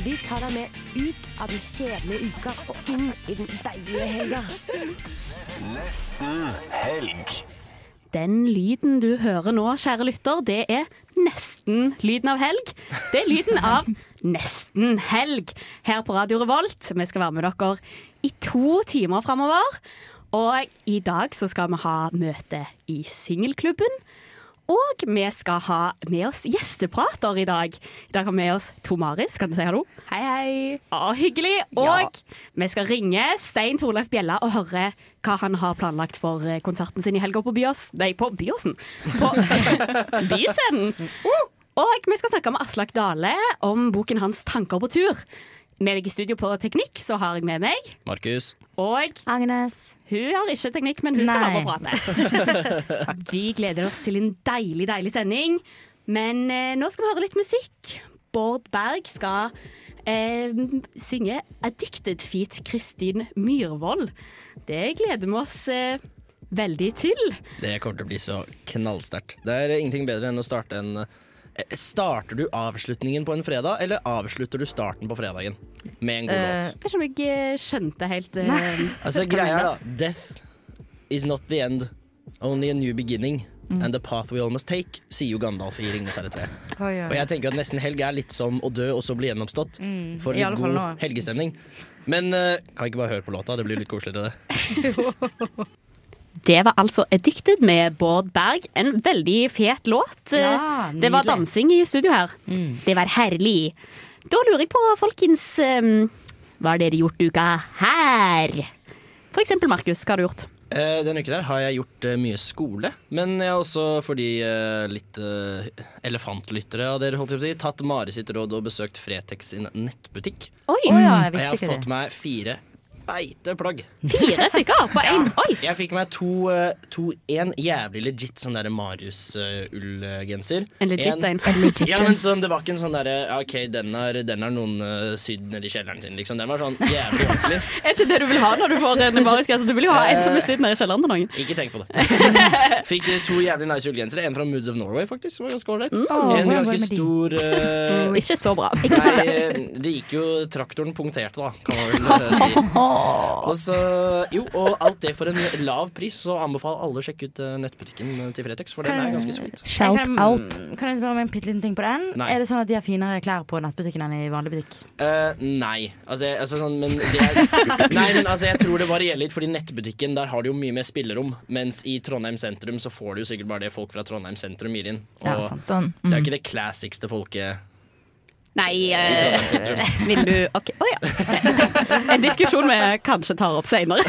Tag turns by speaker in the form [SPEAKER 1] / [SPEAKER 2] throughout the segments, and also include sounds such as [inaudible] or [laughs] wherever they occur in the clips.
[SPEAKER 1] Vi tar deg med ut av den kjedelige uka og inn i den deilige helga.
[SPEAKER 2] Den lyden du hører nå, kjære lytter, det er nesten lyden av helg. Det er lyden av nesten helg her på Radio Revolt. Vi skal være med dere i to timer framover. Og i dag så skal vi ha møte i singelklubben. Og vi skal ha med oss gjesteprater i dag. I dag har vi med oss To Maris. Kan du si hallo?
[SPEAKER 3] Hei, hei.
[SPEAKER 2] Å, hyggelig. Og vi skal ringe Stein Torleif Bjella og høre hva han har planlagt for eh, konserten sin i helga på Byås... Nei, på Byåsen. På [laughs] Byscenen. Og vi skal snakke med Aslak Dale om boken hans 'Tanker på tur'. Med deg i studio på teknikk så har jeg med meg
[SPEAKER 4] Markus.
[SPEAKER 2] Og
[SPEAKER 3] Agnes.
[SPEAKER 2] hun har ikke teknikk, men hun skal være
[SPEAKER 3] Nei.
[SPEAKER 2] med og prate. Takk. Vi gleder oss til en deilig, deilig sending. Men eh, nå skal vi høre litt musikk. Bård Berg skal eh, synge 'Addicted Feet' Kristin Myhrvold. Det gleder vi oss eh, veldig til.
[SPEAKER 4] Det kommer til å bli så knallsterkt. Det er ingenting bedre enn å starte en eh, Starter du avslutningen på en fredag, eller avslutter du starten på fredagen med en god
[SPEAKER 2] Eh,
[SPEAKER 4] låt?
[SPEAKER 2] Kanskje om jeg eh, skjønte helt eh,
[SPEAKER 4] Altså, greia er da Death is not the end, only a new beginning.
[SPEAKER 3] Mm.
[SPEAKER 4] And the path we all must take, sier jo Gandalf i 'Ringenes herre 3'. Og jeg tenker jo at nesten helg er litt som å dø og så bli gjenoppstått. For
[SPEAKER 3] Mm. i alle
[SPEAKER 4] litt
[SPEAKER 3] fall
[SPEAKER 4] god
[SPEAKER 3] nå.
[SPEAKER 4] helgestemning. Men eh, kan vi ikke bare høre på låta? Det blir litt koseligere, det.
[SPEAKER 2] Det var altså 'Addicted' med Bård Berg. En veldig fet låt. Eh,
[SPEAKER 3] Ja,
[SPEAKER 2] det var
[SPEAKER 3] nydelig.
[SPEAKER 2] dansing i studio her. Det var herlig. Da lurer jeg på, folkens, eh, hva har dere gjort i uka her? For eksempel, Markus, hva har du gjort?
[SPEAKER 4] Eh, denne uken her har jeg gjort eh, mye skole, men jeg har også, for de eh, litt eh, elefantlyttere av dere, holdt jeg på å si, tatt Mari sitt råd og besøkt Fretex sin nettbutikk.
[SPEAKER 2] Oi,
[SPEAKER 3] Å ja, jeg
[SPEAKER 4] Og jeg
[SPEAKER 3] visste
[SPEAKER 4] har
[SPEAKER 3] ikke
[SPEAKER 4] fått
[SPEAKER 3] det.
[SPEAKER 4] meg fire beite plagg.
[SPEAKER 2] fire stykker på [laughs] én. Oi!
[SPEAKER 4] Jeg fikk meg to, eh, to en jævlig legit sånn derre Marius-ullgenser.
[SPEAKER 2] En legit en.
[SPEAKER 4] Ja, men sånn, Det var ikke en sånn derre ja, OK, den har den har noen eh, sydd nede i kjelleren sin, liksom. Den var sånn jævlig ordentlig.
[SPEAKER 2] Er ikke det du vil ha når du får en marisk? Altså, du vil jo ha en som er sydd nede i kjelleren til noen.
[SPEAKER 4] Ikke tenk på det. Fikk eh, to jævlig nice ullgensere. En fra Moods of Norway, faktisk. Som var ganske ålreit.
[SPEAKER 3] hvordan
[SPEAKER 4] en
[SPEAKER 3] går det
[SPEAKER 4] ganske
[SPEAKER 3] Mm. med de?
[SPEAKER 4] stor eh,
[SPEAKER 2] Ikke så bra.
[SPEAKER 4] Nei, eh, det gikk jo Traktoren punkterte, da, kan man vel eh, si.
[SPEAKER 3] [laughs]
[SPEAKER 4] Og så, jo, og alt det for en lav pris, så anbefaler alle å sjekke ut eh, nettbutikken til Fretex, for den er ganske sweet.
[SPEAKER 3] Shout kan, out. Kan jeg spørre om en bitte liten ting på den?
[SPEAKER 4] Nei.
[SPEAKER 3] Er det sånn at de har finere klær på nettbutikken enn i vanlig butikk?
[SPEAKER 4] Eh, nei. Altså, jeg, altså sånn, men det
[SPEAKER 3] [laughs]
[SPEAKER 4] er, nei, men altså, jeg tror det varierer litt, fordi nettbutikken der har du jo mye mer spillerom. Mens i Trondheim sentrum så får du jo sikkert bare det folk fra Trondheim sentrum gir inn. Og
[SPEAKER 3] Ja, sant.
[SPEAKER 5] Sånn.
[SPEAKER 4] det er jo ikke det classicste folket
[SPEAKER 2] Nei,
[SPEAKER 4] i
[SPEAKER 2] eh,
[SPEAKER 4] Trondheim sentrum.
[SPEAKER 2] vil du OK. Å ja. [laughs] En diskusjon vi kanskje tar opp [laughs] seinere.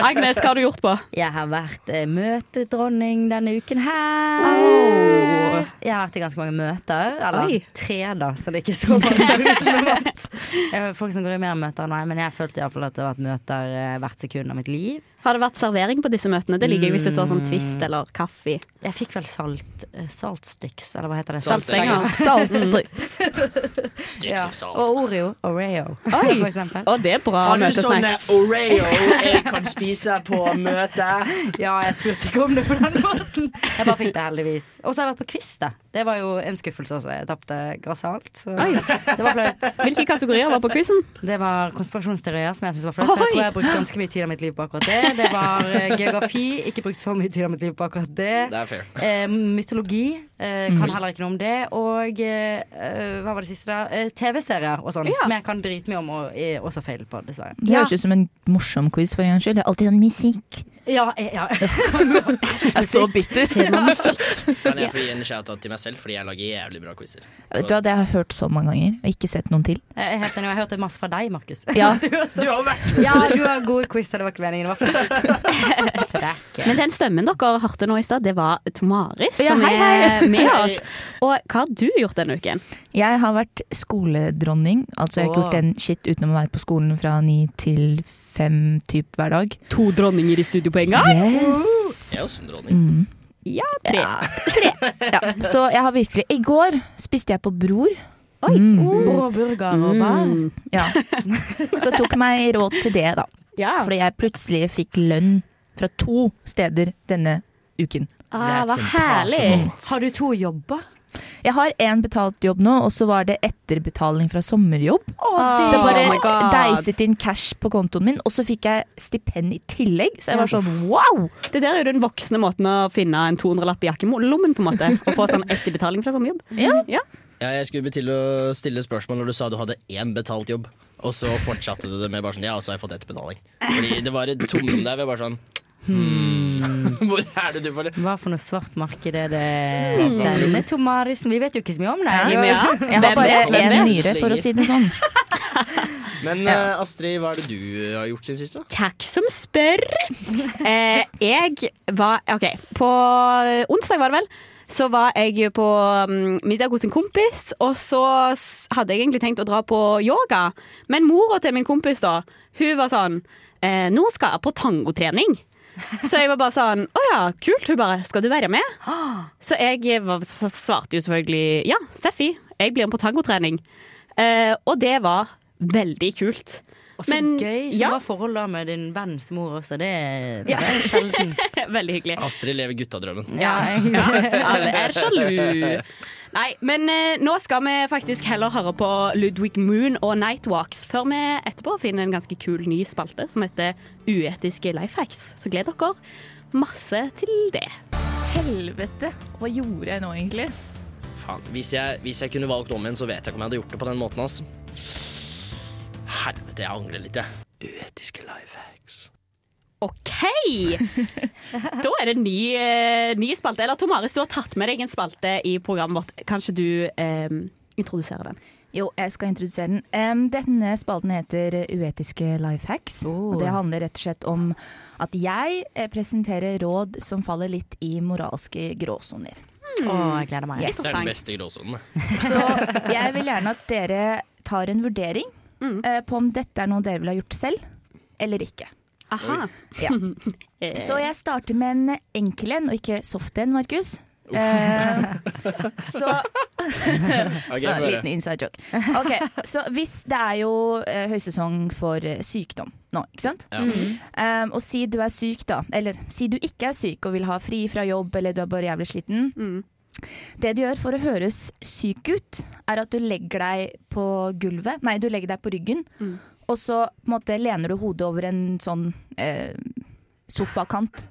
[SPEAKER 2] Agnes, hva har du gjort på?
[SPEAKER 3] Jeg har vært eh, møtedronning denne uken her.
[SPEAKER 2] Oh.
[SPEAKER 3] Jeg har vært i ganske mange møter. Eller
[SPEAKER 2] Oi.
[SPEAKER 3] tre, da, så det er ikke så mange. som har vært. Eh, Folk som går i mer møter enn meg, men jeg følte iallfall at det har vært møter eh, hvert sekund av mitt liv.
[SPEAKER 2] Har det vært servering på disse møtene? Det liker jeg hvis det står sånn twist eller kaffe.
[SPEAKER 3] Jeg fikk vel salt, eh, saltstyks, eller hva heter det?
[SPEAKER 4] Saltstenger.
[SPEAKER 2] [laughs] Mm.
[SPEAKER 5] Saltstryks.
[SPEAKER 3] Ja.
[SPEAKER 4] Stykk salt.
[SPEAKER 3] Og Oreo. Oreo,
[SPEAKER 2] Oi.
[SPEAKER 3] for eksempel.
[SPEAKER 2] Å, det er bra møtesnacks.
[SPEAKER 4] Oreo jeg kan spise på møtet?
[SPEAKER 3] Ja, jeg spurte ikke om det på den måten. Jeg bare fikk det heldigvis. Og så har jeg vært på quiz, da. Det var jo en skuffelse også. Jeg tapte grassat. Så det var flaut.
[SPEAKER 2] Hvilke kategorier var på quizen?
[SPEAKER 3] Det var konspirasjonsteorier, som jeg syntes var flaut. for Jeg
[SPEAKER 2] Oi.
[SPEAKER 3] tror jeg har brukt ganske mye tid av mitt liv på akkurat det. Det var eh, geografi. Ikke brukt så mye tid av mitt liv på akkurat
[SPEAKER 4] Det
[SPEAKER 3] det.
[SPEAKER 4] er fair.
[SPEAKER 3] Eh, mytologi. Eh, kan heller ikke noe om det. Og eh, eh, hva var det siste, da? Eh, TV-serier og sånn.
[SPEAKER 2] Ja.
[SPEAKER 3] Som jeg kan drite mye om og er også feil på, dessverre.
[SPEAKER 5] Det høres ut som en morsom quiz for en gangs skyld. Det er alltid sånn musikk,
[SPEAKER 3] Ja, eh, ja.
[SPEAKER 5] Jeg er så bitter. [laughs]
[SPEAKER 4] Kan jeg få gi en shout-out til meg selv, fordi jeg lager jævlig bra quizer.
[SPEAKER 5] Vet du hva, Det har jeg hørt så mange ganger, og ikke sett noen til.
[SPEAKER 3] Jeg er helt enig, og jeg hørte masse fra deg, [laughs] Markus.
[SPEAKER 5] Ja.
[SPEAKER 3] du, har så-
[SPEAKER 4] Du har vært
[SPEAKER 3] ja, du har gode quizer, det var ikke meningen. Det var frekk. Frekk.
[SPEAKER 2] Men den stemmen dere hørte nå i stad, det var Tomaris
[SPEAKER 5] Ja,
[SPEAKER 2] som
[SPEAKER 5] hei, hei.
[SPEAKER 2] [laughs] er med oss. Og hva har du gjort denne uken?
[SPEAKER 5] Jeg har vært skoledronning. Altså Jeg har ikke
[SPEAKER 3] Åh.
[SPEAKER 5] gjort en shit utenom å være på skolen fra ni til fem typ hver dag.
[SPEAKER 2] To dronninger i studio på en gang?
[SPEAKER 5] Yes!
[SPEAKER 4] Jeg er også en dronning.
[SPEAKER 2] Ja, tre.
[SPEAKER 5] Ja, så jeg har virkelig I går spiste jeg på Bror. Mm,
[SPEAKER 2] Oi.
[SPEAKER 5] Oh.
[SPEAKER 3] Brå burger og bær.
[SPEAKER 2] Mm.
[SPEAKER 5] Ja. Så tok meg råd til det, da.
[SPEAKER 2] Ja.
[SPEAKER 5] Fordi jeg plutselig fikk lønn fra to steder denne uken.
[SPEAKER 2] Ah, hva
[SPEAKER 4] That's
[SPEAKER 2] herlig.
[SPEAKER 3] Har du to jobber?
[SPEAKER 5] Jeg har én betalt jobb nå, og så var det etterbetaling fra sommerjobb.
[SPEAKER 2] det-
[SPEAKER 5] det bare
[SPEAKER 2] Oh my God.
[SPEAKER 5] deiset inn cash på kontoen min, og så fikk jeg stipend i tillegg. Så jeg var sånn wow!
[SPEAKER 2] Det der er jo den voksne måten å finne en 200-lapp i jakkelommen på en måte. Og få [laughs] sånn etterbetaling fra sommerjobb.
[SPEAKER 5] Ja.
[SPEAKER 4] Ja, jeg skulle til å stille spørsmål når du sa du hadde én betalt jobb, og så fortsatte du det med bare sånn Ja, og så har jeg fått etterbetaling. Fordi det var et tomrom der. Vi var bare sånn hmm. [laughs] Hvor er det du får det?
[SPEAKER 3] Hva for noe svart marked er det? Denne tomarisen Vi vet jo ikke så mye om det.
[SPEAKER 2] Nei, men
[SPEAKER 3] [laughs]
[SPEAKER 2] ja.
[SPEAKER 5] Jeg har
[SPEAKER 2] Hvem
[SPEAKER 5] bare
[SPEAKER 2] vet, hvem
[SPEAKER 5] én
[SPEAKER 2] vet?
[SPEAKER 5] nyre, for å si det sånn.
[SPEAKER 4] Men eh, Astrid, hva er det du har gjort siden sist, da?
[SPEAKER 2] Takk som spør. Eh, jeg var OK, på onsdag var det vel. Så var jeg på mm, middag hos en kompis, og så s- hadde jeg egentlig tenkt å dra på yoga. Men mora til min kompis da, hun var sånn eh, 'Nå skal jeg på tangotrening'. Så jeg var bare sånn 'Å ja, kult'. Hun bare 'Skal du være med?' Så jeg var, s- svarte jo selvfølgelig 'Ja, Seffi, jeg blir med på tangotrening'. Eh, og det var veldig kult.
[SPEAKER 3] Og så gøy. Så bra forhold da med din venns mor også. Det er,
[SPEAKER 2] Ja.
[SPEAKER 3] det er sjelden.
[SPEAKER 2] [laughs] Veldig
[SPEAKER 5] [laughs]
[SPEAKER 2] hyggelig.
[SPEAKER 4] Astrid lever guttadrømmen.
[SPEAKER 3] [laughs] Ja, jeg,
[SPEAKER 2] Alle er sjalu. Nei, men eh, nå skal vi faktisk heller høre på Ludvig Moon og Nightwalks før vi etterpå finner en ganske kul ny spalte som heter Uetiske lifehacks. Så gled dere masse til det.
[SPEAKER 5] Helvete, hva gjorde jeg nå egentlig?
[SPEAKER 4] Faen. Hvis jeg, hvis jeg kunne valgt om igjen, så vet jeg ikke om jeg hadde gjort det på den måten, altså. Helvete, jeg angrer litt, jeg. Uetiske life hacks.
[SPEAKER 2] OK!
[SPEAKER 5] [laughs]
[SPEAKER 2] Da er det ny, eh, ny spalte. Eller Tom Aris, du har tatt med deg en spalte i programmet vårt. Kanskje du eh, introduserer den?
[SPEAKER 5] Jo, jeg skal introdusere den. Em, denne spalten heter Uetiske life hacks. Og det handler rett og slett om at jeg eh, presenterer råd som faller litt i moralske gråsoner.
[SPEAKER 3] å, jeg gleder meg.
[SPEAKER 5] Yes.
[SPEAKER 4] Det er
[SPEAKER 2] Sant.
[SPEAKER 4] den beste gråsonen. det.
[SPEAKER 5] Så jeg vil gjerne at dere tar en vurdering
[SPEAKER 4] Mm.
[SPEAKER 5] eh, på om dette er noe dere ville ha gjort selv, eller ikke.
[SPEAKER 2] Aha.
[SPEAKER 5] Ja.
[SPEAKER 2] [laughs] Eh,
[SPEAKER 5] Så jeg starter med en enkel en, og ikke soft en, Markus. Eh, så
[SPEAKER 4] [laughs] Ok,
[SPEAKER 5] så
[SPEAKER 4] jeg
[SPEAKER 5] en
[SPEAKER 4] får
[SPEAKER 5] liten
[SPEAKER 4] høre.
[SPEAKER 5] inside joke. Ok, så hvis Det er jo eh, høysesong for eh, sykdom nå, ikke sant?
[SPEAKER 4] Ja.
[SPEAKER 5] Um, og si du er syk, da. Eller si du ikke er syk og vil ha fri fra jobb, eller du er bare jævlig sliten.
[SPEAKER 2] mm.
[SPEAKER 5] Det du gjør for å høres syk ut, er at du legger deg på gulvet Nei, du legger deg på ryggen, og så på en måte lener du hodet over en sånn eh, sofakant.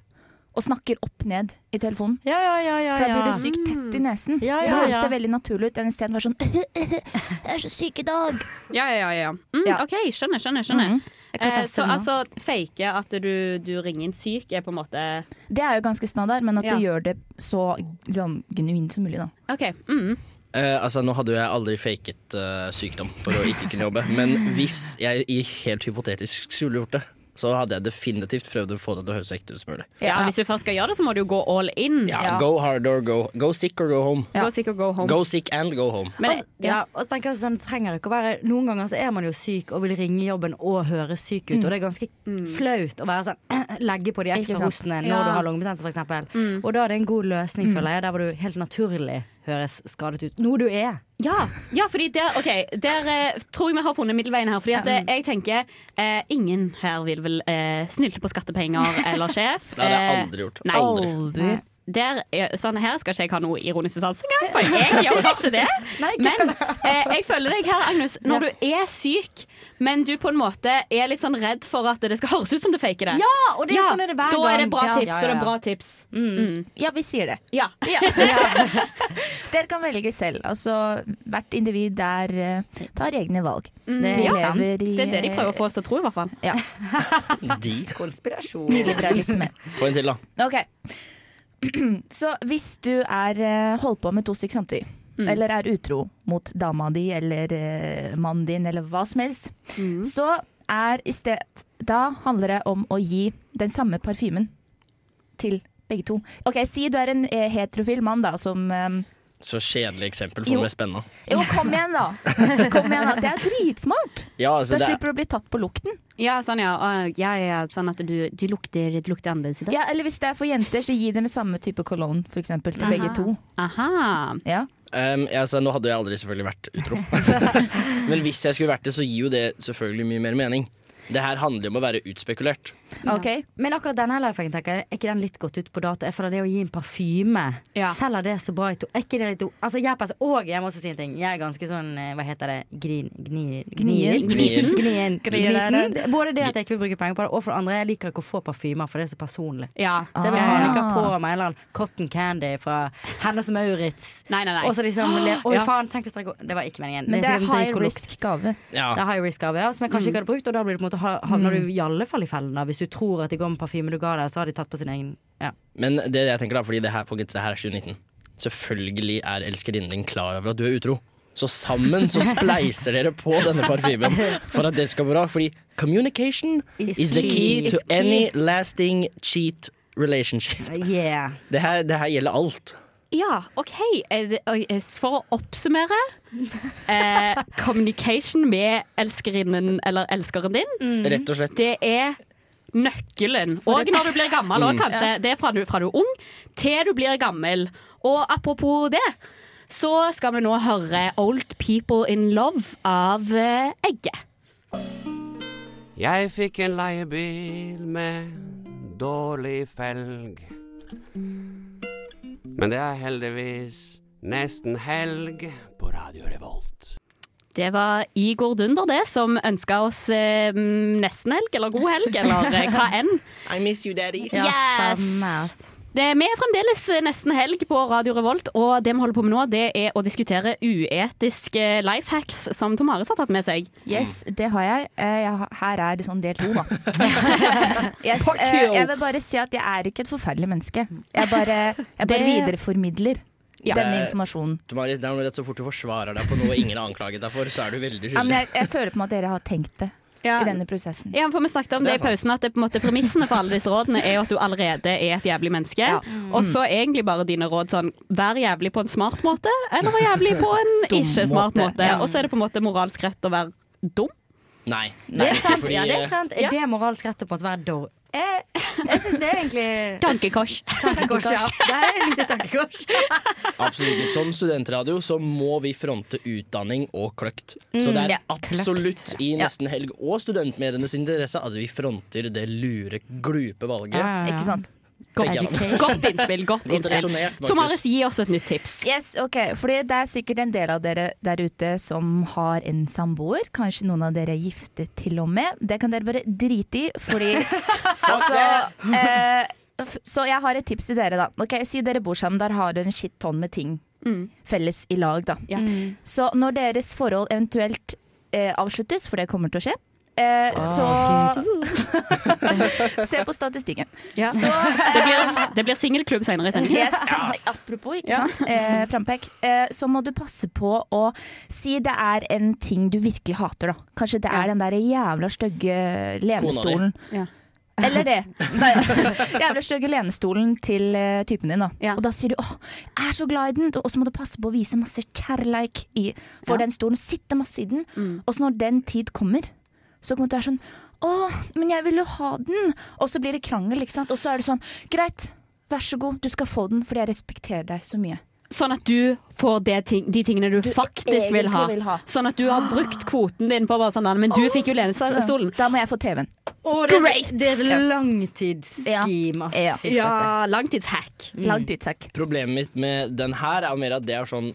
[SPEAKER 5] Og snakker opp ned i telefonen.
[SPEAKER 3] Ja, ja, ja, ja,
[SPEAKER 5] For da blir
[SPEAKER 3] ja.
[SPEAKER 5] du sykt tett i nesen.
[SPEAKER 3] Ja,
[SPEAKER 5] Og
[SPEAKER 3] ja,
[SPEAKER 5] Da høres
[SPEAKER 3] ja.
[SPEAKER 5] det veldig naturlig ut. enn i stedet å være sånn [laughs] Jeg er så syk i dag.
[SPEAKER 2] Ja, ja, ja. ja. Mm,
[SPEAKER 5] Ja.
[SPEAKER 2] OK, skjønner, skjønner. skjønner.
[SPEAKER 3] Jeg kan
[SPEAKER 2] Eh,
[SPEAKER 3] teste
[SPEAKER 2] så
[SPEAKER 3] den nå.
[SPEAKER 2] altså fake at du, du ringer inn syk er på en måte
[SPEAKER 5] Det er jo ganske standard, men at
[SPEAKER 2] Ja.
[SPEAKER 5] du gjør det så liksom, genuint som mulig, da.
[SPEAKER 2] OK. Mm.
[SPEAKER 4] Eh, altså, nå hadde jo jeg aldri faket eh, sykdom for å ikke kunne jobbe, men hvis jeg i helt hypotetisk skulle gjort det, så hadde jeg definitivt prøvd å få det til å høres så ekte ut som mulig.
[SPEAKER 2] Ja, Hvis du først skal gjøre det, så må du jo gå all in.
[SPEAKER 4] Ja,
[SPEAKER 5] Ja.
[SPEAKER 4] Go hard or go Go sick or go home.
[SPEAKER 5] Ja.
[SPEAKER 2] Go sick og go home.
[SPEAKER 4] Go sick and go home.
[SPEAKER 2] Men,
[SPEAKER 3] Altså, ja, og så tenker jeg sånn, det trenger ikke å være Noen ganger så er man jo syk og vil ringe jobben og høre syk ut, og det er ganske flaut å være sånn [clears throat] Legge på de
[SPEAKER 5] Ikke
[SPEAKER 3] ekstra
[SPEAKER 5] sant?
[SPEAKER 3] hostene når
[SPEAKER 2] Ja.
[SPEAKER 3] du har lungebetennelse, f.eks. Og da er det en god løsning, føler jeg, der hvor du helt naturlig høres skadet ut. Noe du er.
[SPEAKER 2] ja, ja, fordi der, ok, der eh, tror jeg vi har funnet middelveien her. Fordi at eh, jeg tenker eh, ingen her vil vel eh, snylte på skattepenger eller sjef.
[SPEAKER 4] Det hadde jeg
[SPEAKER 2] Eh,
[SPEAKER 4] aldri gjort.
[SPEAKER 2] Nei.
[SPEAKER 4] Aldri.
[SPEAKER 5] Nei.
[SPEAKER 2] der, er- sånn her skal ikke jeg ha noe ironisk sans engang, for jeg gjør ikke
[SPEAKER 3] [laughs]
[SPEAKER 2] det. Men eh, jeg føler deg her, Agnes. Når du er syk, men du på en måte er litt sånn redd for at det skal høres ut som du faker det.
[SPEAKER 3] Ja, og det er
[SPEAKER 2] Ja,
[SPEAKER 3] sånn er det hver
[SPEAKER 2] Da er det bra
[SPEAKER 3] gang.
[SPEAKER 2] tips.
[SPEAKER 3] Ja,
[SPEAKER 2] da er
[SPEAKER 3] ja,
[SPEAKER 2] det
[SPEAKER 3] ja.
[SPEAKER 2] bra tips. Mm.
[SPEAKER 5] Ja, vi sier det.
[SPEAKER 2] Ja.
[SPEAKER 5] [laughs] Dere kan velge selv. Altså, hvert individ der eh, tar egne valg.
[SPEAKER 3] Det
[SPEAKER 5] Vi
[SPEAKER 3] er
[SPEAKER 5] lever
[SPEAKER 3] sant.
[SPEAKER 5] i,
[SPEAKER 2] Det er det de prøver å få oss til å tro, i hvert fall.
[SPEAKER 5] Ja,
[SPEAKER 4] De.
[SPEAKER 3] Konspirasjon.
[SPEAKER 5] i liberalisme.
[SPEAKER 4] Få en til, da.
[SPEAKER 5] Ok. [clears throat] Så hvis du er eh, holdt på med to stykk samtidig,
[SPEAKER 4] Mm.
[SPEAKER 5] eller er utro mot dama di eller eh, mannen din eller hva som helst,
[SPEAKER 4] Mm.
[SPEAKER 5] så er i sted Da handler det om å gi den samme parfymen til begge to. Ok, Si du er en eh, heterofil mann da som eh,
[SPEAKER 4] Så kjedelig eksempel.
[SPEAKER 5] Jo.
[SPEAKER 4] Få meg spenna.
[SPEAKER 5] Jo, kom igjen,
[SPEAKER 4] [laughs]
[SPEAKER 5] da! Kom igjen da. Det er dritsmart!
[SPEAKER 4] Ja, altså,
[SPEAKER 5] Da
[SPEAKER 4] det er
[SPEAKER 5] slipper du å bli tatt på lukten.
[SPEAKER 2] Ja, sånn ja. Å, ja, ja, ja. Sånn at du, du, lukter, du lukter annerledes i dag.
[SPEAKER 5] Ja, eller hvis det er for jenter, så gi dem samme type cologne for eksempel, til begge to.
[SPEAKER 2] Aha.
[SPEAKER 5] Ja.
[SPEAKER 4] Ehm, jeg, altså, nå hadde jeg aldri selvfølgelig vært [laughs] utro. Men hvis jeg skulle vært det, så gir jo det selvfølgelig mye mer mening. Det her handler jo om å være utspekulert.
[SPEAKER 5] Ok?
[SPEAKER 3] Men akkurat denne lifehacken, tenker jeg, er ikke den litt gått ut på dato? Jeg føler det å gi en parfyme
[SPEAKER 2] Ja.
[SPEAKER 3] Selger det så bra ut? Er ikke det litt o- Altså, jeg passer, og jeg må også si en ting. Jeg er ganske sånn, eh, hva heter det, grin... Gni,
[SPEAKER 5] Gnien.
[SPEAKER 3] Gnien.
[SPEAKER 4] Gnien.
[SPEAKER 3] Gnien.
[SPEAKER 5] Gnien.
[SPEAKER 3] Gnien. Både det at jeg ikke vil bruke penger på det, og for det andre, jeg liker ikke å få parfymer, for det er så personlig.
[SPEAKER 2] Ja.
[SPEAKER 3] Så jeg vil
[SPEAKER 5] Ah.
[SPEAKER 3] faen ikke ha på meg en eller annen cotton candy fra Hennes Maurits.
[SPEAKER 2] Nei, nei, nei.
[SPEAKER 3] Og så liksom le- Oi,
[SPEAKER 2] Ja.
[SPEAKER 3] faen, tenk hvis det går Det sånn var ikke meningen.
[SPEAKER 5] Men det er
[SPEAKER 3] sikkert en
[SPEAKER 5] high
[SPEAKER 3] dritgod lukt.
[SPEAKER 5] risk gave.
[SPEAKER 3] Det
[SPEAKER 4] Ja,
[SPEAKER 3] er high risk av, ja, som jeg kanskje ikke hadde brukt, og da blir det på en måte, ha- havner du i alle fall i fellen. da, Hvis du tror at de går med parfyme du ga deg, så har de tatt på sin egen ja.
[SPEAKER 4] Men det jeg tenker da, fordi det her, folkens, det her er 2019. Selvfølgelig er elskerinnen din klar over at du er utro. Så sammen så spleiser dere på denne parfymen for at det skal gå bra. Fordi communication is, the key, to any lasting cheat relationship.
[SPEAKER 3] Yeah.
[SPEAKER 4] Det her, det her gjelder alt.
[SPEAKER 2] Ja, OK. Eh, det- oi, eh, For å oppsummere eh, Communication med elskerinnen eller elskeren din,
[SPEAKER 4] Rett og slett.
[SPEAKER 2] det er nøkkelen. Og når du blir gammel òg, kanskje. Det er fra du, fra du er ung til du blir gammel. Og apropos det, så skal vi nå høre Old People in Love av eh, Egge.
[SPEAKER 6] Jeg fikk en leiebil med dårlig felg. Men det er heldigvis nesten helg på Radio Revolt.
[SPEAKER 2] Det var Igor Dunder, det, som ønska oss eh, nesten helg, eller god helg, eller eh, hva enn.
[SPEAKER 4] I miss you, daddy.
[SPEAKER 5] Ja,
[SPEAKER 2] Yes!
[SPEAKER 5] samme, altså. ass.
[SPEAKER 2] Det, vi er fremdeles nesten helg på Radio Revolt, og det vi holder på med nå, det er å diskutere uetiske life hacks som Tom Aris har tatt med seg.
[SPEAKER 5] Yes, det har jeg. Eh, jeg har- her er det sånn del to, da. yes,
[SPEAKER 2] Part
[SPEAKER 5] eh,
[SPEAKER 2] two.
[SPEAKER 5] jeg vil bare si at jeg er ikke et forferdelig menneske. Jeg bare, jeg bare
[SPEAKER 2] Det-
[SPEAKER 5] videreformidler
[SPEAKER 2] Ja.
[SPEAKER 5] denne informasjonen.
[SPEAKER 4] Maris, det er noe rett så fort du forsvarer deg på noe ingen har anklaget deg for, så er du veldig
[SPEAKER 5] Ja, men
[SPEAKER 4] skyldig.
[SPEAKER 5] jeg, jeg føler på meg at dere har tenkt det i denne prosessen.
[SPEAKER 2] Ja, for Vi snakket om det, i pausen at det, på en måte, premissene for alle disse rådene er jo at du allerede er et jævlig menneske.
[SPEAKER 5] Mm.
[SPEAKER 2] Og så er egentlig bare dine råd sånn vær jævlig på en smart måte, eller vær jævlig på [laughs] en ikke-smart måte.
[SPEAKER 5] måte. Ja.
[SPEAKER 2] Og så er det på en måte moralsk rett å være dum.
[SPEAKER 4] Nei.
[SPEAKER 3] Det
[SPEAKER 4] Nei,
[SPEAKER 3] er
[SPEAKER 4] ikke
[SPEAKER 3] sant.
[SPEAKER 4] fordi
[SPEAKER 3] Ja, det er sant. Er
[SPEAKER 2] Ja.
[SPEAKER 3] det moralsk rett å på en måte være dår? Jeg, jeg syns det er
[SPEAKER 2] [laughs]
[SPEAKER 3] egentlig
[SPEAKER 2] Tankekors.
[SPEAKER 3] tankekors. Ja. [laughs] Det er et lite tankekors.
[SPEAKER 4] Absolutt ikke. Som studentradio så må vi fronte utdanning og kløkt. Så det er
[SPEAKER 5] ja, kløkt.
[SPEAKER 4] absolutt i nesten helg og studentmedienes interesse at vi fronter det lure, glupe valget.
[SPEAKER 5] Ikke sant?
[SPEAKER 4] tenker jeg da.
[SPEAKER 2] Godt innspill. godt
[SPEAKER 4] Godt
[SPEAKER 2] innspill
[SPEAKER 4] resonert, Markus.
[SPEAKER 2] Tomaris, gi oss et nytt tips.
[SPEAKER 5] Yes, ok. Fordi det er sikkert en del av dere der ute som har en samboer. Kanskje noen av dere er gifte til og med. Det kan dere bare drite i, fordi altså eh, f- Så jeg har et tips til dere, da. Ok, Si dere bor sammen, der har dere en shittonn med ting felles i lag, da.
[SPEAKER 2] Ja.
[SPEAKER 5] Så når deres forhold eventuelt eh, avsluttes, for det kommer til å skje, eh, så [laughs] Se på statistikken.
[SPEAKER 2] Ja.
[SPEAKER 5] Så eh,
[SPEAKER 2] Det blir, det blir singelklubb senere i sendingen.
[SPEAKER 5] Yes. Apropos, ikke sant? Eh, frampek. Eh, så må du passe på å si det er en ting du virkelig hater, da. Kanskje det er den der jævla stygge lenestolen.
[SPEAKER 2] Ja.
[SPEAKER 5] Eller det. Nei, [laughs] jævla stygge lenestolen til eh, typen din, da.
[SPEAKER 2] Ja.
[SPEAKER 5] Og da sier du 'Å, jeg er så glad i den', og så må du passe på å vise masse kjærleik i, for den stolen. Sitte masse i den. Og så når den tid kommer, så kommer du til å være sånn å, men jeg vil jo ha den! Og så blir det krangel, ikke sant. Og så er det sånn, greit, vær så god, du skal få den fordi jeg respekterer deg så mye.
[SPEAKER 2] sånn at du får det ting, de tingene du, faktisk vil ha.
[SPEAKER 5] egentlig vil ha.
[SPEAKER 2] Sånn at du har brukt kvoten din på å være sånn, "Nei, men du fikk jo lenestolen.
[SPEAKER 5] Da må jeg få TV-en.
[SPEAKER 3] Å, det,
[SPEAKER 2] Great!
[SPEAKER 3] det er et langtidsscheme, ass.
[SPEAKER 5] Ja.
[SPEAKER 3] Fy flate.
[SPEAKER 2] Ja, langtidshack.
[SPEAKER 5] Langtidshack.
[SPEAKER 4] Problemet mitt med den her er jo mer at det er sånn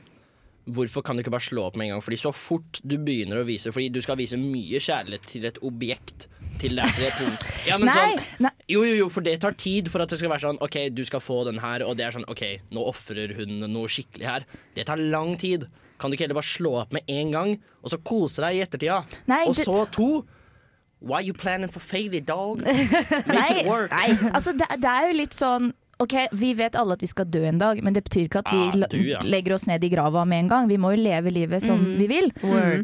[SPEAKER 4] Hvorfor kan du ikke bare slå opp med en gang? Fordi så fort du begynner å vise Fordi du skal vise mye kjærlighet til et objekt. Til det er til et punkt. Ja, men
[SPEAKER 5] Nei,
[SPEAKER 4] sånn,
[SPEAKER 5] nei.
[SPEAKER 4] jo, jo, jo, for det tar tid for at det skal være sånn OK, du skal få den her, og det er sånn OK, nå ofrer hun noe skikkelig her. Det tar lang tid. Kan du ikke heller bare slå opp med en gang, og så kose deg i ettertida?
[SPEAKER 5] Nei,
[SPEAKER 4] og
[SPEAKER 5] det-
[SPEAKER 4] så to. Why you planning for failure,
[SPEAKER 3] [laughs]
[SPEAKER 4] dog?
[SPEAKER 5] Nei,
[SPEAKER 4] Make it work.
[SPEAKER 5] nei. Altså, det, det er jo litt sånn Ok, Vi vet alle at vi skal dø en dag, men det betyr ikke at vi
[SPEAKER 4] Ah,
[SPEAKER 5] la-
[SPEAKER 4] du, ja. Mm.
[SPEAKER 5] legger oss ned i grava med en gang. Vi må jo leve livet som vi vil.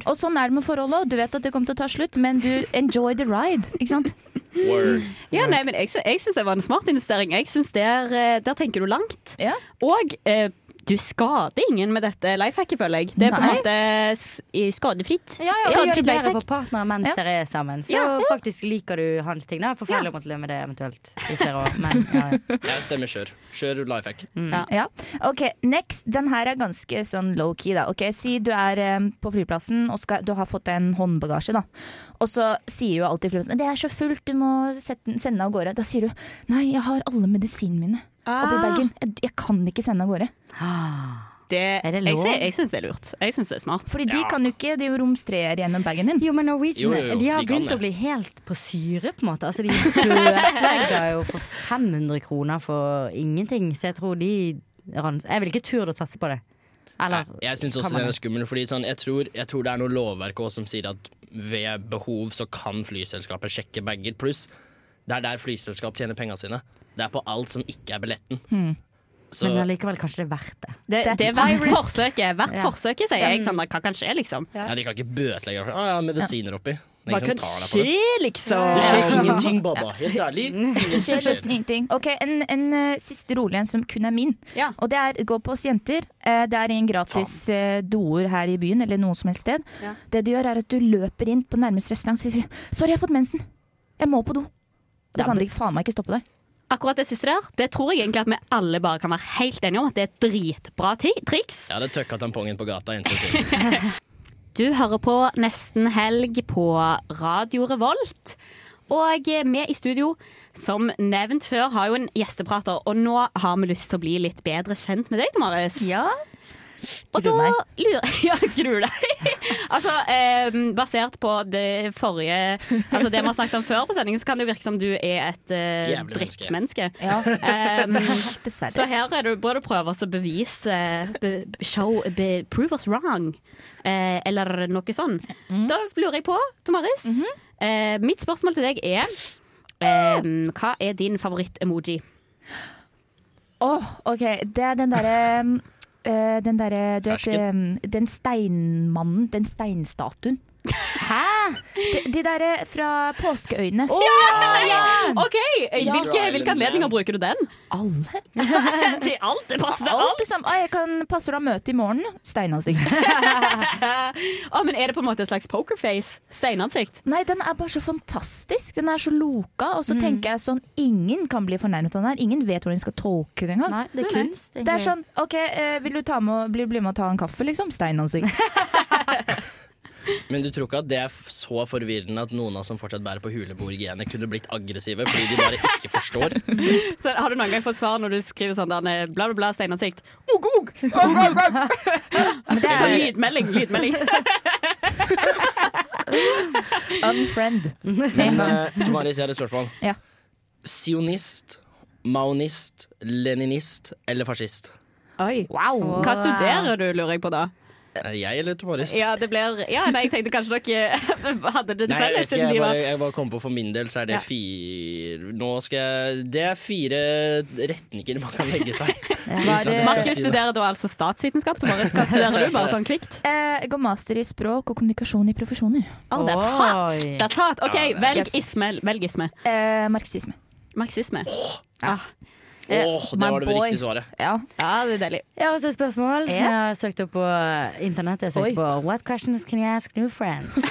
[SPEAKER 5] Og sånn er det med forholdet òg. Du vet at det kommer til å ta slutt, men du enjoy the ride. Ikke sant?
[SPEAKER 4] [laughs] Word.
[SPEAKER 2] Ja, nei, men jeg, sy- jeg syns det var en smart investering. Jeg synes der, eh, der tenker du langt.
[SPEAKER 5] Ja.
[SPEAKER 2] Og eh, du skader ingen med dette lifehacket, føler jeg. Det er på en
[SPEAKER 5] Nei.
[SPEAKER 2] måte s- i- skadefritt.
[SPEAKER 3] Ja, ja, og det
[SPEAKER 2] Skadefritt
[SPEAKER 3] gjør det bedre
[SPEAKER 2] lifehack.
[SPEAKER 3] for partnere mens
[SPEAKER 5] Ja.
[SPEAKER 3] dere er sammen. Så
[SPEAKER 2] Ja,
[SPEAKER 3] faktisk liker du hans ting. Det er forferdelig å måtte leve med det eventuelt i flere år. [laughs] Men, ja, ja.
[SPEAKER 4] Jeg stemmer kjør. Kjør life hack.
[SPEAKER 5] Ja. Ok, next. Den her er ganske sånn low-key, da. Ok, Si du er eh, på flyplassen og skal, du har fått deg en håndbagasje, da. Og så sier jo alltid flyplassen 'det er så fullt, du må sette, den- sende av gårde'. Da sier du 'nei, jeg har alle medisinene mine oppi bagen, jeg, jeg kan ikke sende av gårde'.
[SPEAKER 2] Det,
[SPEAKER 3] Er det
[SPEAKER 2] jeg,
[SPEAKER 3] lov?
[SPEAKER 2] sy- jeg syns det er lurt. Jeg syns det er smart.
[SPEAKER 5] Fordi de kan jo ikke de romstrerer gjennom bagen din.
[SPEAKER 3] [laughs] Jo, men Norwegian
[SPEAKER 4] Jo, jo, jo,
[SPEAKER 3] de har
[SPEAKER 4] de kan
[SPEAKER 3] begynt
[SPEAKER 4] det.
[SPEAKER 3] å bli helt på syre, på en måte. [laughs] Altså, de bøtelegger jo for 500 kroner for ingenting, så jeg tror de ran- Jeg vil ikke turde å satse på det. Eller
[SPEAKER 4] Nei, jeg syns også
[SPEAKER 3] kan man
[SPEAKER 4] den er
[SPEAKER 3] det?
[SPEAKER 4] skummel. Fordi sånn, jeg, tror, jeg tror det er noe lovverk også som sier at ved behov så kan flyselskapet sjekke bager. Pluss det er der flyselskap tjener pengene sine. Det er på alt som ikke er billetten. Så
[SPEAKER 3] Hmm. Men allikevel kanskje det er verdt det.
[SPEAKER 2] Det, det er verdt forsøket. Hvert
[SPEAKER 3] Ja.
[SPEAKER 2] forsøket, sier jeg. Sånn, hva kan skje, liksom?
[SPEAKER 4] ja, de kan ikke bøtelegge deg for ah, ja, medisiner oppi. Det er
[SPEAKER 2] Hva kan
[SPEAKER 4] ingen som tar deg for
[SPEAKER 2] skje,
[SPEAKER 4] det.
[SPEAKER 2] liksom?
[SPEAKER 4] Det skjer ingenting, Baba. Helt ærlig.
[SPEAKER 5] Det [laughs] skjer nesten ingenting. Ok, En, en eh, siste rolig en som kun er min.
[SPEAKER 2] Ja.
[SPEAKER 5] Og det er gå på oss jenter. Eh, det er ingen gratis eh, doer her i byen eller noe som helst sted.
[SPEAKER 2] Ja.
[SPEAKER 5] Det du gjør, er at du løper inn på nærmeste restaurant og sier du, 'sorry, jeg har fått mensen'. Jeg må på do. Og da kan de faen meg ikke stoppe deg.
[SPEAKER 2] Akkurat det siste der, det tror jeg egentlig at vi alle bare kan være helt enige om at det er et dritbra ti- triks.
[SPEAKER 4] Jeg hadde tøkka tampongen på gata. Inntil siden.
[SPEAKER 2] Du hører på Nesten helg på Radio Revolt. Og vi i studio, som nevnt før, har jo en gjesteprater. Og nå har vi lyst til å bli litt bedre kjent med deg, Damaris.
[SPEAKER 5] [laughs] Ja.
[SPEAKER 2] og da lurer [laughs] Ja, gruer deg. [laughs] altså, eh, basert på det forrige Altså det vi har snakket om før på sendingen, så kan det jo virke som du er et eh,
[SPEAKER 4] Jævlig menneske.
[SPEAKER 2] drittmenneske.
[SPEAKER 5] ja.
[SPEAKER 2] Eh,
[SPEAKER 5] Dessverre.
[SPEAKER 2] så her er det både å prøve å bevise be, show, be, Prove us wrong, eh, eller noe sånn. Da lurer jeg på, Tomaris, eh, mitt spørsmål til deg er eh, Hva er din favoritt-emoji?
[SPEAKER 5] Åh, ok. Det er den derre eh, den derre Du vet
[SPEAKER 4] Fersken.
[SPEAKER 5] eh, Den steinmannen. Den
[SPEAKER 2] [laughs]
[SPEAKER 5] steinstatuen. Hæ?! De, de derre fra Påskeøyene.
[SPEAKER 2] OK! Hvilke, hvilke anledninger bruker du den?
[SPEAKER 5] Alle.
[SPEAKER 2] [laughs] til alt? Det passer til
[SPEAKER 5] Alt,
[SPEAKER 2] alt!
[SPEAKER 5] liksom. Å, jeg kan passer å møte i morgen. Steinansikt.
[SPEAKER 2] Å, men er det på en måte et slags pokerface? Steinansikt?
[SPEAKER 5] Nei, den er bare så fantastisk. Den er så loka. Og
[SPEAKER 3] Mm.
[SPEAKER 5] så tenker jeg sånn Ingen kan bli fornærmet av den her. Ingen vet hvordan de skal tolke det engang.
[SPEAKER 3] Nei, det er kunst.
[SPEAKER 5] Det er sånn OK, eh, vil du ta med, bli, bli med og ta en kaffe, liksom? Steinansikt.
[SPEAKER 3] [laughs]
[SPEAKER 4] Men du tror ikke at det er f- så forvirrende at noen av oss som fortsatt bærer på huleboergenet, kunne blitt aggressive fordi de bare ikke forstår?
[SPEAKER 5] [laughs]
[SPEAKER 2] Så har du noen gang fått svar når du skriver sånn der, eh, bla, bla, bla, steinansikt? Og, og!
[SPEAKER 5] Men det
[SPEAKER 2] Sånn
[SPEAKER 5] er
[SPEAKER 2] lydmelding. lydmelding.
[SPEAKER 5] unfriend.
[SPEAKER 3] Mm.
[SPEAKER 4] Men eh, Tomaris, jeg har et spørsmål.
[SPEAKER 5] Ja.
[SPEAKER 4] Sionist, maonist, leninist eller fascist?
[SPEAKER 2] [laughs] Oi.
[SPEAKER 5] Wow.
[SPEAKER 2] Hva studerer du, lurer jeg på da?
[SPEAKER 4] Eh, Jeg eller Tomaris?
[SPEAKER 2] Ja, det blir Ja, nei, jeg tenkte kanskje dere [laughs] hadde det til
[SPEAKER 4] Nei,
[SPEAKER 2] felles
[SPEAKER 4] jeg, vet ikke,
[SPEAKER 2] siden
[SPEAKER 4] jeg,
[SPEAKER 2] de
[SPEAKER 4] bare,
[SPEAKER 2] var
[SPEAKER 4] jeg bare kom på for min del, så er det
[SPEAKER 2] Ja.
[SPEAKER 4] fire Nå skal jeg Det er fire retninger man kan legge seg.
[SPEAKER 5] Var,
[SPEAKER 4] Ja, det skal
[SPEAKER 2] Markus
[SPEAKER 5] eh,
[SPEAKER 4] jeg si det.
[SPEAKER 2] studerer da altså statsvitenskap, Tomaris. Hva studerer du, bare sånn kvikt?
[SPEAKER 5] eh, jeg går master i språk og kommunikasjon i profesjoner.
[SPEAKER 2] Oh, that's hot!
[SPEAKER 3] Oi.
[SPEAKER 2] That's hot. OK,
[SPEAKER 4] Ja, det er-
[SPEAKER 2] velg
[SPEAKER 5] Yes.
[SPEAKER 2] isme. Velg isme.
[SPEAKER 5] Eh, marxisme.
[SPEAKER 2] Marxisme.
[SPEAKER 4] Åh, det var det riktige svaret.
[SPEAKER 5] Ja.
[SPEAKER 2] Ah, Ja, det er deilig.
[SPEAKER 3] Jeg har også et spørsmål som
[SPEAKER 5] Ja.
[SPEAKER 3] jeg har søkt opp på internett. Jeg har søkt
[SPEAKER 5] Oi.
[SPEAKER 3] på What questions can you ask new friends?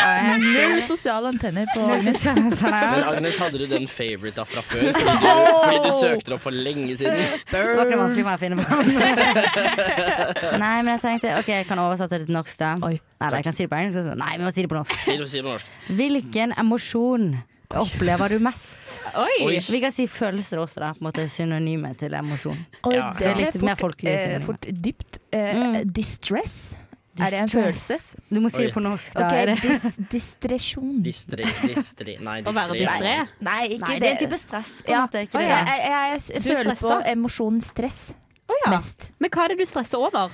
[SPEAKER 5] Null sosiale antenner på Agnes.
[SPEAKER 4] Men Agnes, hadde du den favorite da fra før? Fordi du, fordi du søkte opp for lenge siden.
[SPEAKER 3] Det var ikke noe vanskelig for meg å
[SPEAKER 5] [laughs]
[SPEAKER 3] finne fram. Nei, men jeg tenkte OK, jeg kan oversette det til norsk, da.
[SPEAKER 5] Oi.
[SPEAKER 3] Nei, jeg kan si det på engelsk. så- Nei, vi må si det på norsk.
[SPEAKER 4] Si det si det på norsk.
[SPEAKER 3] Hvilken emosjon opplever du mest?
[SPEAKER 4] Oi.
[SPEAKER 3] Vi kan si følelser også, da. På en måte synonyme til emosjon.
[SPEAKER 5] Oi,
[SPEAKER 4] Ja,
[SPEAKER 3] det er litt mer folkelig
[SPEAKER 5] eh,
[SPEAKER 3] synonymer.
[SPEAKER 5] fort dypt. Eh, Distress. Er det en følelse?
[SPEAKER 3] Mm. Distress. Du må si det
[SPEAKER 4] Oi.
[SPEAKER 3] på norsk, da.
[SPEAKER 5] Ok,
[SPEAKER 3] Er det?
[SPEAKER 5] dis distresjon.
[SPEAKER 4] Distre, distre, nei,
[SPEAKER 2] Å være
[SPEAKER 4] distre.
[SPEAKER 2] distré?
[SPEAKER 5] Nei, ikke
[SPEAKER 3] Nei, det er en type stress, på en
[SPEAKER 5] Ja.
[SPEAKER 3] måte. Ikke
[SPEAKER 5] Å,
[SPEAKER 3] det?
[SPEAKER 5] ja. Jeg, jeg, jeg
[SPEAKER 2] Du er
[SPEAKER 5] føler på
[SPEAKER 2] stressa?
[SPEAKER 5] emosjonen stress
[SPEAKER 2] Å ja.
[SPEAKER 5] mest.
[SPEAKER 2] Men hva er det du stresser over?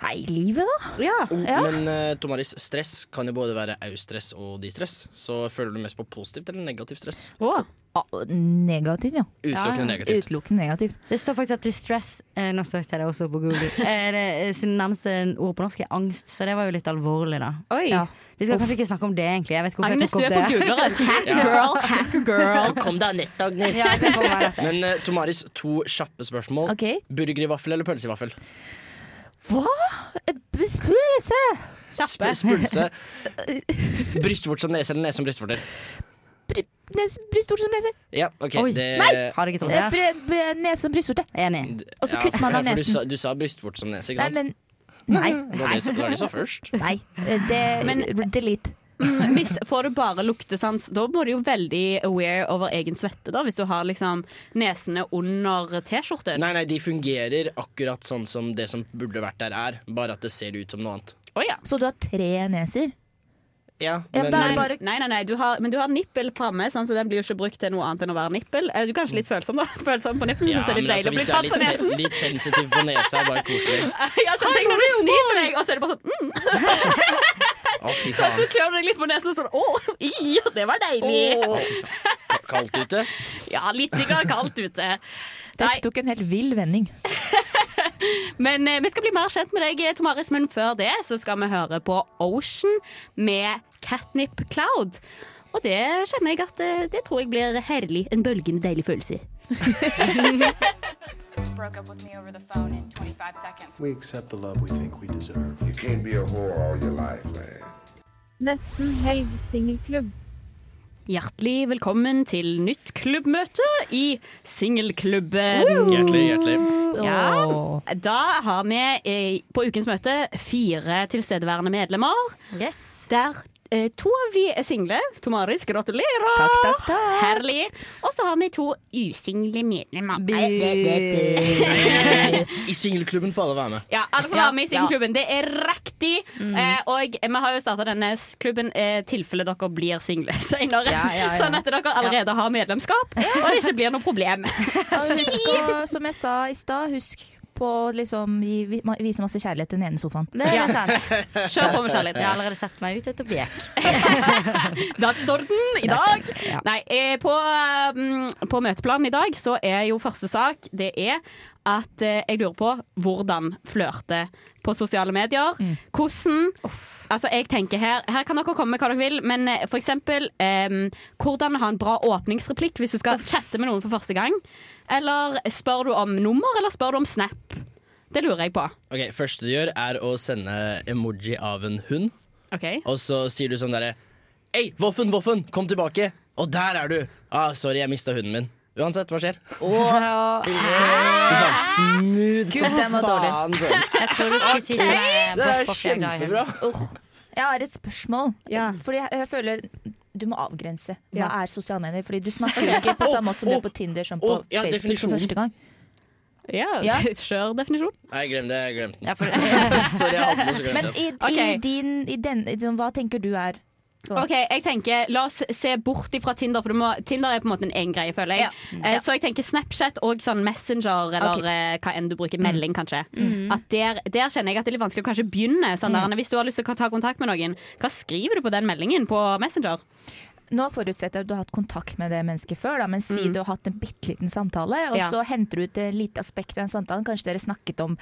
[SPEAKER 5] Nei, livet, da.
[SPEAKER 2] Ja.
[SPEAKER 5] Ja.
[SPEAKER 4] Men eh, Tomaris, stress kan jo både være eustress og distress. Så føler du mest på positivt eller negativt stress?
[SPEAKER 2] Å.
[SPEAKER 5] Ah, Negativt, ja.
[SPEAKER 4] Utelukkende negativt.
[SPEAKER 5] Utelukkende negativt.
[SPEAKER 3] Det står faktisk at distress eh, Nå søkte jeg det også på Google. Eh, det eh, så nærmeste ord på norsk er angst, så det var jo litt alvorlig, da.
[SPEAKER 2] Oi.
[SPEAKER 5] Ja.
[SPEAKER 3] Vi skal kanskje ikke snakke om det, egentlig. Jeg vet ikke hvorfor
[SPEAKER 2] Agnes, du er
[SPEAKER 3] jeg tok
[SPEAKER 2] på
[SPEAKER 3] opp det.
[SPEAKER 2] googleren. Hack [laughs] girl, hack girl.
[SPEAKER 4] Kom deg av nettet, Agnes!
[SPEAKER 3] Ja, det får være dette.
[SPEAKER 4] Men eh, Tomaris, to kjappe spørsmål.
[SPEAKER 5] OK.
[SPEAKER 4] Burger i vaffel eller pølse i vaffel?
[SPEAKER 5] Hva? Eh, Spøse!
[SPEAKER 2] Kjappe.
[SPEAKER 4] Sp
[SPEAKER 5] [laughs]
[SPEAKER 4] spulse. Brystvort som nese eller nese som brystvorter?
[SPEAKER 5] Bryst stort som nese.
[SPEAKER 4] Ja, OK,
[SPEAKER 3] Oi,
[SPEAKER 4] det
[SPEAKER 3] Har jeg ikke trodd
[SPEAKER 5] Eh,
[SPEAKER 3] det?
[SPEAKER 5] bre- bre- Nese som brystvorte.
[SPEAKER 3] Enig.
[SPEAKER 5] Og så kutter man av
[SPEAKER 4] ja, for Du
[SPEAKER 5] nesen.
[SPEAKER 4] sa, du sa brystvort som nese, ikke
[SPEAKER 5] Nei,
[SPEAKER 4] sant?
[SPEAKER 5] men Nei.
[SPEAKER 4] Det var det som- det var det som sa
[SPEAKER 5] [laughs]
[SPEAKER 4] først.
[SPEAKER 5] nei. Eh, Det, [laughs]
[SPEAKER 2] Men-
[SPEAKER 5] delete.
[SPEAKER 2] Mm, Hvis får du bare luktesans, da må du jo veldig aware over egen svette, da. Hvis du har liksom nesene under T-skjorten.
[SPEAKER 4] Nei, nei, de fungerer akkurat sånn som det som burde vært der, er. Bare at det ser ut som noe annet.
[SPEAKER 2] Å ja.
[SPEAKER 5] Så du har tre neser?
[SPEAKER 4] Ja,
[SPEAKER 5] Ja,
[SPEAKER 4] men,
[SPEAKER 5] da er
[SPEAKER 4] men-
[SPEAKER 5] det bare
[SPEAKER 2] Nei, nei, nei, du har, men du har nippel framme, sant, så den blir jo ikke brukt til noe annet enn å være nippel. Eh, Du er kanskje litt følsom, da. [laughs] Følsom på nippelen,
[SPEAKER 4] Ja,
[SPEAKER 2] syns det er
[SPEAKER 4] men
[SPEAKER 2] litt deilig
[SPEAKER 4] altså,
[SPEAKER 2] å bli
[SPEAKER 4] hvis du er
[SPEAKER 2] tatt på
[SPEAKER 4] litt,
[SPEAKER 2] nesen.
[SPEAKER 4] se- litt sensitiv på nesa, er bare koselig.
[SPEAKER 2] [laughs] Ja, så tenk når du snyter deg, og så er det bare sånn mm,
[SPEAKER 4] Å,
[SPEAKER 5] [laughs]
[SPEAKER 4] fy
[SPEAKER 2] Så
[SPEAKER 4] faen.
[SPEAKER 2] klør du deg litt på nesen, og sånn [laughs] Å, i, det var deilig.
[SPEAKER 4] Å, fy faen. Ka- Kaldt ute.
[SPEAKER 2] Ja, litt digger kaldt ute. Nei,
[SPEAKER 5] Dette tok en helt vill vending.
[SPEAKER 2] men eh, vi skal bli mer kjent med deg, eh, Tomaris, men før det så skal vi høre på Ocean med Catnip Cloud. Og det kjenner jeg at eh, Det tror jeg blir herlig. En bølgende deilig følelse.
[SPEAKER 7] Nesten helg singelklubb.
[SPEAKER 2] Hjertelig velkommen til nytt klubbmøte i Singelklubben.
[SPEAKER 4] Hjertelig, hjertelig.
[SPEAKER 2] Ja.
[SPEAKER 5] Åh.
[SPEAKER 2] Da har vi eh, på ukens møte fire tilstedeværende medlemmer.
[SPEAKER 3] Yes.
[SPEAKER 2] Der eh, to av de er single. Tomaris, gratulerer!
[SPEAKER 5] Takk, takk, takk.
[SPEAKER 2] Herlig. Og så har vi to usingle medlemmer.
[SPEAKER 4] I singelklubben får alle være med.
[SPEAKER 2] Ja, alle får
[SPEAKER 5] Ja, Mm.
[SPEAKER 2] være med i singelklubben. Det er riktig. Eh, og vi har jo starta denne s- klubben i tilfelle dere blir single [laughs] senere.
[SPEAKER 5] Ja, ja, ja.
[SPEAKER 2] Sånn at dere allerede har medlemskap, og det ikke blir noe
[SPEAKER 5] [laughs]
[SPEAKER 2] problem.
[SPEAKER 5] Og husk å, som jeg sa i stad, husk på å liksom gi, vi- ma- vise masse kjærlighet til den ene sofaen.
[SPEAKER 3] Det er sant.
[SPEAKER 2] Kjør på med
[SPEAKER 3] Jeg har [laughs]
[SPEAKER 2] kjærligheten.
[SPEAKER 3] allerede sett meg ut et objekt.
[SPEAKER 2] Dagsorden i dag. Nei, eh, på, eh, mm, på møteplanen i dag så er jo første sak Det er at eh, jeg lurer på hvordan flørte på sosiale medier. Hvordan Altså, jeg tenker her Her kan dere komme med hva dere vil, men eh, for eksempel eh, Hvordan ha en bra åpningsreplikk hvis du skal chatte med noen for første gang? Eller spør du om nummer, eller spør du om Snap? Det lurer jeg på.
[SPEAKER 4] Ok, Første du gjør, er å sende emoji av en hund. Og så sier du sånn derre Hei, Voffen, Voffen, kom tilbake! Og der er du! Ah, sorry, jeg mista hunden min. Uansett, hva skjer? [laughs] Fy faen, smooth
[SPEAKER 5] Gud,
[SPEAKER 4] som
[SPEAKER 5] Ah. den var dårlig.
[SPEAKER 4] faen. sånn.
[SPEAKER 3] Jeg tror du skulle si sånn eh,
[SPEAKER 4] Det er
[SPEAKER 3] hvorfor jeg er glad i hund.
[SPEAKER 4] kjempebra.
[SPEAKER 5] Jeg har et spørsmål.
[SPEAKER 2] Ja.
[SPEAKER 5] Fordi jeg, jeg føler du må avgrense. Hva
[SPEAKER 2] Ja.
[SPEAKER 5] er sosiale medier? Fordi du snakker jo ikke på samme måte som du
[SPEAKER 4] Å,
[SPEAKER 5] er på Tinder som på
[SPEAKER 4] å, ja,
[SPEAKER 5] Facebook for
[SPEAKER 4] definisjonen.
[SPEAKER 5] første gang.
[SPEAKER 2] Ja,
[SPEAKER 5] Ja.
[SPEAKER 2] [laughs] Kjør definisjon.
[SPEAKER 4] Nei, glem det. Jeg glemte den.
[SPEAKER 3] Ja, for-
[SPEAKER 4] [laughs] Sorry, jeg hadde den, så
[SPEAKER 5] Men
[SPEAKER 4] glemte jeg den.
[SPEAKER 5] i, i
[SPEAKER 2] Ok.
[SPEAKER 5] din i den, i sånn, Hva tenker du er Så-
[SPEAKER 2] Ok, jeg tenker La oss se bort ifra Tinder, for du må, Tinder er på en måte en egen greie, føler jeg. Eh, Så jeg tenker Snapchat og sånn Messenger, eller
[SPEAKER 5] Ok.
[SPEAKER 2] eh, hva enn du bruker, melding kanskje. At der, der kjenner jeg at det er litt vanskelig å kanskje begynne. Sånn der, Hvis du har lyst til å ta kontakt med noen, hva skriver du på den meldingen på Messenger?
[SPEAKER 5] Nå forutsetter jeg at du har hatt kontakt med det mennesket før, da, men si du har hatt en bitte liten samtale, og
[SPEAKER 2] Mm. Ja.
[SPEAKER 5] så henter du ut et lite aspekt av den samtalen. Kanskje
[SPEAKER 2] Mm.
[SPEAKER 5] dere snakket om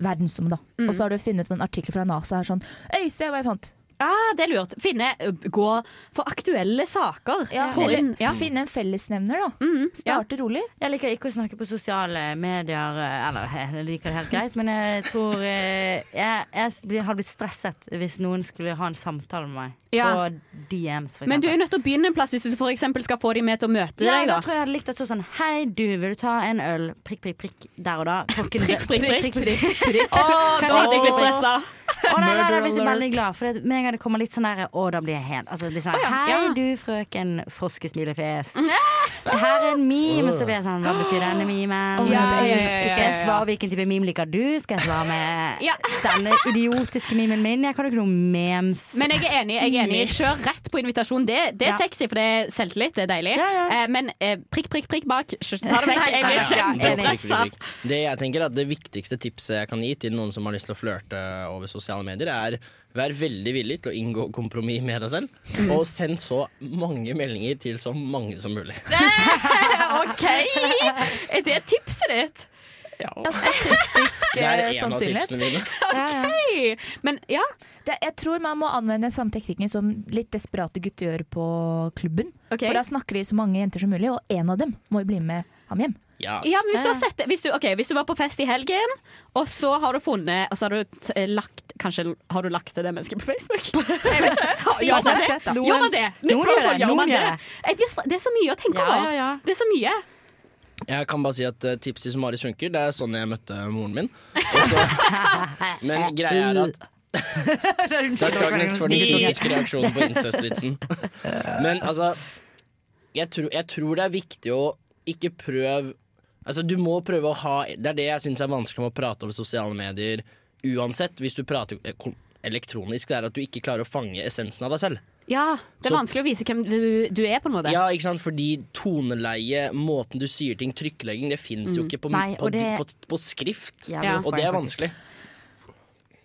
[SPEAKER 5] verdensrommet, da. Og så har du funnet en artikkel fra NASA her sånn Øy, se hva jeg fant!
[SPEAKER 2] Ah, det er lurt. Finne, gå for aktuelle saker.
[SPEAKER 5] Ja,
[SPEAKER 2] På
[SPEAKER 5] eller
[SPEAKER 2] en- ja. Mm,
[SPEAKER 5] finne en fellesnevner, da. Starte rolig.
[SPEAKER 3] Jeg liker ikke å snakke på sosiale medier, eh, eller jeg liker det helt greit, men jeg tror eh, Jeg, jeg blir- hadde blitt stresset hvis noen skulle ha en samtale med meg
[SPEAKER 2] Ja.
[SPEAKER 3] på DMs, for eksempel.
[SPEAKER 2] Men du er jo nødt til å begynne en plass hvis du for eksempel skal få dem med til å møte
[SPEAKER 3] ja,
[SPEAKER 2] deg. Da.
[SPEAKER 3] da tror jeg jeg hadde likt at så sånn Hei, du, vil du ta en øl? Prikk, prikk, prikk. Der og da. Klokken
[SPEAKER 2] Prikk, prikk, prikk.
[SPEAKER 3] prikk.
[SPEAKER 2] Å, da hadde jeg blitt stressa.
[SPEAKER 3] Å, nei, nei, nei, jeg
[SPEAKER 5] Murder
[SPEAKER 3] blir
[SPEAKER 5] alert.
[SPEAKER 3] veldig glad, for det- med en gang det kommer litt sånn der Å, da blir jeg helt altså, litt sånn,
[SPEAKER 2] Å, ja,
[SPEAKER 3] Hei,
[SPEAKER 2] ja.
[SPEAKER 3] du frøken
[SPEAKER 2] [laughs]
[SPEAKER 3] froskesmilefjes. Her er en meme, så blir jeg sånn Hva betyr denne memen?
[SPEAKER 5] Å,
[SPEAKER 2] ja, ja, ja, ja, ja.
[SPEAKER 3] Skal jeg svare hvilken type meme liker du? Skal jeg svare med
[SPEAKER 2] Ja.
[SPEAKER 3] [laughs] denne idiotiske memen min? Jeg kan jo ikke noe memes.
[SPEAKER 2] Men jeg er enig. jeg er enig Kjør rett på invitasjon. Det, det er
[SPEAKER 3] Ja.
[SPEAKER 2] sexy, for det er selvtillit. Det er deilig.
[SPEAKER 3] Ja, ja.
[SPEAKER 2] Eh, men eh, prikk, prikk, prikk bak. Sj- Ta det vekk.
[SPEAKER 3] Nei,
[SPEAKER 2] Jeg
[SPEAKER 3] nei,
[SPEAKER 2] blir
[SPEAKER 3] nei, nei,
[SPEAKER 2] kjempestressa.
[SPEAKER 4] Det jeg tenker er at det viktigste tipset jeg kan gi til noen som har lyst til å flørte over sosiale medier, er vær veldig villig til å inngå kompromiss med deg selv, og send så mange meldinger til så mange som mulig.
[SPEAKER 2] [laughs] OK! Er det tipset ditt?
[SPEAKER 5] Ja, statistisk
[SPEAKER 4] Det er
[SPEAKER 5] eh,
[SPEAKER 4] en av tipsene
[SPEAKER 5] sannsynlighet.
[SPEAKER 4] mine.
[SPEAKER 2] Hei. Men ja.
[SPEAKER 5] Det, jeg tror man må anvende samme teknikken som litt desperate gutter gjør på klubben.
[SPEAKER 2] ok.
[SPEAKER 5] For da snakker de så mange jenter som mulig, og én av dem må jo bli med ham hjem.
[SPEAKER 4] Ja, ass.
[SPEAKER 2] Ja, men hvis du, har sett, det- hvis, du, ok, hvis du var på fest i helgen, og så har du funnet Og så har du t eh, lagt Kanskje har du lagt til det mennesket på
[SPEAKER 3] [laughs]
[SPEAKER 2] Facebook? Jeg vet ikke. Gjør man det?
[SPEAKER 5] Snapchat, da.
[SPEAKER 2] Gjør man det?
[SPEAKER 3] Noen
[SPEAKER 2] Nytt spørsmål,
[SPEAKER 3] gjør det,
[SPEAKER 2] gjør man
[SPEAKER 3] noen gjør
[SPEAKER 2] det?
[SPEAKER 3] det.
[SPEAKER 2] Jeg blir stra- Det er så mye å tenke
[SPEAKER 3] Ja,
[SPEAKER 2] på.
[SPEAKER 3] ja, ja.
[SPEAKER 2] Det er så mye.
[SPEAKER 4] Jeg kan bare si at eh, tipset som Marius funker, det er sånn jeg møtte moren min. Og så- men greia er at Takk, Agnes, for den groteske reaksjonen på incest-vitsen. [laughs] Men altså jeg tror, jeg tror det er viktig å ikke prøve Altså, du må prøve å ha Det er det jeg syns er vanskelig med å prate over sosiale medier uansett. Hvis du prater eh, kom- elektronisk, det er at du ikke klarer å fange essensen av deg selv.
[SPEAKER 2] Ja, Det er
[SPEAKER 4] Så-
[SPEAKER 2] vanskelig å vise hvem du, du er, på en måte.
[SPEAKER 4] Ja, ikke sant? Fordi toneleie, måten du sier ting, trykklegging, det fins jo ikke på,
[SPEAKER 3] Nei,
[SPEAKER 4] på,
[SPEAKER 3] og det-
[SPEAKER 4] på, på skrift.
[SPEAKER 3] Jævlig
[SPEAKER 2] Ja.
[SPEAKER 3] godt
[SPEAKER 4] Og det
[SPEAKER 3] poeng,
[SPEAKER 4] er
[SPEAKER 3] faktisk.
[SPEAKER 4] vanskelig.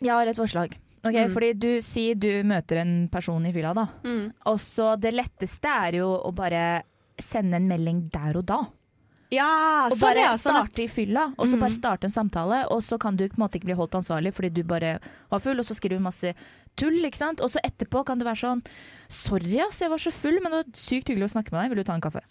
[SPEAKER 5] Jeg har et forslag. Ok,
[SPEAKER 2] Mm.
[SPEAKER 5] fordi du sier du møter en person i fylla, da. Og så det letteste er jo å bare sende en melding der og da.
[SPEAKER 2] Ja,
[SPEAKER 5] Og
[SPEAKER 2] sånn,
[SPEAKER 5] bare
[SPEAKER 2] ja, sånn at, Mm.
[SPEAKER 5] starte i fylla, og så bare starte en samtale. Og så kan du på en måte ikke bli holdt ansvarlig fordi du bare var full, og så skriver du masse tull. ikke sant? Og så etterpå kan du være sånn Sorry, ass, jeg var så full, men det var sykt hyggelig å snakke med deg. Vil du ta en kaffe?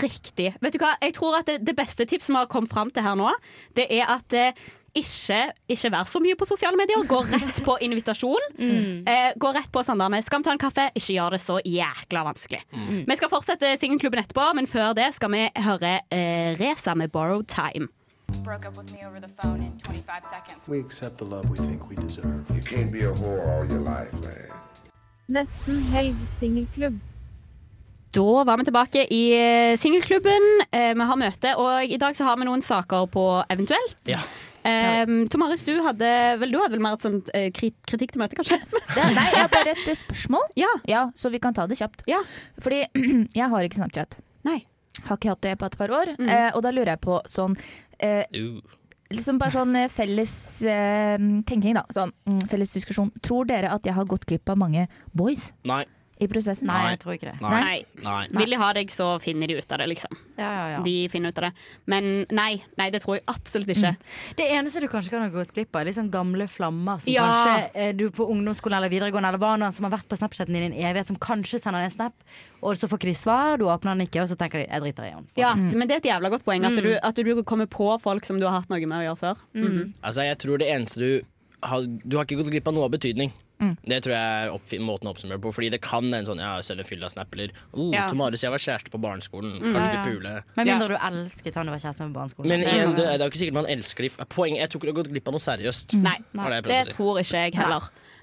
[SPEAKER 2] Riktig. Vet du hva? Jeg tror at det, det beste tipset vi har kommet fram til her nå, det er at eh, ikke, ikke vær så mye på sosiale medier. Gå rett på
[SPEAKER 5] [laughs]
[SPEAKER 2] invitasjon.
[SPEAKER 5] Mm.
[SPEAKER 2] Eh, gå rett på sånn der med 'Skal vi ta en kaffe?' Ikke gjør det så jækla vanskelig.
[SPEAKER 5] Mm.
[SPEAKER 2] Vi skal fortsette Singelklubben etterpå, men før det skal vi høre eh, Reza med 'Borrowed Time'.
[SPEAKER 7] Nesten helg singelklubb.
[SPEAKER 2] Da var vi tilbake i eh, Singelklubben. Eh, vi har møte, og i dag så har vi noen saker på eventuelt.
[SPEAKER 4] Ja.
[SPEAKER 2] Eh, Tomaris, du hadde vel, du hadde vel mer et sånt eh, krit- kritikk til møtet, kanskje?
[SPEAKER 5] Det, nei, jeg har bare et eh, spørsmål.
[SPEAKER 2] ja.
[SPEAKER 5] Ja, så vi kan ta det kjapt.
[SPEAKER 2] Ja.
[SPEAKER 5] Fordi [clears throat] jeg har ikke Snapchat.
[SPEAKER 2] Nei.
[SPEAKER 5] Har ikke hatt det på et par år.
[SPEAKER 2] Mm.
[SPEAKER 5] Eh, og da lurer jeg på sånn eh,
[SPEAKER 4] Uh.
[SPEAKER 5] Liksom bare sånn eh, felles eh, tenking, da. Sånn mm, felles diskusjon. Tror dere at jeg har gått glipp av mange boys
[SPEAKER 4] Nei.
[SPEAKER 5] i prosessen?
[SPEAKER 3] Nei,
[SPEAKER 4] Nei.
[SPEAKER 3] jeg tror ikke det.
[SPEAKER 4] Nei.
[SPEAKER 2] Nei.
[SPEAKER 4] Nei.
[SPEAKER 2] Vil de ha deg, så finner de ut av det, liksom.
[SPEAKER 3] Ja, ja, ja.
[SPEAKER 2] De finner ut av det. Men nei, nei det tror jeg absolutt ikke.
[SPEAKER 3] Det eneste du kanskje kan ha gått glipp av, er litt sånn gamle flammer som
[SPEAKER 2] Ja.
[SPEAKER 3] kanskje eh, du på ungdomsskolen eller videregående eller hva nå som har vært på Snapchaten din i en evighet, som kanskje sender deg en snap, og så får ikke de svar, du åpner den ikke, og så tenker de 'jeg driter i den'.
[SPEAKER 2] Ja, Men det er et jævla godt poeng at du, at du kommer på folk som du har hatt noe med å gjøre før. Mhm.
[SPEAKER 4] Altså, jeg tror det eneste du har Du har ikke gått glipp av noe av betydning. Det tror jeg er oppfi- måten å oppsummere på. Fordi det kan en sånn Ja, selge fylla snapler. Oh,
[SPEAKER 2] Ja.
[SPEAKER 4] Tomaris, jeg var kjæreste på barneskolen. Kanskje vi
[SPEAKER 3] Ja, ja.
[SPEAKER 4] puler.
[SPEAKER 3] Med mindre du elsket han du var kjæreste med på barneskolen.
[SPEAKER 4] Men
[SPEAKER 3] Det
[SPEAKER 4] igjen,
[SPEAKER 3] kan
[SPEAKER 4] det,
[SPEAKER 3] være.
[SPEAKER 4] det er jo ikke sikkert man elsker de Poenget Jeg tror ikke du har gått glipp av noe seriøst.
[SPEAKER 2] Nei,
[SPEAKER 4] Var det jeg
[SPEAKER 2] det
[SPEAKER 4] prøvde å si.
[SPEAKER 2] tror ikke jeg heller.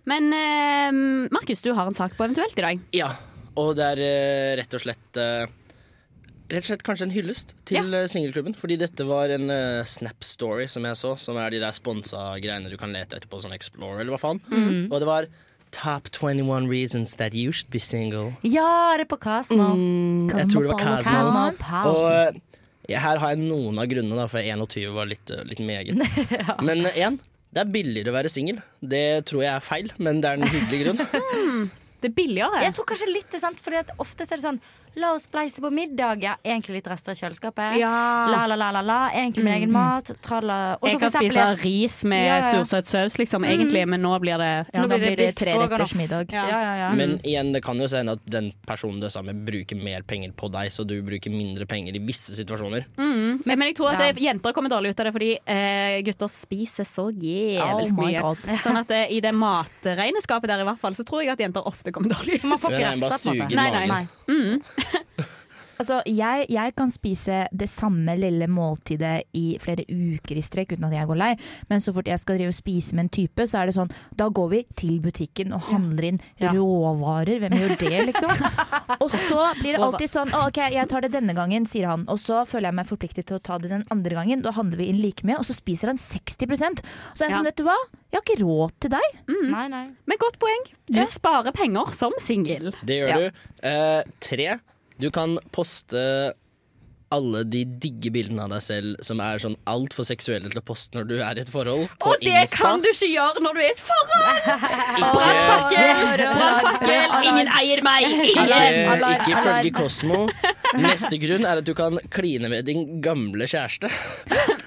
[SPEAKER 2] Men eh, Markus, du har en sak på eventuelt i dag.
[SPEAKER 4] Ja. Og det er eh, rett og slett eh, Rett og slett kanskje en hyllest til eh, singelklubben. Fordi dette var en eh, Snap Story som jeg så, som er de der sponsa greiene du kan lete etter på sånn Explorer, eller hva faen. Og det var Top 21 reasons that you should be single.
[SPEAKER 3] Ja, det er på Casmo.
[SPEAKER 4] Jeg tror det var
[SPEAKER 5] Cosmopolitan.
[SPEAKER 4] Casmo.
[SPEAKER 3] Cosmopolitan.
[SPEAKER 4] Mm. Og eh, her har jeg noen av grunnene, da, for 21 var litt, eh, litt meget. Men eh, igjen, det er billigere å være singel. Det tror jeg er feil, men det er en hyggelig grunn.
[SPEAKER 2] Det er billigere.
[SPEAKER 3] Jeg tror kanskje litt det, sant? Fordi at ofte så er det sånn La oss spleise på middag. Ja, egentlig litt rester i kjøleskapet.
[SPEAKER 2] Ja.
[SPEAKER 3] La, la, la, la, la. Egentlig
[SPEAKER 4] Mm.
[SPEAKER 3] min egen mat. Tralla. Og så
[SPEAKER 2] Jeg
[SPEAKER 3] for
[SPEAKER 2] kan
[SPEAKER 3] eksempel
[SPEAKER 2] spise
[SPEAKER 3] jeg-
[SPEAKER 2] ris med
[SPEAKER 3] Ja, ja, ja.
[SPEAKER 2] sursøt saus, liksom, egentlig, men nå blir det ja.
[SPEAKER 3] Nå blir det,
[SPEAKER 5] blir det
[SPEAKER 3] biff
[SPEAKER 5] treretters
[SPEAKER 3] stroganoff.
[SPEAKER 5] middag.
[SPEAKER 3] Ja, ja, ja.
[SPEAKER 4] Men igjen, det kan jo hende at den personen det samme bruker mer penger på deg, så du bruker mindre penger i visse situasjoner.
[SPEAKER 2] Mm. Men jeg tror at eh, jenter kommer dårlig ut av det, fordi eh, gutter spiser så jævlig
[SPEAKER 5] Oh my
[SPEAKER 2] mye.
[SPEAKER 5] God.
[SPEAKER 2] Sånn at eh, i det matregneskapet der i hvert fall, så tror jeg at jenter ofte kommer dårlig
[SPEAKER 3] For man
[SPEAKER 2] ut.
[SPEAKER 3] får
[SPEAKER 4] Men
[SPEAKER 3] ikke
[SPEAKER 4] jeg bare
[SPEAKER 3] rester, på en måte.
[SPEAKER 4] suger
[SPEAKER 2] Nei, nei.
[SPEAKER 4] magen.
[SPEAKER 5] Altså, jeg, jeg kan spise det samme lille måltidet i flere uker i strekk uten at jeg går lei, men så fort jeg skal drive og spise med en type, så er det sånn Da går vi til butikken og handler inn
[SPEAKER 2] Ja.
[SPEAKER 5] råvarer. Hvem gjør det, [laughs] liksom? og så blir det alltid sånn «Å, OK, jeg tar det denne gangen, sier han. Og så føler jeg meg forpliktet til å ta det den andre gangen. Da handler vi inn like mye, og så spiser han 60 Og så er jeg
[SPEAKER 2] Ja.
[SPEAKER 5] sånn, vet du hva, jeg har ikke råd til deg.
[SPEAKER 4] Mm.
[SPEAKER 3] Nei, nei.
[SPEAKER 2] Men godt poeng. Du sparer penger som singel.
[SPEAKER 4] Det gjør
[SPEAKER 5] Ja.
[SPEAKER 4] du. Eh, tre, du kan poste alle de digge bildene av deg selv som er sånn altfor seksuelle til å poste når du er i et forhold. på
[SPEAKER 2] Og det
[SPEAKER 4] Insta.
[SPEAKER 2] kan du ikke gjøre når du er i et forhold!
[SPEAKER 4] Ikke-
[SPEAKER 2] Brannfakkel!
[SPEAKER 5] Alarm,
[SPEAKER 2] Brannfakkel!
[SPEAKER 5] alarm.
[SPEAKER 2] Ingen eier meg! Ingen!
[SPEAKER 4] Ikke,
[SPEAKER 5] alarm,
[SPEAKER 4] ikke
[SPEAKER 5] alarm.
[SPEAKER 4] ifølge Kosmo. Neste grunn er at du kan kline med din gamle kjæreste.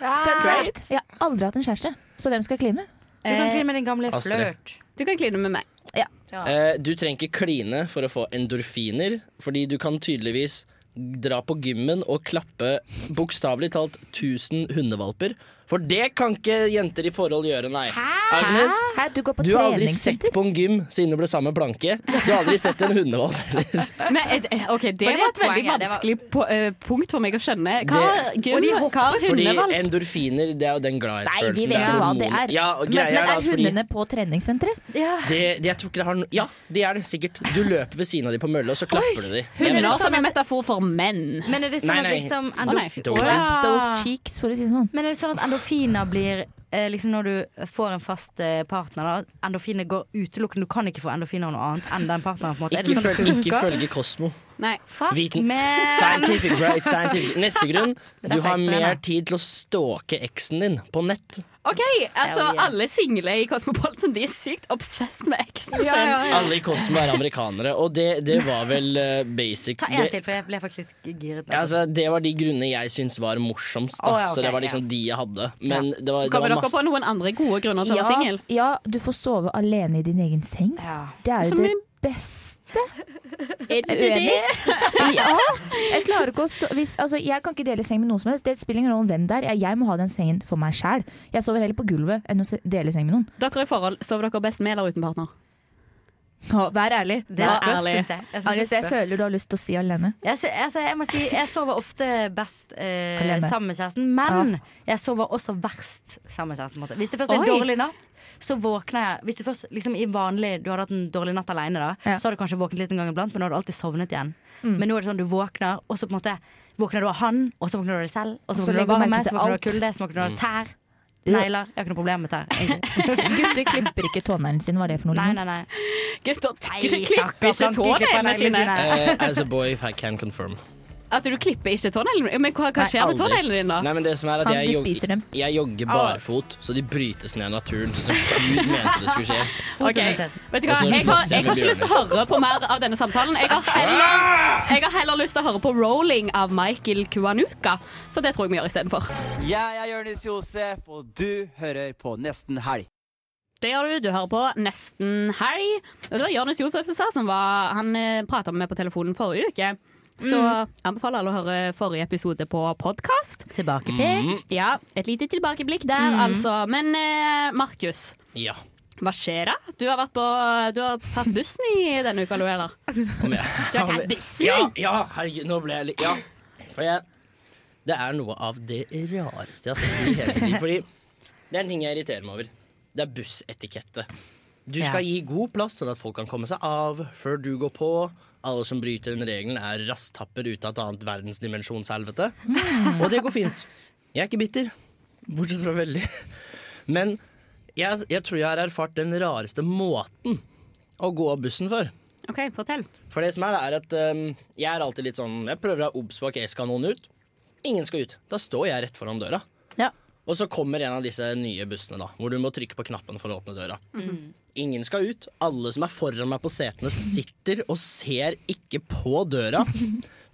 [SPEAKER 5] Fun fact, jeg har aldri hatt en kjæreste, så hvem skal kline?
[SPEAKER 3] Du kan kline med din gamle
[SPEAKER 4] Eh, Astrid.
[SPEAKER 3] flørt.
[SPEAKER 2] Du kan kline med meg.
[SPEAKER 4] Eh, du trenger ikke kline for å få endorfiner, fordi du kan tydeligvis dra på gymmen og klappe bokstavelig talt 1000 hundevalper. For det kan ikke jenter i forhold gjøre, nei. Agnes,
[SPEAKER 5] Hæ, du går på
[SPEAKER 4] du har aldri sett
[SPEAKER 5] treningssenter?
[SPEAKER 4] på en gym siden du ble sammen med Planke. Du har aldri sett en
[SPEAKER 5] [laughs]
[SPEAKER 4] hundevalp heller.
[SPEAKER 2] Men, eh, ok, det,
[SPEAKER 3] Men det
[SPEAKER 2] var
[SPEAKER 3] var
[SPEAKER 2] et veldig
[SPEAKER 3] poenget, det var-
[SPEAKER 2] vanskelig po eh, punkt for meg å skjønne. Hva er gym? Hva er
[SPEAKER 4] Fordi
[SPEAKER 2] hundevalg?
[SPEAKER 4] endorfiner, det er jo den
[SPEAKER 5] Nei,
[SPEAKER 4] gladhetsfølelsen.
[SPEAKER 5] vi vet jo hva det er.
[SPEAKER 4] Ja, og
[SPEAKER 5] men,
[SPEAKER 4] greia
[SPEAKER 5] men
[SPEAKER 4] er da
[SPEAKER 5] er
[SPEAKER 4] at fordi-
[SPEAKER 5] hundene på treningssenteret?
[SPEAKER 4] Det, det, jeg tror ikke det har no ja, det er det sikkert. Du løper ved siden av dem på mølla, og så klapper du dem.
[SPEAKER 2] Hunder som en metafor for menn.
[SPEAKER 3] Men er det sånn
[SPEAKER 4] Nei,
[SPEAKER 3] at
[SPEAKER 4] nei.
[SPEAKER 3] liksom
[SPEAKER 2] nei.
[SPEAKER 3] endorfi-
[SPEAKER 4] Don't
[SPEAKER 3] Å,
[SPEAKER 4] Ja.
[SPEAKER 5] Just those cheeks, for å si det sånn.
[SPEAKER 3] Men er det sånn at endorfiner blir eh, liksom Når du får en fast eh, partner, da Endorfiner går utelukkende. Du kan ikke få endorfiner av noe annet enn den partneren. på en måte Er det
[SPEAKER 4] Ikke,
[SPEAKER 3] sånn det
[SPEAKER 4] følg, ikke
[SPEAKER 3] funker?
[SPEAKER 4] følge Kosmo.
[SPEAKER 2] Nei.
[SPEAKER 3] Fuck
[SPEAKER 4] Viten-
[SPEAKER 3] man.
[SPEAKER 4] Scientific, right? Scientific. Neste
[SPEAKER 3] [laughs]
[SPEAKER 4] grunn.
[SPEAKER 3] er
[SPEAKER 4] Du har
[SPEAKER 3] feigt,
[SPEAKER 4] mer
[SPEAKER 3] Lena.
[SPEAKER 4] tid til å stalke eksen din på nett.
[SPEAKER 2] OK, altså
[SPEAKER 3] Hell yeah.
[SPEAKER 2] alle single i Cosmopolitan de er sykt obsessed med eksen sin.
[SPEAKER 4] Alle i Kosmo er amerikanere, og det, det var vel eh, basic.
[SPEAKER 3] Ta en
[SPEAKER 4] Det-
[SPEAKER 3] til, for jeg ble faktisk litt giret. nå.
[SPEAKER 4] Altså, det var de grunnene jeg syntes var morsomst, da.
[SPEAKER 3] Å, ja,
[SPEAKER 4] så det
[SPEAKER 3] ok,
[SPEAKER 4] var liksom
[SPEAKER 3] ja.
[SPEAKER 4] de jeg hadde. Men det var, det
[SPEAKER 2] Kommer
[SPEAKER 4] var
[SPEAKER 2] dere på
[SPEAKER 4] masse
[SPEAKER 2] noen andre gode grunner til å
[SPEAKER 5] Ja,
[SPEAKER 2] være singel?
[SPEAKER 5] ja, du får sove alene i din egen seng.
[SPEAKER 3] ja.
[SPEAKER 5] Det er jo
[SPEAKER 2] Som
[SPEAKER 5] det
[SPEAKER 2] en-
[SPEAKER 5] beste.
[SPEAKER 2] Er du
[SPEAKER 5] Uenig? Ja. Jeg klarer ikke å so hvis, altså, Jeg kan ikke dele seng med noen som helst. Det spiller ingen rolle hvem det er. Jeg, jeg må ha den sengen for meg sjæl. Jeg sover heller på gulvet enn å se- dele seng med noen.
[SPEAKER 2] Dere i forhold, sover dere best med eller uten partner?
[SPEAKER 5] Ja, Vær ærlig.
[SPEAKER 3] Det
[SPEAKER 2] Ja,
[SPEAKER 3] spørs,
[SPEAKER 2] ærlig.
[SPEAKER 3] syns jeg. Jeg, synes
[SPEAKER 5] Agnes,
[SPEAKER 3] det
[SPEAKER 5] jeg
[SPEAKER 3] spørs.
[SPEAKER 5] føler du har lyst til å si alene.
[SPEAKER 3] Jeg, sy- altså, jeg må si jeg sover ofte best eh,
[SPEAKER 5] Alene.
[SPEAKER 3] sammen med kjæresten, men jeg sover også verst sammen med kjæresten. på en måte. Hvis det først er
[SPEAKER 2] Oi.
[SPEAKER 3] en dårlig natt, så våkner jeg Hvis du først liksom i vanlig Du hadde hatt en dårlig natt alene, da,
[SPEAKER 5] Ja.
[SPEAKER 3] så har du kanskje våknet litt en gang iblant, men nå har du alltid sovnet igjen. Men nå er det sånn du våkner, og så på en måte våkner du av han, og så våkner du av deg selv, og så våkner
[SPEAKER 5] så
[SPEAKER 3] du av
[SPEAKER 5] legger du merke
[SPEAKER 3] varme, så
[SPEAKER 5] til
[SPEAKER 3] våkner du av
[SPEAKER 5] alt.
[SPEAKER 3] kulde, så våkner du av tær, negler Jeg har ikke noe problem med tær. egentlig.
[SPEAKER 5] Gutter klipper ikke tåneglen sin, hva er det for noe?
[SPEAKER 3] Nei,
[SPEAKER 5] Liksom?
[SPEAKER 3] nei, nei.
[SPEAKER 2] Gutter
[SPEAKER 3] Nei,
[SPEAKER 2] klipper
[SPEAKER 3] stakkars,
[SPEAKER 2] ikke
[SPEAKER 4] sånn
[SPEAKER 3] han klipper
[SPEAKER 2] tåneglene
[SPEAKER 3] neglene
[SPEAKER 2] sine.
[SPEAKER 3] sine.
[SPEAKER 4] Eh, As a boy, I can confirm.
[SPEAKER 2] At du klipper ikke tåneglene Men hva, hva skjer med
[SPEAKER 4] Aldri.
[SPEAKER 2] tåneglene dine, da?
[SPEAKER 4] Nei, men det som er at
[SPEAKER 5] Han-
[SPEAKER 4] jeg,
[SPEAKER 5] du
[SPEAKER 4] jog-
[SPEAKER 5] spiser dem.
[SPEAKER 4] jeg jogger
[SPEAKER 3] Ah.
[SPEAKER 4] barfot, så de brytes ned av naturen. Sånn som Gud mente det skulle
[SPEAKER 3] [laughs]
[SPEAKER 4] skje.
[SPEAKER 2] Ok, vet du hva?
[SPEAKER 4] Og så
[SPEAKER 2] Jeg har,
[SPEAKER 4] slåss jeg
[SPEAKER 2] jeg
[SPEAKER 4] med
[SPEAKER 2] har ikke lyst til å høre på mer av denne samtalen. Jeg har heller, jeg har heller lyst til å høre på 'Rolling' av Michael Kuanuka, så det tror jeg vi gjør istedenfor.
[SPEAKER 8] Jeg er Jonis Josef, og du hører på Nesten Helg.
[SPEAKER 2] Det gjør du. Du hører på Nesten helg. Det var Jonis Josef som sa som var Han prata med meg på telefonen forrige uke. Så anbefaler alle å høre forrige episode på podkast.
[SPEAKER 3] Tilbakepek.
[SPEAKER 2] Ja, et lite tilbakeblikk der, altså. Men eh, Markus,
[SPEAKER 4] Ja,
[SPEAKER 2] hva skjer da? Du har, vært på, du har tatt bussen i denne uka, du, eller?
[SPEAKER 4] om jeg
[SPEAKER 2] Du har tatt bussen?
[SPEAKER 4] Ja, ja, herregud, nå ble jeg litt Ja. For jeg Det er noe av det rareste jeg har sett i hele mitt liv. Fordi det er en ting jeg irriterer meg over. Det er bussetikette. Du skal gi god plass sånn at folk kan komme seg av før du går på. Alle som bryter den regelen, er rasttapper ut av et annet verdensdimensjonshelvete. Og det går fint. Jeg er ikke bitter. Bortsett fra veldig. Men jeg, jeg tror jeg har erfart den rareste måten å gå av bussen for.
[SPEAKER 2] OK, fortell.
[SPEAKER 4] For det som er, det er at øhm, jeg er alltid litt sånn Jeg prøver å ha obs på at jeg skal noen ut. Ingen skal ut. Da står jeg rett foran døra.
[SPEAKER 3] Ja.
[SPEAKER 4] Og så kommer en av disse nye bussene, da, hvor du må trykke på knappen for å åpne døra.
[SPEAKER 9] Mhm.
[SPEAKER 4] Ingen skal ut. Alle som er foran meg på setene, sitter og ser ikke på døra.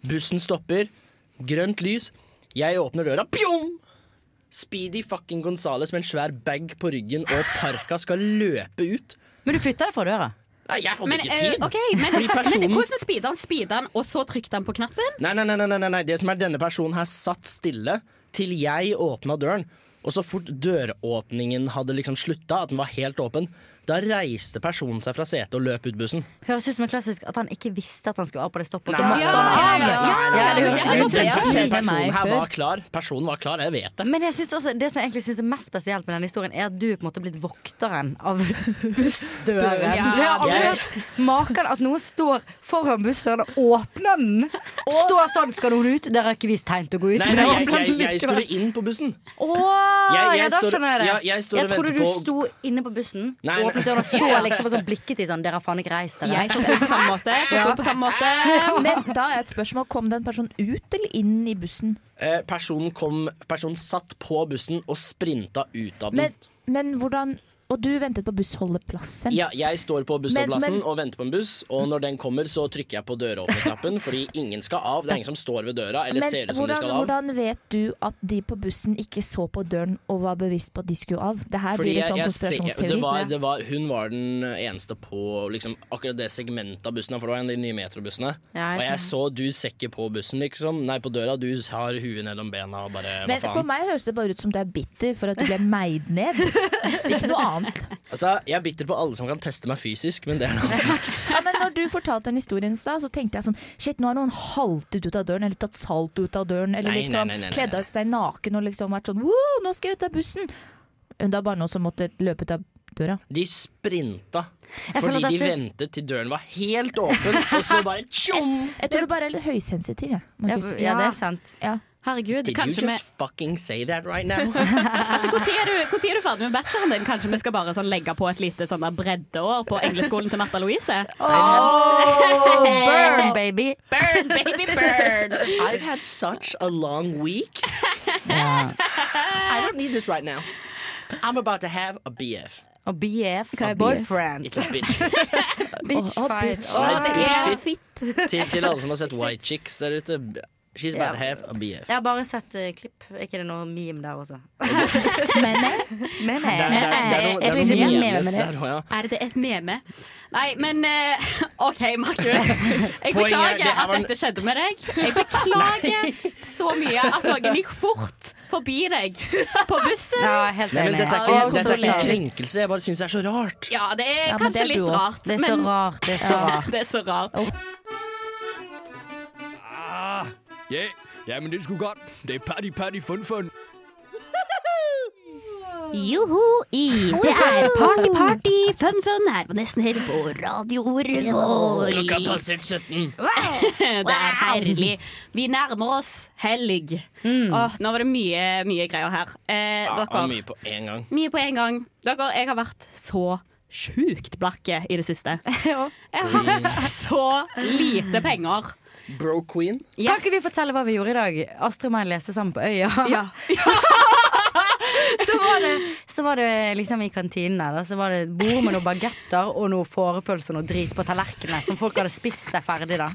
[SPEAKER 4] Bussen stopper. Grønt lys. Jeg åpner døra. Pjong! Speedy fucking Gonzales med en svær bag på ryggen og parka skal løpe ut.
[SPEAKER 3] Men du flytta deg fra døra?
[SPEAKER 4] Nei, jeg hadde
[SPEAKER 2] Men,
[SPEAKER 4] ikke
[SPEAKER 2] eh,
[SPEAKER 4] tid.
[SPEAKER 2] ok, [laughs] men,
[SPEAKER 4] Fordi
[SPEAKER 2] men
[SPEAKER 4] personen
[SPEAKER 2] hvordan speeda han? Speeda han, og så trykte han på knappen?
[SPEAKER 4] Nei, nei, nei, nei, nei, nei. Det som er denne personen her satt stille til jeg åpna døren. Og så fort døråpningen hadde liksom slutta, at den var helt åpen, da reiste personen seg fra setet og løp ut bussen.
[SPEAKER 3] Høres ut som en klassisk at han ikke visste at han skulle av på det stoppet. og så
[SPEAKER 4] Nei.
[SPEAKER 3] måtte
[SPEAKER 4] Ja,
[SPEAKER 3] han av.
[SPEAKER 4] ja, ja, ja,
[SPEAKER 3] Ja, det høres
[SPEAKER 4] ja, men
[SPEAKER 3] ut som en
[SPEAKER 4] personen-
[SPEAKER 3] klassisk-
[SPEAKER 4] Personen her var klar. Personen var klar, jeg vet det.
[SPEAKER 3] Men jeg synes også, det som jeg egentlig synes er mest spesielt med denne historien, er at du er på en måte blitt vokteren
[SPEAKER 4] [laughs]
[SPEAKER 3] av bussdøren.
[SPEAKER 4] Døren.
[SPEAKER 3] Jeg har aldri
[SPEAKER 4] Jeg-
[SPEAKER 3] hørt maken at noen står foran bussdøren og åpner den. Står sånn 'Skal noen ut?' Dere har ikke vist tegn til å gå ut.
[SPEAKER 4] Nei, nei,
[SPEAKER 3] men
[SPEAKER 4] jeg,
[SPEAKER 3] åpner
[SPEAKER 4] jeg,
[SPEAKER 3] den
[SPEAKER 4] jeg
[SPEAKER 3] likevel.
[SPEAKER 4] skulle inn på bussen.
[SPEAKER 3] Å,
[SPEAKER 4] Jeg- jeg
[SPEAKER 3] ja, da
[SPEAKER 4] står-
[SPEAKER 3] skjønner jeg det.
[SPEAKER 4] ja, jeg står og
[SPEAKER 3] trodde
[SPEAKER 4] venter
[SPEAKER 3] du
[SPEAKER 4] på-
[SPEAKER 3] sto inne på bussen,
[SPEAKER 4] Nei, nei.
[SPEAKER 3] åpnet døren
[SPEAKER 4] [laughs]
[SPEAKER 3] og så liksom og sånn blikket i sånn 'Dere har faen ikke reist dere'.
[SPEAKER 2] Jeg forsto på samme måte. Jeg forsto
[SPEAKER 3] Ja.
[SPEAKER 2] på samme måte.
[SPEAKER 5] Men da er et spørsmål Kom den personen ut eller inn i bussen?
[SPEAKER 4] Eh, personen, kom, personen satt på bussen og sprinta ut av den.
[SPEAKER 5] Men, men hvordan Og du ventet på bussholdeplassen?
[SPEAKER 4] Ja, jeg står på bussholdeplassen
[SPEAKER 5] Men- men-
[SPEAKER 4] og venter på en buss, og når den kommer, så trykker jeg på døråpnerknappen, fordi ingen skal av. Det er ingen som står ved døra eller
[SPEAKER 5] Men
[SPEAKER 4] ser ut som de
[SPEAKER 5] hvordan,
[SPEAKER 4] skal av.
[SPEAKER 5] hvordan vet du at de på bussen ikke så på døren og var bevisst på at de skulle av? Det her
[SPEAKER 4] Fordi
[SPEAKER 5] blir det
[SPEAKER 4] jeg-
[SPEAKER 5] sånn
[SPEAKER 4] jeg ser-
[SPEAKER 5] konspirasjonsteori.
[SPEAKER 4] det var, det var, hun var den eneste på liksom, akkurat det segmentet av bussen, for det var en av de nye metrobussene.
[SPEAKER 5] Ja, jeg
[SPEAKER 4] og jeg
[SPEAKER 5] skjønner.
[SPEAKER 4] så du ser ikke på bussen, liksom. Nei, på døra. Du har huet mellom bena og bare
[SPEAKER 5] Men
[SPEAKER 4] hva faen.
[SPEAKER 5] for meg høres det bare ut som du er bitter for at du ble meid ned. Ikke noe annet.
[SPEAKER 4] Altså, jeg er bitter på alle som kan teste meg fysisk, men det er noe annet.
[SPEAKER 5] Ja, men når du fortalte den historien i stad, så tenkte jeg sånn Shit, nå har noen haltet ut av døren, eller tatt salt ut av døren,
[SPEAKER 4] Nei,
[SPEAKER 5] eller
[SPEAKER 4] nei,
[SPEAKER 5] liksom
[SPEAKER 4] nei, nei, nei,
[SPEAKER 5] kledd av seg naken og liksom vært sånn Wow, nå skal jeg ut av bussen! Men det er bare noen som måtte løpe ut av døra.
[SPEAKER 4] De sprinta
[SPEAKER 5] Jeg føler
[SPEAKER 4] fordi
[SPEAKER 5] at
[SPEAKER 4] de
[SPEAKER 5] dette-
[SPEAKER 4] ventet til døren var helt åpen, og så
[SPEAKER 5] [laughs]
[SPEAKER 4] bare tjom!
[SPEAKER 5] Jeg tror du bare er litt høysensitiv, jeg. Markus.
[SPEAKER 3] Ja, det er sant.
[SPEAKER 5] Ja.
[SPEAKER 2] Herregud,
[SPEAKER 4] Did you
[SPEAKER 2] kanskje vi
[SPEAKER 4] just fucking say that right now?
[SPEAKER 2] Altså, Når er, du- hvor tid er du ferdig med bacheloren din? Kanskje vi skal bare sånn, legge på et lite sånn der breddeår på engleskolen til Martha Louise?
[SPEAKER 3] Oh, [laughs] burn, baby.
[SPEAKER 2] Burn, baby, burn.
[SPEAKER 4] I've had such a long week. I don't need this right now. I'm about to have a BF.
[SPEAKER 3] Og BF,
[SPEAKER 4] Hva er
[SPEAKER 3] og boyfriend.
[SPEAKER 4] It's a [laughs] bitch.
[SPEAKER 3] Bitch
[SPEAKER 5] Å, å,
[SPEAKER 3] fight.
[SPEAKER 5] bitch.
[SPEAKER 3] Å,
[SPEAKER 4] Nei,
[SPEAKER 3] bitch
[SPEAKER 4] bitch
[SPEAKER 3] fight.
[SPEAKER 4] Til, til alle som har sett White Chicks der ute. b- She's about to
[SPEAKER 3] Ja.
[SPEAKER 4] have a BF.
[SPEAKER 3] Jeg har bare sett eh, klipp. Er ikke det noe meme der også? Men
[SPEAKER 4] Det er- det er- det er noe- det er noe memes der også, ja.
[SPEAKER 2] Er det et meme? Nei, men eh, OK, Markus. Jeg
[SPEAKER 4] Poenget er-
[SPEAKER 2] beklager
[SPEAKER 4] det her
[SPEAKER 2] at
[SPEAKER 4] var en-
[SPEAKER 2] dette skjedde med deg. Jeg beklager så mye at noen gikk fort forbi deg på bussen.
[SPEAKER 3] Ja, helt
[SPEAKER 4] Nei, men
[SPEAKER 3] enig.
[SPEAKER 4] dette er ikke,
[SPEAKER 3] Å,
[SPEAKER 4] dette er sånn-
[SPEAKER 3] så
[SPEAKER 4] ikke
[SPEAKER 3] leit.
[SPEAKER 4] krenkelse, jeg bare syns det er så rart.
[SPEAKER 2] Ja, det er
[SPEAKER 3] Ja, men det
[SPEAKER 2] kanskje
[SPEAKER 3] er du
[SPEAKER 2] litt
[SPEAKER 3] også.
[SPEAKER 2] rart.
[SPEAKER 3] Det er så rart, det er så
[SPEAKER 2] Ja,
[SPEAKER 3] rart.
[SPEAKER 2] det er så rart.
[SPEAKER 10] Ah, Ja, ja, men det skulle godt. Det er party, party, fun, fun.
[SPEAKER 2] Joho i. Det er party, party, fun, fun her på Nesten Helg på Radio
[SPEAKER 4] Klokka
[SPEAKER 2] Revolt.
[SPEAKER 4] passert 17.
[SPEAKER 2] Det er herlig. Vi nærmer oss helg. Åh, nå var det mye, mye greier her. Eh,
[SPEAKER 4] Ja,
[SPEAKER 2] dere,
[SPEAKER 4] mye på en gang.
[SPEAKER 2] mye på en gang. Dere, jeg har vært så sjukt blakke i det
[SPEAKER 3] [laughs]
[SPEAKER 2] siste. Jeg har hatt så lite penger.
[SPEAKER 4] Bro queen.
[SPEAKER 3] Kan ikke vi fortelle hva vi gjorde i dag? Astrid og meg leste sammen på Øya. så, var det, [laughs] så var det liksom i kantinen der, da, så var det et bord med noen bagetter og noe fårepølse og noe drit på tallerkenene som folk hadde spist seg ferdig, da.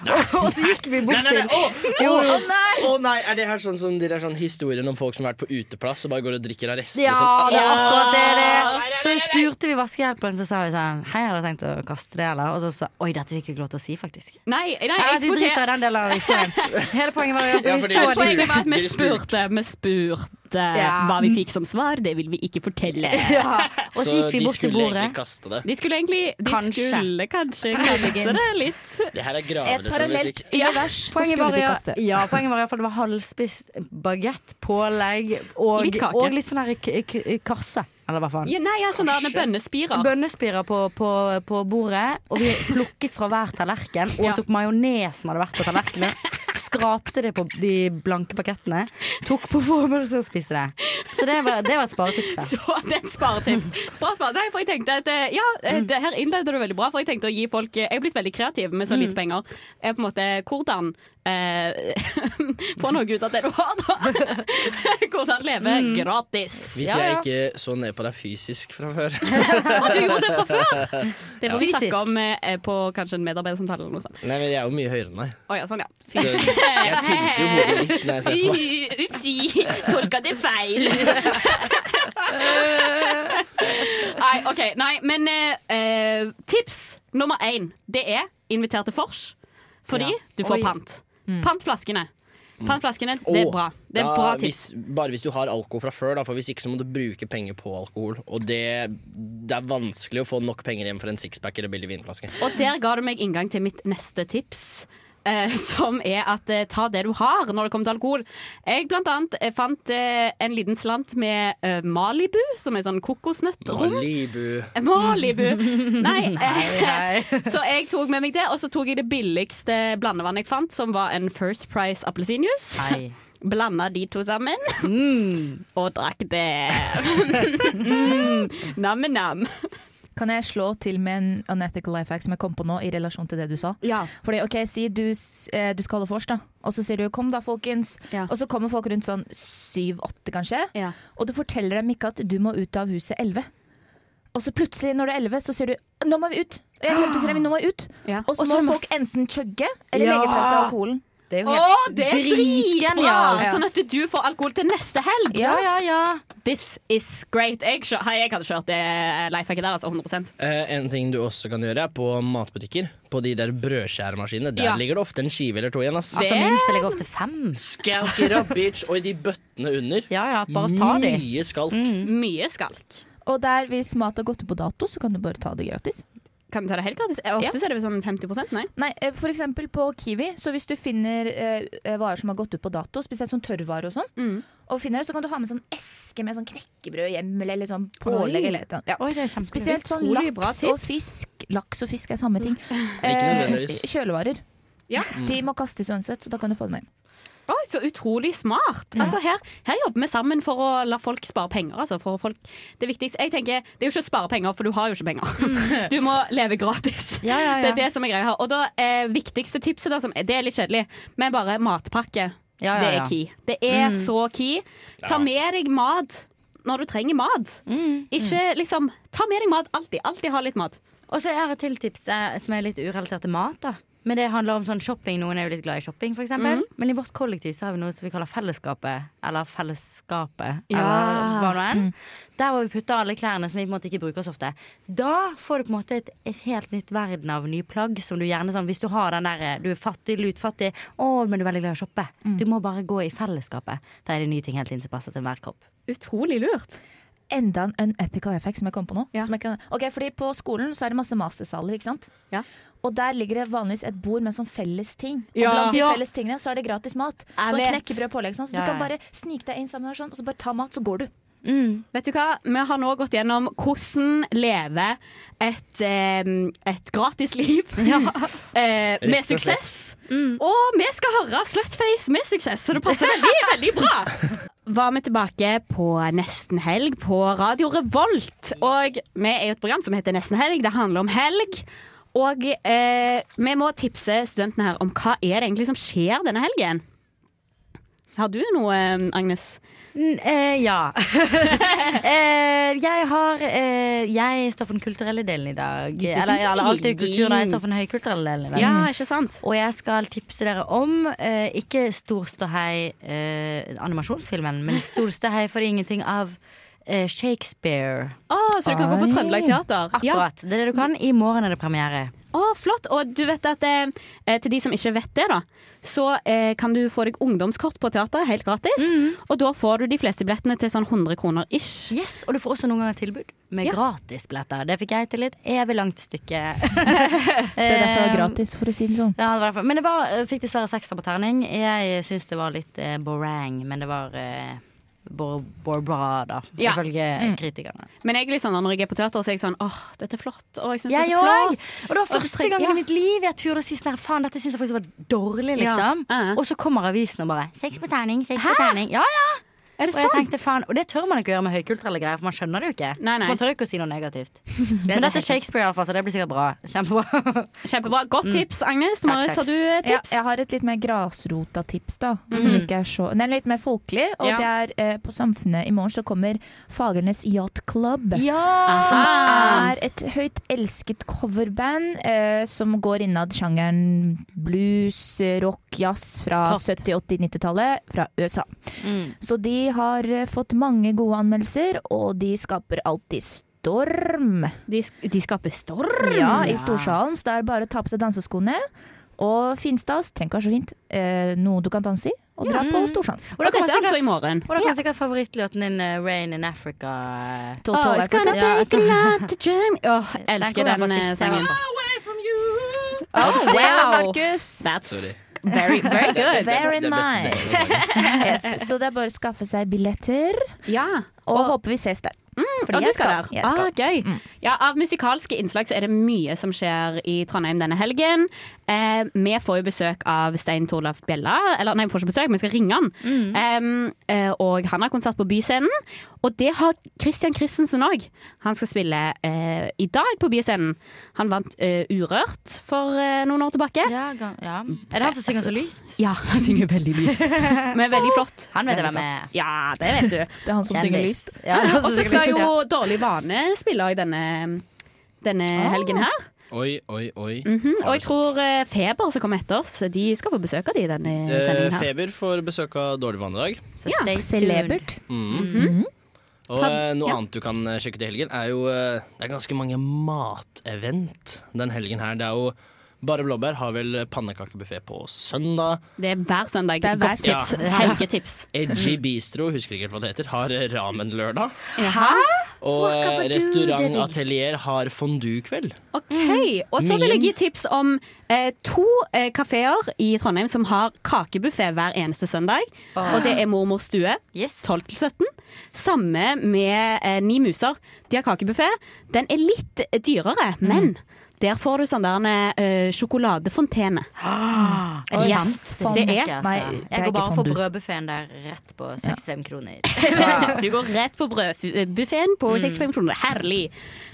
[SPEAKER 3] Og, og så gikk vi
[SPEAKER 4] Nei,
[SPEAKER 3] bort
[SPEAKER 4] nei, nei.
[SPEAKER 3] til
[SPEAKER 4] Å,
[SPEAKER 3] Jo,
[SPEAKER 4] å,
[SPEAKER 3] jo.
[SPEAKER 4] nei. Å, nei. Er det her sånn som de der sånn historien om folk som har vært på uteplass og bare går og drikker av restene?
[SPEAKER 3] Ja,
[SPEAKER 4] sånn.
[SPEAKER 3] det er akkurat det det
[SPEAKER 4] Nei, nei,
[SPEAKER 3] er.
[SPEAKER 4] nei,
[SPEAKER 3] Så spurte vi vaskehjelpen, så sa vi sånn Hei, jeg hadde tenkt å kaste det, eller? Og så sa Oi, dette fikk vi ikke lov til å si, faktisk.
[SPEAKER 2] Nei, nei
[SPEAKER 3] Nei,
[SPEAKER 2] jeg
[SPEAKER 3] vi
[SPEAKER 2] skulle
[SPEAKER 3] driter i den delen av historien. Hele poenget var jo at
[SPEAKER 2] Ja, fordi-
[SPEAKER 3] vi så
[SPEAKER 2] Så poenget
[SPEAKER 3] disse-
[SPEAKER 2] var at vi spurte, vi spurte
[SPEAKER 3] Ja.
[SPEAKER 2] hva vi fikk som svar. Det vil vi ikke fortelle.
[SPEAKER 3] [laughs] Ja, og så gikk vi bort til bordet.
[SPEAKER 4] kaste det.
[SPEAKER 2] De skulle egentlig de
[SPEAKER 3] Kanskje.
[SPEAKER 2] skulle kanskje kaste
[SPEAKER 3] Muligens.
[SPEAKER 2] det litt.
[SPEAKER 4] Det her er
[SPEAKER 3] Et parallelt
[SPEAKER 4] gravejournalistikk.
[SPEAKER 5] univers, så
[SPEAKER 3] Poenget
[SPEAKER 5] skulle
[SPEAKER 3] var,
[SPEAKER 5] de
[SPEAKER 3] jo-
[SPEAKER 5] kaste.
[SPEAKER 3] Ja, poenget var i hvert fall det var halvspist bagett, pålegg og
[SPEAKER 2] Litt kake.
[SPEAKER 3] Og litt sånn her k k karse, eller hva faen.
[SPEAKER 2] Ja, nei, altså, sånne bønnespirer.
[SPEAKER 3] Bønnespirer på, på, på bordet, og vi plukket fra hver tallerken og
[SPEAKER 2] Ja.
[SPEAKER 3] tok majones som hadde vært på tallerkenen. Skrapte det på de blanke pakettene, tok på formelsen og spiste det. Så det var, det var et sparetips, da.
[SPEAKER 2] [laughs] Så det er et sparetips. Bra spar. Nei, for jeg tenkte at eh, Ja,
[SPEAKER 4] Mm.
[SPEAKER 2] eh, det her innleder du veldig bra, for jeg tenkte å gi folk eh, Jeg er blitt veldig kreativ med så
[SPEAKER 4] Mm.
[SPEAKER 2] lite penger. Er på en måte hvordan eh, [laughs] Få noe ut av det du har, da. [laughs] hvordan leve
[SPEAKER 4] Mm.
[SPEAKER 2] gratis.
[SPEAKER 4] Hvis
[SPEAKER 2] Ja,
[SPEAKER 4] jeg
[SPEAKER 2] ja.
[SPEAKER 4] ikke så ned på deg fysisk fra før. [laughs]
[SPEAKER 2] Og du gjorde det fra før! Det
[SPEAKER 4] Ja.
[SPEAKER 2] må vi
[SPEAKER 4] Fysisk.
[SPEAKER 2] snakke om eh, på kanskje en medarbeidersamtale eller noe sånt.
[SPEAKER 4] Nei, men jeg er jo mye høyere enn deg.
[SPEAKER 2] Å ja, sånn, ja.
[SPEAKER 4] Så jeg tilte jo hodet litt når jeg ser på deg.
[SPEAKER 2] Upsi, tolka det feil. nei, OK. Nei, men eh, eh, tips nummer én, det er inviter til vors. Fordi
[SPEAKER 4] Ja.
[SPEAKER 2] du får
[SPEAKER 4] Oi. Mm.
[SPEAKER 2] pant. Pant flaskene. Pant flaskene, det er
[SPEAKER 4] Og-
[SPEAKER 2] bra. Det er
[SPEAKER 4] ja,
[SPEAKER 2] bra tips.
[SPEAKER 4] Hvis, bare hvis du har alkohol fra før, da, for hvis ikke så må du bruke penger på alkohol. Og det, det er vanskelig å få nok penger hjem for en sixpack eller billig vinflaske.
[SPEAKER 2] Og der ga du meg inngang til mitt neste tips. eh, som er at eh, ta det du har når det kommer til alkohol. Jeg blant annet eh, fant eh, en liten slant med eh, Malibu, som er sånn kokosnøttrom.
[SPEAKER 4] Malibu.
[SPEAKER 2] Malibu. Nei.
[SPEAKER 4] Nei,
[SPEAKER 2] [laughs] så jeg tok med meg det, og så tok jeg det billigste blandevannet jeg fant, som var en First Price appelsinjuice. [laughs]
[SPEAKER 3] Nei.
[SPEAKER 2] Blanda de to sammen, og drakk det. [laughs] Nam-nam.
[SPEAKER 5] Kan jeg slå til med en unethical life hack som jeg kom på nå, i relasjon til det du sa?
[SPEAKER 2] Ja.
[SPEAKER 5] Fordi, ok, Si du, s- eh, du skal holde vors, da. Og så sier du 'kom da, folkens'. Og så kommer folk rundt sånn syv-åtte, kanskje. Og du forteller dem ikke at du må ut av huset elleve. Og så plutselig, når det er elleve, så sier du 'nå må vi ut'. Og jeg glemte å si dem, nå må vi ut. Og så
[SPEAKER 2] Og
[SPEAKER 5] må
[SPEAKER 2] så må
[SPEAKER 5] folk
[SPEAKER 2] s-
[SPEAKER 5] enten chugge eller
[SPEAKER 2] Ja.
[SPEAKER 5] legge fra seg alkoholen.
[SPEAKER 3] Det
[SPEAKER 2] Å, det er dritbra! Sånn at du får alkohol til neste helg.
[SPEAKER 5] Ja, ja,
[SPEAKER 2] This is great. Jeg, skjø- Hei, jeg hadde kjørt det life hacket der, altså. 100
[SPEAKER 4] Eh, en ting du også kan gjøre, er på matbutikker. På de der brødskjæremaskinene. Der
[SPEAKER 2] Ja.
[SPEAKER 4] ligger det ofte en skive eller to igjen. Ass.
[SPEAKER 3] Altså, minst det ligger opp til fem.
[SPEAKER 4] Skalk it up, bitch! Og i de bøttene under.
[SPEAKER 5] bare ta de.
[SPEAKER 2] Mm.
[SPEAKER 4] Mye skalk.
[SPEAKER 2] Mye skalk.
[SPEAKER 5] Og der, hvis mat har gått ut på dato, så kan du bare ta det gratis.
[SPEAKER 2] Kan du ta det helt gratis? Eh, Ofte så er det sånn 50 nei?
[SPEAKER 5] Nei, eh, for eksempel på Kiwi, så hvis du finner eh, varer som har gått ut på dato, spesielt sånn tørrvarer og sånn,
[SPEAKER 3] Mm.
[SPEAKER 5] og finner det, så kan du ha med sånn eske med sånn knekkebrød hjem, eller litt sånn pålegg eller et eller annet. Ja.
[SPEAKER 3] Oi, det er kjempelurt.
[SPEAKER 5] Spesielt sånn
[SPEAKER 3] Utrolig bra
[SPEAKER 5] laks og
[SPEAKER 3] tips. Mm.
[SPEAKER 5] fisk. Laks og fisk er samme ting. Eh,
[SPEAKER 2] nødvendigvis.
[SPEAKER 5] kjølevarer.
[SPEAKER 2] Ja.
[SPEAKER 5] De må kastes uansett, så da kan du få det med hjem.
[SPEAKER 2] Oi, så utrolig smart. Altså her, her jobber vi sammen for å la folk spare penger. Altså for folk, det viktigste jeg tenker, det er jo ikke å spare penger, for du har jo ikke penger. [laughs] Du må leve gratis.
[SPEAKER 3] Mm. Ja, ja, ja.
[SPEAKER 2] Det er det som er greia her. Og da eh, viktigste tipset, da, som, det er litt kjedelig, men bare matpakke.
[SPEAKER 3] Ja, ja,
[SPEAKER 2] Det
[SPEAKER 3] ja.
[SPEAKER 2] er key. Det er
[SPEAKER 3] Mm.
[SPEAKER 2] så key. Ta
[SPEAKER 3] Ja.
[SPEAKER 2] med deg mat når du trenger mat.
[SPEAKER 3] Mm.
[SPEAKER 2] Ikke liksom Ta med deg mat alltid. Alltid ha litt mat.
[SPEAKER 3] Og så er et til tips eh, som er litt urelatert til mat. da men det handler om sånn shopping. Noen er jo litt glad i shopping, f.eks. eksempel Men i vårt kollektiv så har vi noe som vi kaller Fellesskapet. Eller Fellesskapet,
[SPEAKER 9] Ja.
[SPEAKER 3] eller hva nå enn. Der hvor vi putter alle klærne som vi på en måte ikke bruker så ofte. Da får du på en måte et, et helt nytt verden av nye plagg som du gjerne sånn Hvis du har den der eh, du er fattig, lutfattig, å, men du er veldig glad i å shoppe. Du må bare gå i fellesskapet. Da er det nye ting helt inn som passer til enhver kropp.
[SPEAKER 2] Utrolig lurt.
[SPEAKER 5] Enda en unethical effect som jeg kom på nå. Som jeg kan, ok, fordi På skolen så er det masse mastersaler. ikke sant? Og der ligger det vanligvis et bord med sånn felles ting. Og
[SPEAKER 2] Ja.
[SPEAKER 5] blant de
[SPEAKER 2] Ja.
[SPEAKER 5] felles tingene så er det gratis mat.
[SPEAKER 2] Jeg
[SPEAKER 5] Sånn
[SPEAKER 2] vet.
[SPEAKER 5] knekkebrød, pålegg sånn. Så
[SPEAKER 2] Ja,
[SPEAKER 5] du kan
[SPEAKER 2] ja.
[SPEAKER 5] bare snike deg inn sammen med sånn, og så bare ta mat, så går du.
[SPEAKER 2] Vet du hva? Vi har nå gått gjennom hvordan leve et, eh, et gratis [laughs] liv eh,
[SPEAKER 9] Rett
[SPEAKER 2] med
[SPEAKER 9] og slett.
[SPEAKER 2] suksess. Og vi skal høre Slutface med suksess, så det passer [laughs] veldig, veldig bra. Var vi tilbake på Nesten helg på Radio Revolt. Og vi er jo et program som heter Nesten helg. Det handler om helg. Og eh, vi må tipse studentene her om hva er det egentlig som skjer denne helgen. Har du noe, eh, Agnes?
[SPEAKER 3] N- eh, [laughs] ja. eh, jeg har eh, Jeg står for den kulturelle delen i dag.
[SPEAKER 2] Du står for
[SPEAKER 3] Eller,
[SPEAKER 2] den
[SPEAKER 3] eller alt er jo kultur, da. Jeg
[SPEAKER 2] delen.
[SPEAKER 3] står for den høykulturelle delen i dag.
[SPEAKER 2] Ja, ikke sant?
[SPEAKER 3] Og jeg skal tipse dere om eh, ikke Storståhei eh, animasjonsfilmen, men Storståhei for ingenting av eh, Shakespeare.
[SPEAKER 2] Å, så du kan gå på
[SPEAKER 3] Oi.
[SPEAKER 2] Trøndelag Teater. Ja.
[SPEAKER 3] Akkurat. Det er det du kan. I morgen er det premiere.
[SPEAKER 2] Å, flott. Og du vet at eh, eh, til de som ikke vet det, da, så eh, kan du få deg ungdomskort på teateret helt gratis. Og da får du de fleste billettene til sånn 100 kroner ish.
[SPEAKER 3] Yes, Og du får også noen ganger tilbud med
[SPEAKER 2] Ja.
[SPEAKER 3] gratisbilletter. Det fikk jeg til et evig langt stykke. [laughs]
[SPEAKER 5] Det er derfor det er gratis, for å si det sånn.
[SPEAKER 3] Ja, det var derfor. Men det var, jeg fikk dessverre sekser på terning. Jeg syns det var litt eh, borang, men det var eh, Bor- Bourbada,
[SPEAKER 2] Ja.
[SPEAKER 3] ifølge
[SPEAKER 2] Mm.
[SPEAKER 3] kritikerne.
[SPEAKER 2] Men jeg er litt sånn, når jeg er på teater, så er jeg sånn åh, dette er flott. Åh, jeg syns det er
[SPEAKER 3] Jeg
[SPEAKER 2] så
[SPEAKER 3] òg!
[SPEAKER 2] flott.
[SPEAKER 3] Og det var første gang i mitt liv jeg turde å si sånn her, faen, dette syns jeg faktisk var dårlig, liksom. Og så kommer avisen og bare Seks på terning, seks på terning. Ja, ja!
[SPEAKER 2] Er det
[SPEAKER 3] og jeg
[SPEAKER 2] sant?
[SPEAKER 3] tenkte, faen, og det tør man ikke å gjøre med høykulturelle greier, for man skjønner det jo ikke.
[SPEAKER 2] Nei, nei.
[SPEAKER 3] Så man tør jo ikke å si noe
[SPEAKER 2] [laughs]
[SPEAKER 3] negativt. Men dette er Shakespeare, iallfall, så det blir sikkert bra. Kjempebra.
[SPEAKER 2] Kjempebra. Godt tips, Agnes. Marius, har du eh, tips? Mhm.
[SPEAKER 5] Ja, jeg har et litt mer grasrota tips, da. Som ikke er så Nei, litt mer folkelig. Og det
[SPEAKER 2] Ja.
[SPEAKER 5] er eh, på Samfunnet i morgen så kommer Fagernes Yacht Club.
[SPEAKER 3] Ja!
[SPEAKER 5] Som
[SPEAKER 2] Ah.
[SPEAKER 5] er et høyt elsket coverband eh, som går innad sjangeren blues, eh, rock, jazz fra
[SPEAKER 3] Pop.
[SPEAKER 5] 70-, 80-, 90-tallet fra USA.
[SPEAKER 2] Mm.
[SPEAKER 5] Så de har eh, fått mange gode anmeldelser, og de skaper alltid storm.
[SPEAKER 2] De, de skaper storm?
[SPEAKER 5] Ja, i storsalen, så det er bare å ta på seg danseskoene. Og finstas, trenger ikke være så fint, eh, noe du kan danse i, og dra på storsalen.
[SPEAKER 3] Og da
[SPEAKER 2] Og dette
[SPEAKER 3] kan
[SPEAKER 2] er
[SPEAKER 3] sikkert-
[SPEAKER 2] altså i morgen.
[SPEAKER 3] Og da kan sikkert favorittlåten din, eh, 'Rain in Africa'. eh,
[SPEAKER 5] Tolv-
[SPEAKER 2] Åh,
[SPEAKER 5] tolv er
[SPEAKER 2] it's gonna
[SPEAKER 5] fint.
[SPEAKER 2] take a lot to dream Åh, elsker den,
[SPEAKER 3] Den kommer
[SPEAKER 2] eh,
[SPEAKER 3] fra sist jeg var
[SPEAKER 2] sangen.
[SPEAKER 3] på.
[SPEAKER 2] Oh, wow!
[SPEAKER 5] Markus!
[SPEAKER 2] That's
[SPEAKER 4] Sorry.
[SPEAKER 2] very,
[SPEAKER 3] [laughs]
[SPEAKER 2] very good.
[SPEAKER 5] Bear in
[SPEAKER 4] Det er beste
[SPEAKER 5] mind.
[SPEAKER 4] delen.
[SPEAKER 2] [laughs]
[SPEAKER 5] Yes, så det er bare å skaffe seg billetter,
[SPEAKER 2] Ja.
[SPEAKER 5] og, håper vi ses der. Fordi
[SPEAKER 2] Og du
[SPEAKER 5] jeg
[SPEAKER 2] skal der.
[SPEAKER 5] Jeg skal.
[SPEAKER 2] Ah, gøy. Ja, av musikalske innslag så er det mye som skjer i Trondheim denne helgen. Eh, vi får jo besøk av Stein Torlaf Bjella. Eller nei, vi får ikke besøk, vi skal ringe han. Eh, eh, og han har konsert på Byscenen. Og det har Christian Christensen òg. Han skal spille eh, i dag på Byscenen. Han vant eh, Urørt for eh, noen år tilbake. Ja.
[SPEAKER 3] Ja, ga- ja. Er det han som synger så lyst?
[SPEAKER 2] han synger veldig [laughs] lyst, men veldig flott.
[SPEAKER 3] Han vet
[SPEAKER 2] Veldig
[SPEAKER 3] hvem jeg
[SPEAKER 2] flott. Ja, det vet du.
[SPEAKER 5] Det er han som synger lyst.
[SPEAKER 3] Ja, det er han som
[SPEAKER 2] Og så
[SPEAKER 3] synger
[SPEAKER 2] skal
[SPEAKER 3] lyst,
[SPEAKER 2] jo Dårlig vane spille i denne, denne helgen her.
[SPEAKER 10] Oi, oi, oi.
[SPEAKER 2] Mhm, Og jeg tror eh, Feber som kommer etter oss, de skal få besøk av de i denne
[SPEAKER 4] Eh,
[SPEAKER 2] sendingen her.
[SPEAKER 4] Feber får besøk av Dårlig vann i dag.
[SPEAKER 3] ja. Så stay tuned.
[SPEAKER 5] Celebert.
[SPEAKER 4] Og eh, noe
[SPEAKER 2] ja.
[SPEAKER 4] annet du kan eh, sjekke til helgen, er jo eh, Det er ganske mange matevent den helgen her. Det er jo Bare blåbær har vel pannekakebuffé på søndag.
[SPEAKER 2] Det er hver søndag.
[SPEAKER 5] er hver
[SPEAKER 2] Godt tips.
[SPEAKER 4] søndag.
[SPEAKER 2] Helgetips.
[SPEAKER 4] Edgy Bistro, husker ikke helt hva det heter, har eh, ramenlørdag.
[SPEAKER 2] Hæ?
[SPEAKER 4] Og eh, Restaurant Atelier har fondue-kveld.
[SPEAKER 2] OK. Og så vil jeg gi tips om eh, to eh, kafeer i Trondheim som har kakebuffé hver eneste søndag. Og det er Mormors stue.
[SPEAKER 3] Yes.
[SPEAKER 2] 12 til 17. Samme med eh, Ni muser. De har kakebuffé. Den er litt dyrere, men der får du sånn der eh, sjokoladefontene.
[SPEAKER 3] Er det
[SPEAKER 2] Yes.
[SPEAKER 3] sant?
[SPEAKER 5] Det
[SPEAKER 3] visste jeg
[SPEAKER 2] er-
[SPEAKER 3] ikke, altså.
[SPEAKER 5] Nei, det er
[SPEAKER 3] Jeg
[SPEAKER 5] ikke
[SPEAKER 3] går bare for
[SPEAKER 5] fondue.
[SPEAKER 3] brødbuffeen der rett på 65 kroner. [laughs]
[SPEAKER 2] Du går rett på brødbuffeen på 65 kroner. Herlig.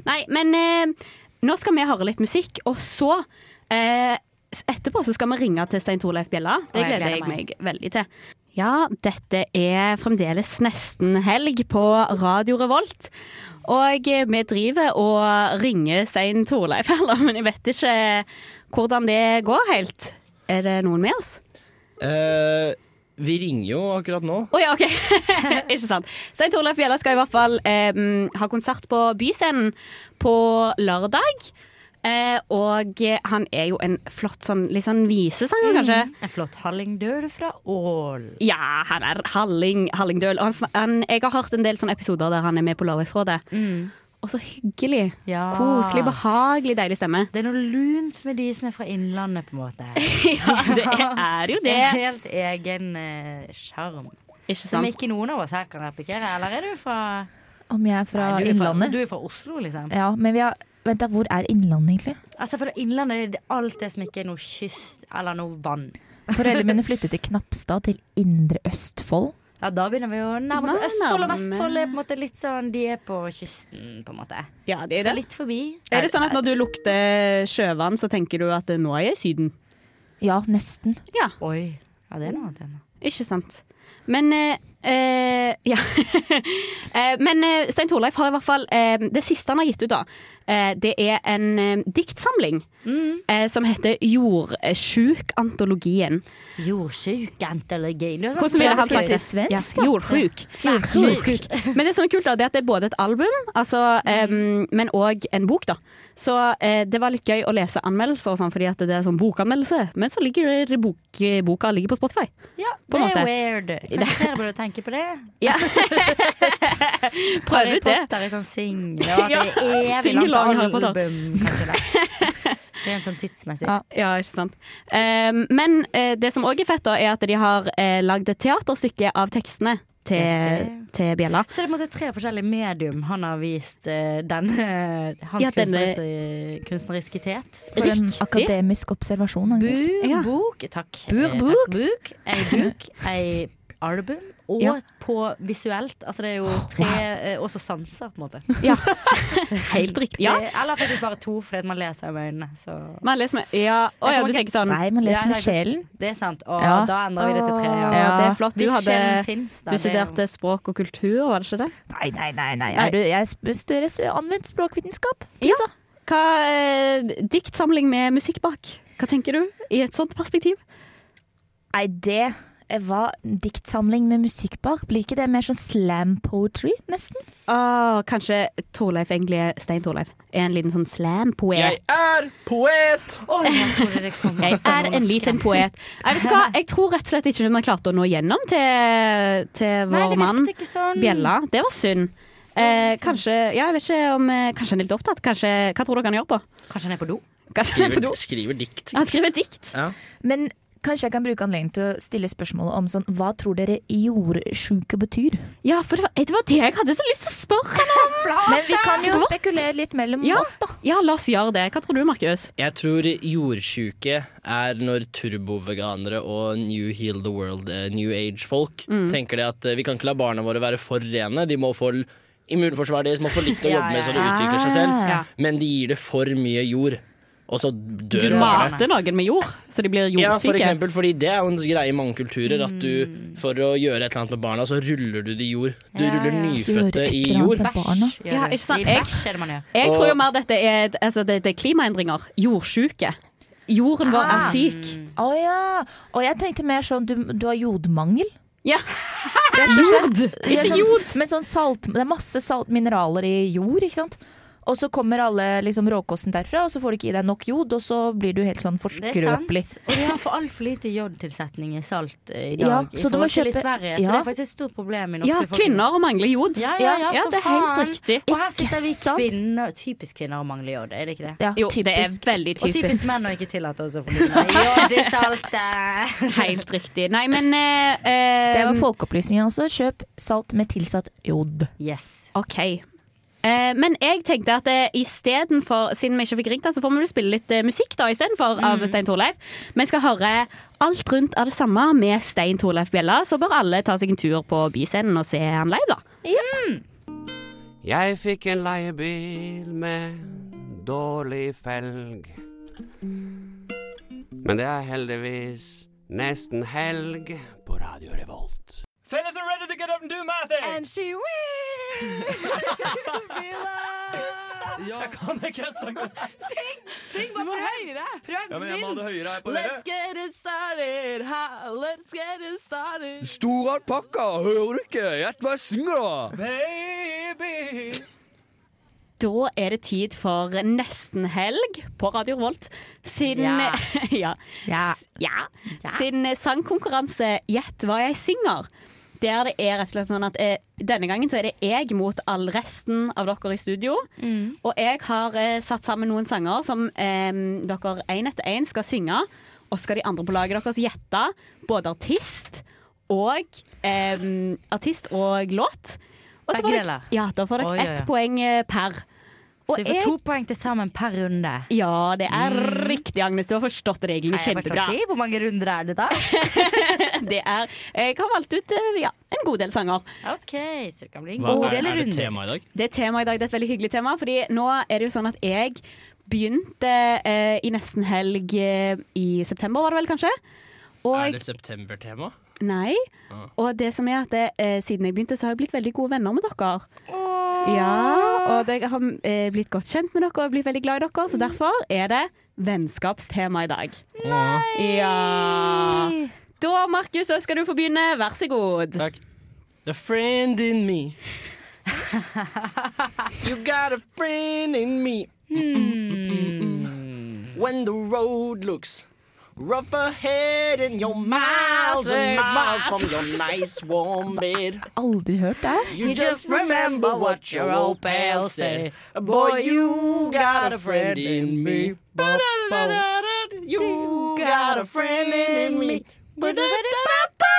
[SPEAKER 2] Nei, men eh, nå skal vi høre litt musikk, og så eh, Etterpå så skal vi ringe til Stein Torleif Bjella. Det
[SPEAKER 3] Å, jeg
[SPEAKER 2] gleder jeg
[SPEAKER 3] gleder
[SPEAKER 2] meg veldig til. Ja, dette er fremdeles nesten helg på Radio Revolt. Og eh, vi driver og ringer Stein Torleif, [laughs] eller, men jeg vet ikke hvordan det går helt. Er det noen med oss?
[SPEAKER 4] Eh, vi ringer jo akkurat nå.
[SPEAKER 2] Å ja, OK. [laughs] Ikke sant. Stein Torleif Bjella skal i hvert fall eh, ha konsert på Byscenen på lørdag. Eh, og han er jo en flott sånn litt sånn visesanger, kanskje.
[SPEAKER 3] En flott hallingdøl fra Ål.
[SPEAKER 2] Ja, han er Halling, Hallingdøl. Og han, snak- han, jeg har hørt en del sånne episoder der han er med på Lørdagsrådet. Og så hyggelig.
[SPEAKER 3] Ja.
[SPEAKER 2] Koselig, behagelig, deilig stemme.
[SPEAKER 3] Det er noe lunt med de som er fra Innlandet, på en måte.
[SPEAKER 2] ja, [laughs] det er jo
[SPEAKER 3] [laughs] Det
[SPEAKER 2] det.
[SPEAKER 3] er en helt egen eh, sjarm.
[SPEAKER 2] Ikke
[SPEAKER 3] Som
[SPEAKER 2] sant.
[SPEAKER 3] ikke noen av oss her kan replikere. Eller er du fra
[SPEAKER 5] Om jeg er fra
[SPEAKER 3] Nei, du er Fra,
[SPEAKER 5] Innlandet?
[SPEAKER 3] du er fra Oslo, liksom.
[SPEAKER 5] Ja, men vi har Vent, da, hvor er Innlandet, egentlig?
[SPEAKER 3] Altså, for Innlandet er det alt det som ikke er noe kyst eller noe vann.
[SPEAKER 5] Foreldrene mine flyttet til Knapstad, til Indre Østfold.
[SPEAKER 3] Ja, da begynner vi å nærme oss
[SPEAKER 2] Nei,
[SPEAKER 3] Østfold og
[SPEAKER 2] nærme.
[SPEAKER 3] Vestfold. Er på en måte litt sånn, de er på kysten, på en måte.
[SPEAKER 2] Ja, det er
[SPEAKER 3] Skal
[SPEAKER 2] det.
[SPEAKER 3] litt forbi.
[SPEAKER 2] Er det sånn at når du lukter sjøvann, så tenker du at eh, nå er jeg i Syden?
[SPEAKER 5] Ja, nesten.
[SPEAKER 3] Oi. Ja, det er noe annet igjen.
[SPEAKER 2] Ikke sant. Men eh, eh, Ja. [laughs] Eh, Men eh, Stein Torleif har i hvert fall eh, Det siste han har gitt ut, da, eh, det er en eh, diktsamling eh, som heter Jordsjuk-antologien.
[SPEAKER 3] Jordsjuk antologi. Det er sånn
[SPEAKER 2] Hvordan ville han sagt det?
[SPEAKER 5] Svensk,
[SPEAKER 2] Ja, Jordsjuk.
[SPEAKER 3] Jordsjuk.
[SPEAKER 2] Men det som er kult, da, det er at det er både et album, altså, eh, men òg en bok. da Så eh, det var litt gøy å lese anmeldelser, og sånn, fordi at det er sånn bokanmeldelse. Men så ligger det- bok, eh, boka ligger på Spotify.
[SPEAKER 3] Ja,
[SPEAKER 2] På
[SPEAKER 3] det
[SPEAKER 2] en
[SPEAKER 3] er
[SPEAKER 2] måte.
[SPEAKER 3] weird. Kanskje dere burde tenke på det?
[SPEAKER 2] Ja. Prøv
[SPEAKER 3] Harry
[SPEAKER 2] ut det.
[SPEAKER 3] Potter i sånn singel,
[SPEAKER 2] [laughs]
[SPEAKER 3] og
[SPEAKER 2] Ja,
[SPEAKER 3] at det er evig
[SPEAKER 2] single lang Harry
[SPEAKER 3] langt
[SPEAKER 2] Potter. Ah,
[SPEAKER 3] album. Kanskje det.
[SPEAKER 2] [laughs]
[SPEAKER 3] Det er en sånn tidsmessig.
[SPEAKER 5] Ja.
[SPEAKER 2] Ja, ikke sant. Ehm, men eh, det som òg er fett, da, er at de har uh, lagd et eh, teaterstykke av tekstene til, til bjella.
[SPEAKER 3] Så det er på en måte tre forskjellige medium han har vist eh, denne, eh, hans
[SPEAKER 2] Ja, denne-
[SPEAKER 3] kunstneriske, kunstneriskitet.
[SPEAKER 5] For en akademisk observasjon, Agnes.
[SPEAKER 3] Bu-
[SPEAKER 5] Ja.
[SPEAKER 3] Bok, takk.
[SPEAKER 5] Bur-
[SPEAKER 3] Eh, takk,
[SPEAKER 5] bok.
[SPEAKER 3] bok. Ei bok, ei album, og
[SPEAKER 5] Ja.
[SPEAKER 3] på visuelt. Altså det er jo tre eh, Også sanser, på en måte.
[SPEAKER 2] Helt riktig. Ja.
[SPEAKER 3] Eh, Eller faktisk bare to, fordi at man leser med øynene. Så.
[SPEAKER 2] Man leser med Ja, å ja, du tenker sånn
[SPEAKER 3] Ja, jeg- Det er sant. Og
[SPEAKER 2] Ja.
[SPEAKER 3] da endrer vi det til tre.
[SPEAKER 2] Åh,
[SPEAKER 3] Ja.
[SPEAKER 2] Det er flott. Du,
[SPEAKER 3] Hvis
[SPEAKER 2] hadde,
[SPEAKER 3] sjelen finnes, da,
[SPEAKER 2] du
[SPEAKER 3] det er jo-
[SPEAKER 2] studerte språk og kultur, var det ikke det?
[SPEAKER 5] Nei, nei, nei. nei. Er du, jeg sp- studerer s- anvendt språkvitenskap.
[SPEAKER 2] Ja. Hva, eh, diktsamling med musikk bak. Hva tenker du i et sånt perspektiv?
[SPEAKER 5] Nei, det var diktsamling med musikk bak. Blir ikke det mer sånn slam poetry, nesten?
[SPEAKER 2] Åh, kanskje Torleif egentlig er Stein Torleif er en liten sånn [laughs] slam-poet.
[SPEAKER 9] er poet!
[SPEAKER 3] Oi, jeg trodde det kom
[SPEAKER 2] Jeg
[SPEAKER 3] sånn
[SPEAKER 2] er en liten poet. Jeg vet hva, jeg tror rett og slett ikke vi klarte å nå gjennom til, til
[SPEAKER 3] Nei,
[SPEAKER 2] vår
[SPEAKER 3] det
[SPEAKER 2] mann.
[SPEAKER 3] virket ikke sånn.
[SPEAKER 2] Bjella. Det var synd. Eh, kanskje ja, jeg vet ikke om, eh, kanskje han er litt opptatt. Kanskje, hva tror dere han gjør på?
[SPEAKER 3] Kanskje han er på do?
[SPEAKER 2] Kanskje han er på do?
[SPEAKER 4] Skriver, skriver dikt.
[SPEAKER 2] [laughs] Han skriver dikt.
[SPEAKER 4] Ja.
[SPEAKER 5] Men kanskje jeg kan bruke anledningen til å stille spørsmålet om sånn Hva tror dere jordsjuke betyr?
[SPEAKER 2] Ja, for det var, det var det jeg hadde så lyst til å spørre han om!
[SPEAKER 5] Men vi kan jo spekulere litt mellom
[SPEAKER 2] Ja,
[SPEAKER 5] oss, da.
[SPEAKER 2] ja, la oss gjøre det. Hva tror du, Markus?
[SPEAKER 4] Jeg tror jordsjuke er når turboveganere og New Heal the World, eh, New Age-folk,
[SPEAKER 2] Mm.
[SPEAKER 4] tenker det at eh, vi kan ikke la barna våre være for rene. De må få l- immunforsvaret deres må få litt å
[SPEAKER 2] Ja,
[SPEAKER 4] jobbe med,
[SPEAKER 2] ja,
[SPEAKER 4] så det
[SPEAKER 2] ja.
[SPEAKER 4] utvikler seg selv.
[SPEAKER 2] Ja.
[SPEAKER 4] Men de gir det for mye jord, og så
[SPEAKER 2] Du
[SPEAKER 4] dør barnet.
[SPEAKER 2] mater noen med jord, så de blir
[SPEAKER 4] Ja, for
[SPEAKER 2] jordsyke.
[SPEAKER 4] eksempel, fordi det er jo en greie i mange kulturer at du for å gjøre et eller annet med barna, så ruller du det i jord. Du
[SPEAKER 3] Ja,
[SPEAKER 4] ruller
[SPEAKER 3] ja.
[SPEAKER 4] nyfødte i
[SPEAKER 5] Gjør et eller annet
[SPEAKER 4] jord.
[SPEAKER 5] med barna.
[SPEAKER 3] Gjør det.
[SPEAKER 2] Ja, ikke sant?
[SPEAKER 3] I
[SPEAKER 2] Jeg-
[SPEAKER 3] bæsj er det man gjør.
[SPEAKER 2] Jeg
[SPEAKER 4] Og-
[SPEAKER 2] tror jo mer dette er, et- altså, det, det er klimaendringer. Jordsjuke. Jorden vår er
[SPEAKER 5] Ah.
[SPEAKER 2] syk.
[SPEAKER 5] Å ja. Og jeg tenkte mer sånn Du, du har jordmangel.
[SPEAKER 2] Ja.
[SPEAKER 5] Rett og
[SPEAKER 2] Jord,
[SPEAKER 5] slett. Ja,
[SPEAKER 2] ikke
[SPEAKER 5] sånn-
[SPEAKER 2] jod.
[SPEAKER 5] Men sånn salt, det er masse salt, mineraler i jord, ikke sant. Og så kommer alle liksom, råkosten derfra, og så får du ikke i deg nok jod, og så blir du helt sånn
[SPEAKER 3] Det er sant.
[SPEAKER 5] forskrøpelig.
[SPEAKER 3] Og de har for altfor lite jodtilsetning i salt eh, i dag.
[SPEAKER 5] Ja,
[SPEAKER 3] i
[SPEAKER 5] så du må
[SPEAKER 3] forhold til
[SPEAKER 5] kjøpe-
[SPEAKER 3] i Sverige,
[SPEAKER 5] ja.
[SPEAKER 3] Så det er faktisk et stort problem i norsk
[SPEAKER 2] Ja,
[SPEAKER 3] befolkning.
[SPEAKER 2] kvinner mangler jod.
[SPEAKER 3] Ja, ja, ja, så
[SPEAKER 2] det er helt
[SPEAKER 3] faen.
[SPEAKER 2] riktig.
[SPEAKER 3] Og her sitter vi
[SPEAKER 5] sant?
[SPEAKER 3] kvinner, typisk kvinner og mangler jod, er det ikke det?
[SPEAKER 5] Ja,
[SPEAKER 2] Jo, det er veldig
[SPEAKER 3] Og typisk
[SPEAKER 2] typisk.
[SPEAKER 3] menn å ikke tillate oss å få litt mer jod i saltet.
[SPEAKER 2] Helt riktig. Nei, men eh, eh,
[SPEAKER 5] Det var folkeopplysningen også. Kjøp salt med tilsatt jod.
[SPEAKER 3] Yes.
[SPEAKER 2] OK. Eh, men jeg tenkte at eh, istedenfor, siden vi ikke fikk ringt han, så får vi vel spille litt eh, musikk da istedenfor
[SPEAKER 5] Mm.
[SPEAKER 2] av Stein Torleif. Vi skal høre Alt rundt er det samme med Stein Torleif Bjella, så bør alle ta seg en tur på Byscenen og se han live, da.
[SPEAKER 6] Jeg fikk en leiebil med dårlig felg. Men det er heldigvis nesten helg på Radio Revolt.
[SPEAKER 9] Fellas are ready to get up and do my thing. And she wins.
[SPEAKER 11] Jeg kan ikke synge.
[SPEAKER 12] Syng! Syng bare prøv! Høyere. Prøv
[SPEAKER 11] Ja, men jeg må ha det høyere her på
[SPEAKER 12] Let's
[SPEAKER 11] øret.
[SPEAKER 12] get it started, ha, let's get it started.
[SPEAKER 10] Stor alpakka, hører du ikke? Gjett hva jeg synger, da!
[SPEAKER 9] Baby.
[SPEAKER 2] Da er det tid for nesten helg på Radio Revolt. Siden
[SPEAKER 9] Ja.
[SPEAKER 2] [laughs] ja.
[SPEAKER 9] Ja.
[SPEAKER 2] S- ja. Sin sangkonkurranse Gjett hva jeg synger. Der det er rett og slett sånn at eh, Denne gangen så er det jeg mot all resten av dere i studio.
[SPEAKER 3] Mm.
[SPEAKER 2] Og jeg har eh, satt sammen noen sanger som eh, dere én etter én skal synge. Og skal de andre på laget deres gjette både artist og eh, Artist og låt. Og så
[SPEAKER 3] Begge
[SPEAKER 2] får dere,
[SPEAKER 3] deler?
[SPEAKER 2] ja, da får
[SPEAKER 3] Oi,
[SPEAKER 2] dere
[SPEAKER 3] oi,
[SPEAKER 2] ett
[SPEAKER 3] oi.
[SPEAKER 2] poeng eh, per.
[SPEAKER 3] Så vi får to poeng til sammen per runde.
[SPEAKER 2] Ja, det er riktig, Agnes. Du har forstått reglene
[SPEAKER 3] Nei, jeg forstår
[SPEAKER 2] kjempebra.
[SPEAKER 3] ikke. Hvor mange runder er det da?
[SPEAKER 2] Det er, jeg har valgt ut eh, ja, en god del sanger.
[SPEAKER 3] [laughs] OK, så det kan bli en god del runder.
[SPEAKER 2] i dag? Det er tema i dag, det er et veldig hyggelig tema. Fordi nå er det jo sånn at jeg begynte eh, i nesten helg eh, i september, var det vel kanskje?
[SPEAKER 4] Er
[SPEAKER 2] Og,
[SPEAKER 4] det september-tema?
[SPEAKER 2] nei.
[SPEAKER 4] Ah.
[SPEAKER 2] Og det som er at eh, siden jeg begynte, så har jeg blitt veldig gode venner med dere. Ja, og jeg har eh, blitt godt kjent med dere og blitt veldig glad i dere, så derfor er det vennskapstema i dag. Ja. Da, Markus, så skal du få begynne. Vær så god.
[SPEAKER 4] Takk. The friend in me. [laughs] you got a friend in me. Hmm. When the road looks rough ahead and you're miles and miles from your nice warm bed.
[SPEAKER 5] Aldri hørt det her.
[SPEAKER 4] You just remember what your old pal said. Boy, you got a friend in me. Ba-da-da-da-da. You got a friend in me. Ba-da-da-da-da-da-da.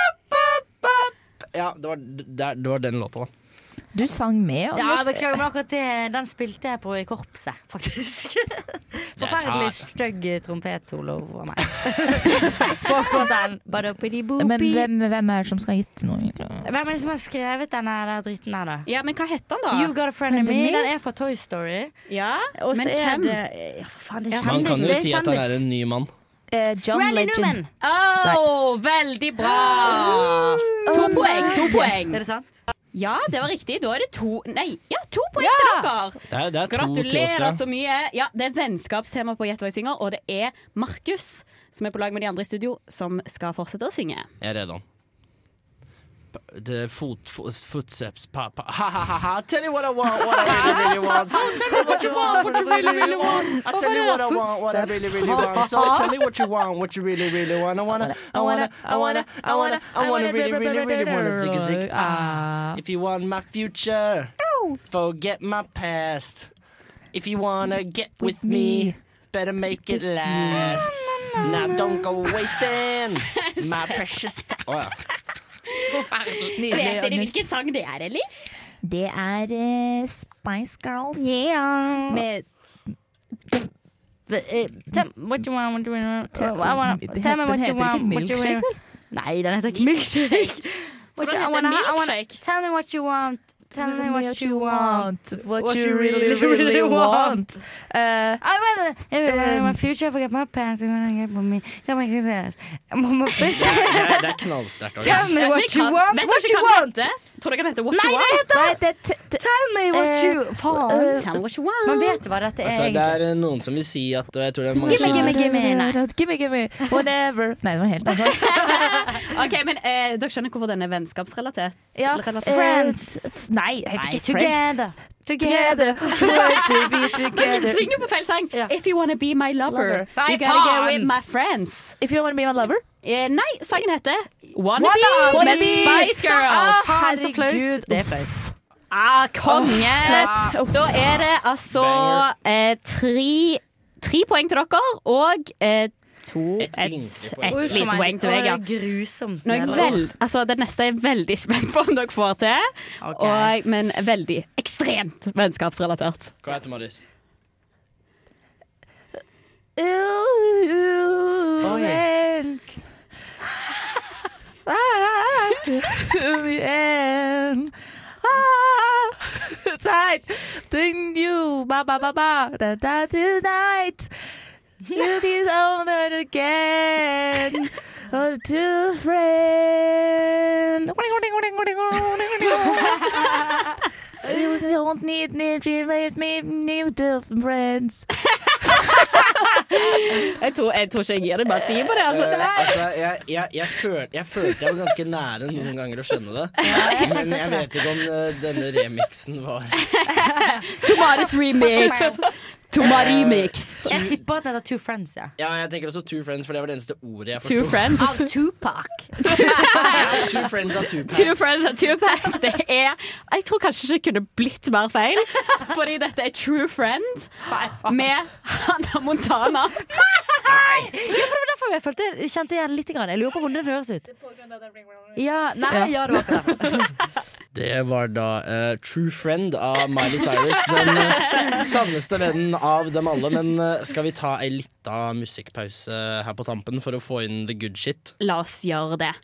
[SPEAKER 4] ja, det var, det, det var den låta, da.
[SPEAKER 5] Du sang med.
[SPEAKER 3] Ja, beklager, men akkurat det, den spilte jeg på i korpset, faktisk. Forferdelig stygg trompetsolo for meg. [laughs] på, på den. Badopidi-bopi.
[SPEAKER 5] Men hvem, hvem er det som skal ha gitt noe?
[SPEAKER 3] Hvem er det som har skrevet den der dritten der, da?
[SPEAKER 2] Ja, men hva heter den, da?
[SPEAKER 3] You Got A Friend In Me. Den er fra Toy Story.
[SPEAKER 2] Ja,
[SPEAKER 3] Og så
[SPEAKER 2] men
[SPEAKER 3] er
[SPEAKER 2] hvem?
[SPEAKER 3] det Ja, for faen, det er
[SPEAKER 4] Man
[SPEAKER 3] kjendis.
[SPEAKER 4] kan jo
[SPEAKER 3] det er
[SPEAKER 4] si at han
[SPEAKER 3] kjendis.
[SPEAKER 4] er en ny mann.
[SPEAKER 5] John
[SPEAKER 3] Randy
[SPEAKER 5] Legend.
[SPEAKER 3] Newman.
[SPEAKER 2] Oh, veldig bra! To poeng, to poeng.
[SPEAKER 3] Er det sant?
[SPEAKER 2] Ja, det var riktig. Da er det to Nei, ja, to poeng til dere.
[SPEAKER 4] Det er, det er to til oss,
[SPEAKER 2] Gratulerer
[SPEAKER 4] ja.
[SPEAKER 2] så mye. Ja, Det er vennskapstema på Gjett hva jeg synger, og det er Markus, som er på lag med de andre i studio, som skal fortsette å synge.
[SPEAKER 4] Jeg redder han. The foot, fo- footsteps papa. Ha, ha, ha, ha. Tell you what I want, what I really, really want. So tell me what you want, what you really, really want. I tell you what I want, what I really, really want. So tell me what you want, what you really, really want. I wanna, I wanna, I wanna, I wanna, I wanna really, really, really wanna zig zig. Ah, if you want my future, forget my past. If you wanna get with me, better make it last. Now don't go wasting my precious time.
[SPEAKER 2] Forferdelig.
[SPEAKER 5] Nydelig,
[SPEAKER 2] Vet dere
[SPEAKER 5] Agnes.
[SPEAKER 2] hvilken sang det er, eller?
[SPEAKER 5] Det er eh, Spice Girls. Med
[SPEAKER 3] Eh, Tell what you want, what you want I wanna-
[SPEAKER 5] Den
[SPEAKER 3] Tell me what
[SPEAKER 5] heter
[SPEAKER 3] you
[SPEAKER 5] ikke
[SPEAKER 3] want, what you
[SPEAKER 5] Milkshake,
[SPEAKER 3] want Nei, den heter ikke Milkshake. What you- I
[SPEAKER 2] Hvordan
[SPEAKER 3] wanna-
[SPEAKER 2] heter
[SPEAKER 3] I wanna-
[SPEAKER 2] Milkshake?
[SPEAKER 3] Tell me what you want. Tell me what you want.
[SPEAKER 5] What, you really, really want. Eh,
[SPEAKER 3] I want I want
[SPEAKER 5] Um,
[SPEAKER 3] my future, I forget my past, I wanna get with me. [laughs] Tell me this. I'm on my face.
[SPEAKER 4] Det er knallsterkt.
[SPEAKER 3] Tell me what you want,
[SPEAKER 2] Vet
[SPEAKER 3] what
[SPEAKER 2] dere
[SPEAKER 3] you
[SPEAKER 2] hva
[SPEAKER 3] want.
[SPEAKER 2] den heter? Tror dere den heter What
[SPEAKER 3] Nei,
[SPEAKER 2] You
[SPEAKER 3] det
[SPEAKER 2] Want?
[SPEAKER 3] heter
[SPEAKER 5] det t- t-
[SPEAKER 3] [laughs] Tell me what you
[SPEAKER 5] eh,
[SPEAKER 3] Faen.
[SPEAKER 5] eh,
[SPEAKER 2] Tell me what you want.
[SPEAKER 3] Man vet hva dette er,
[SPEAKER 4] Altså, det
[SPEAKER 3] egentlig.
[SPEAKER 4] er eh, noen som vil si at og jeg tror det er mange
[SPEAKER 3] Gimme, gimme,
[SPEAKER 4] som-
[SPEAKER 3] gimme. Nei.
[SPEAKER 5] Gimme, gimme. Whatever. Nei, det var [laughs] helt annet.
[SPEAKER 2] Ok, men eh, Dere skjønner hvorfor den er vennskapsrelatert?
[SPEAKER 5] Ja,
[SPEAKER 2] Relatert.
[SPEAKER 5] eh,
[SPEAKER 3] Friends.
[SPEAKER 5] f- Nei, jeg heter
[SPEAKER 3] Nei,
[SPEAKER 5] ikke Friends.
[SPEAKER 3] together.
[SPEAKER 5] [laughs] Together. We want to be together.
[SPEAKER 2] Men syng jo på feil sang. If you wanna be my lover,
[SPEAKER 5] Lover. Nei,
[SPEAKER 2] you gotta get
[SPEAKER 5] faen.
[SPEAKER 2] with my friends.
[SPEAKER 5] If you wanna be my lover.
[SPEAKER 2] Eh, nei, sangen heter Wanna, be
[SPEAKER 5] Wanna
[SPEAKER 2] med
[SPEAKER 5] Be.
[SPEAKER 2] Spice Girls.
[SPEAKER 5] Ah, faen, så flaut. Det er flaut.
[SPEAKER 2] Ah, konge!
[SPEAKER 5] Åh, flaut.
[SPEAKER 2] Da er det altså eh, tre, tre poeng til dere og eh, to Et, et,
[SPEAKER 3] Oi, for
[SPEAKER 2] lite
[SPEAKER 3] meg,
[SPEAKER 2] poeng til
[SPEAKER 3] å,
[SPEAKER 2] meg. Ja.
[SPEAKER 3] Det er grusomt.
[SPEAKER 2] Nå er jeg
[SPEAKER 3] Eller?
[SPEAKER 2] vel, altså, det neste er jeg veldig spent på om dere får til, og, men veldig ekstremt vennskapsrelatert.
[SPEAKER 4] Hva heter Marius?
[SPEAKER 5] Ooh,
[SPEAKER 4] Oi.
[SPEAKER 5] friends. Ah, to the end. Ah, tight. Doing you. Ba, ba, ba, ba. Da, da, tonight. You dishonored again. Oh, two friends. You don't need me to make me new friends.
[SPEAKER 2] Jeg tror, jeg tror ikke jeg gir det bare ti på det, altså.
[SPEAKER 4] Eh, altså, jeg, jeg, jeg, føl, jeg følte jeg var ganske nære noen ganger å skjønne det. Men jeg vet ikke om eh, denne remixen var
[SPEAKER 2] Tomaris [laughs] remix. Tomarimix.
[SPEAKER 5] Eh.
[SPEAKER 3] Jeg tipper at den heter Two Friends, ja.
[SPEAKER 4] Ja, jeg tenker også Two Friends, for det var det eneste ordet jeg forsto.
[SPEAKER 2] Two friends.
[SPEAKER 3] Av Tupac.
[SPEAKER 4] two friends av Tupac.
[SPEAKER 2] Two friends and two pack. Det er Jeg tror kanskje ikke det kunne blitt mer feil, fordi dette er True Friend med Hannah Montana.
[SPEAKER 3] Ja, for det var derfor jeg følte, kjente igjen litt. Grann. Jeg lurer på hvordan den høres ut. Ja, nei,
[SPEAKER 4] Ja.
[SPEAKER 3] ja, det var akkurat det.
[SPEAKER 4] Det var da eh, True Friend av Miley Cyrus. Den uh, sanneste vennen av dem alle. Men eh, skal vi ta ei lita musikkpause her på tampen for å få inn the good shit?
[SPEAKER 2] La oss gjøre det.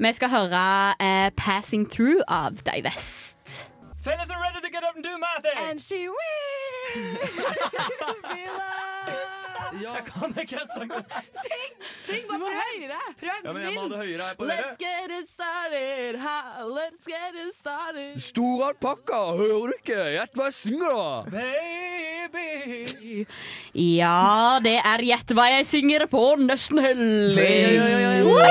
[SPEAKER 2] Vi skal høre eh, 'Passing Through' av Divest.
[SPEAKER 9] Fellas are ready to get up and do my thing. And she will be loved.
[SPEAKER 11] Ja, kan ikke jeg sangen?
[SPEAKER 12] Syng! Syng bare prøv. Prøv
[SPEAKER 11] Ja, men jeg må ha det høyere her på dere.
[SPEAKER 12] Let's get it started. Ha, let's get it started.
[SPEAKER 10] Stor alpakka, hører du ikke? Gjett hva jeg synger, da.
[SPEAKER 9] Baby.
[SPEAKER 2] Ja, det er Gjett hva jeg synger på nesten helg.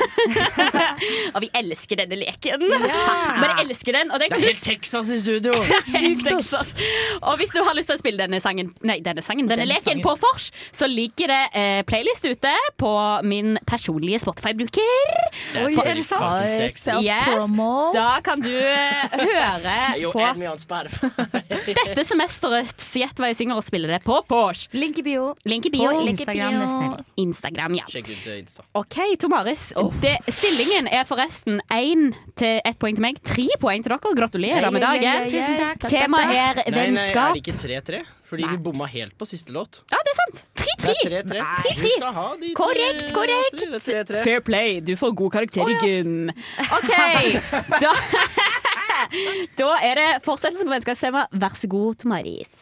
[SPEAKER 2] [laughs] og vi elsker denne leken. Men jeg elsker den. Og den
[SPEAKER 4] Det
[SPEAKER 2] kan
[SPEAKER 4] er
[SPEAKER 2] du
[SPEAKER 4] helt Texas i studio!
[SPEAKER 2] Helt Texas. Og hvis du har lyst til å spille denne sangen Nei, denne sangen, denne, leken på Fors, så ligger det eh, playlist ute på min personlige Spotify-bruker.
[SPEAKER 4] Det er Oi, er det sant? faktisk sexy.
[SPEAKER 2] Yes.
[SPEAKER 5] Self-promo.
[SPEAKER 2] Da kan du eh, høre
[SPEAKER 4] Jo,
[SPEAKER 2] på
[SPEAKER 4] en million [laughs] sperr.
[SPEAKER 2] dette semesterets Gjett hva jeg synger, og spiller det på Fors.
[SPEAKER 3] Link i bio.
[SPEAKER 2] Link i bio.
[SPEAKER 3] På Instagram, nesten helg.
[SPEAKER 2] Instagram, ja.
[SPEAKER 4] Sjekk ut eh, Insta.
[SPEAKER 2] OK, Tomaris. Det, stillingen er forresten forresten én til ett poeng til meg. Tre poeng til dere. Gratulerer med
[SPEAKER 4] Hei, hei,
[SPEAKER 2] dagen.
[SPEAKER 4] hei, hei. Takk, takk,
[SPEAKER 2] Temaet er
[SPEAKER 4] Nei, Nei, er
[SPEAKER 2] vennskap.
[SPEAKER 4] det ikke 3-3? Fordi vi bomma helt på siste låt.
[SPEAKER 2] Ja, det er sant.
[SPEAKER 4] Det er 3-3.
[SPEAKER 2] 3-3.
[SPEAKER 4] Nei, du skal ha de
[SPEAKER 2] 3-3.
[SPEAKER 4] to-
[SPEAKER 2] Korrekt, korrekt.
[SPEAKER 4] Det er 3-3.
[SPEAKER 2] Fair play. Du får god karakter i gym. OK, da [laughs] Da er det fortsettelse på vennskapstema. Vær så god, Tomaris.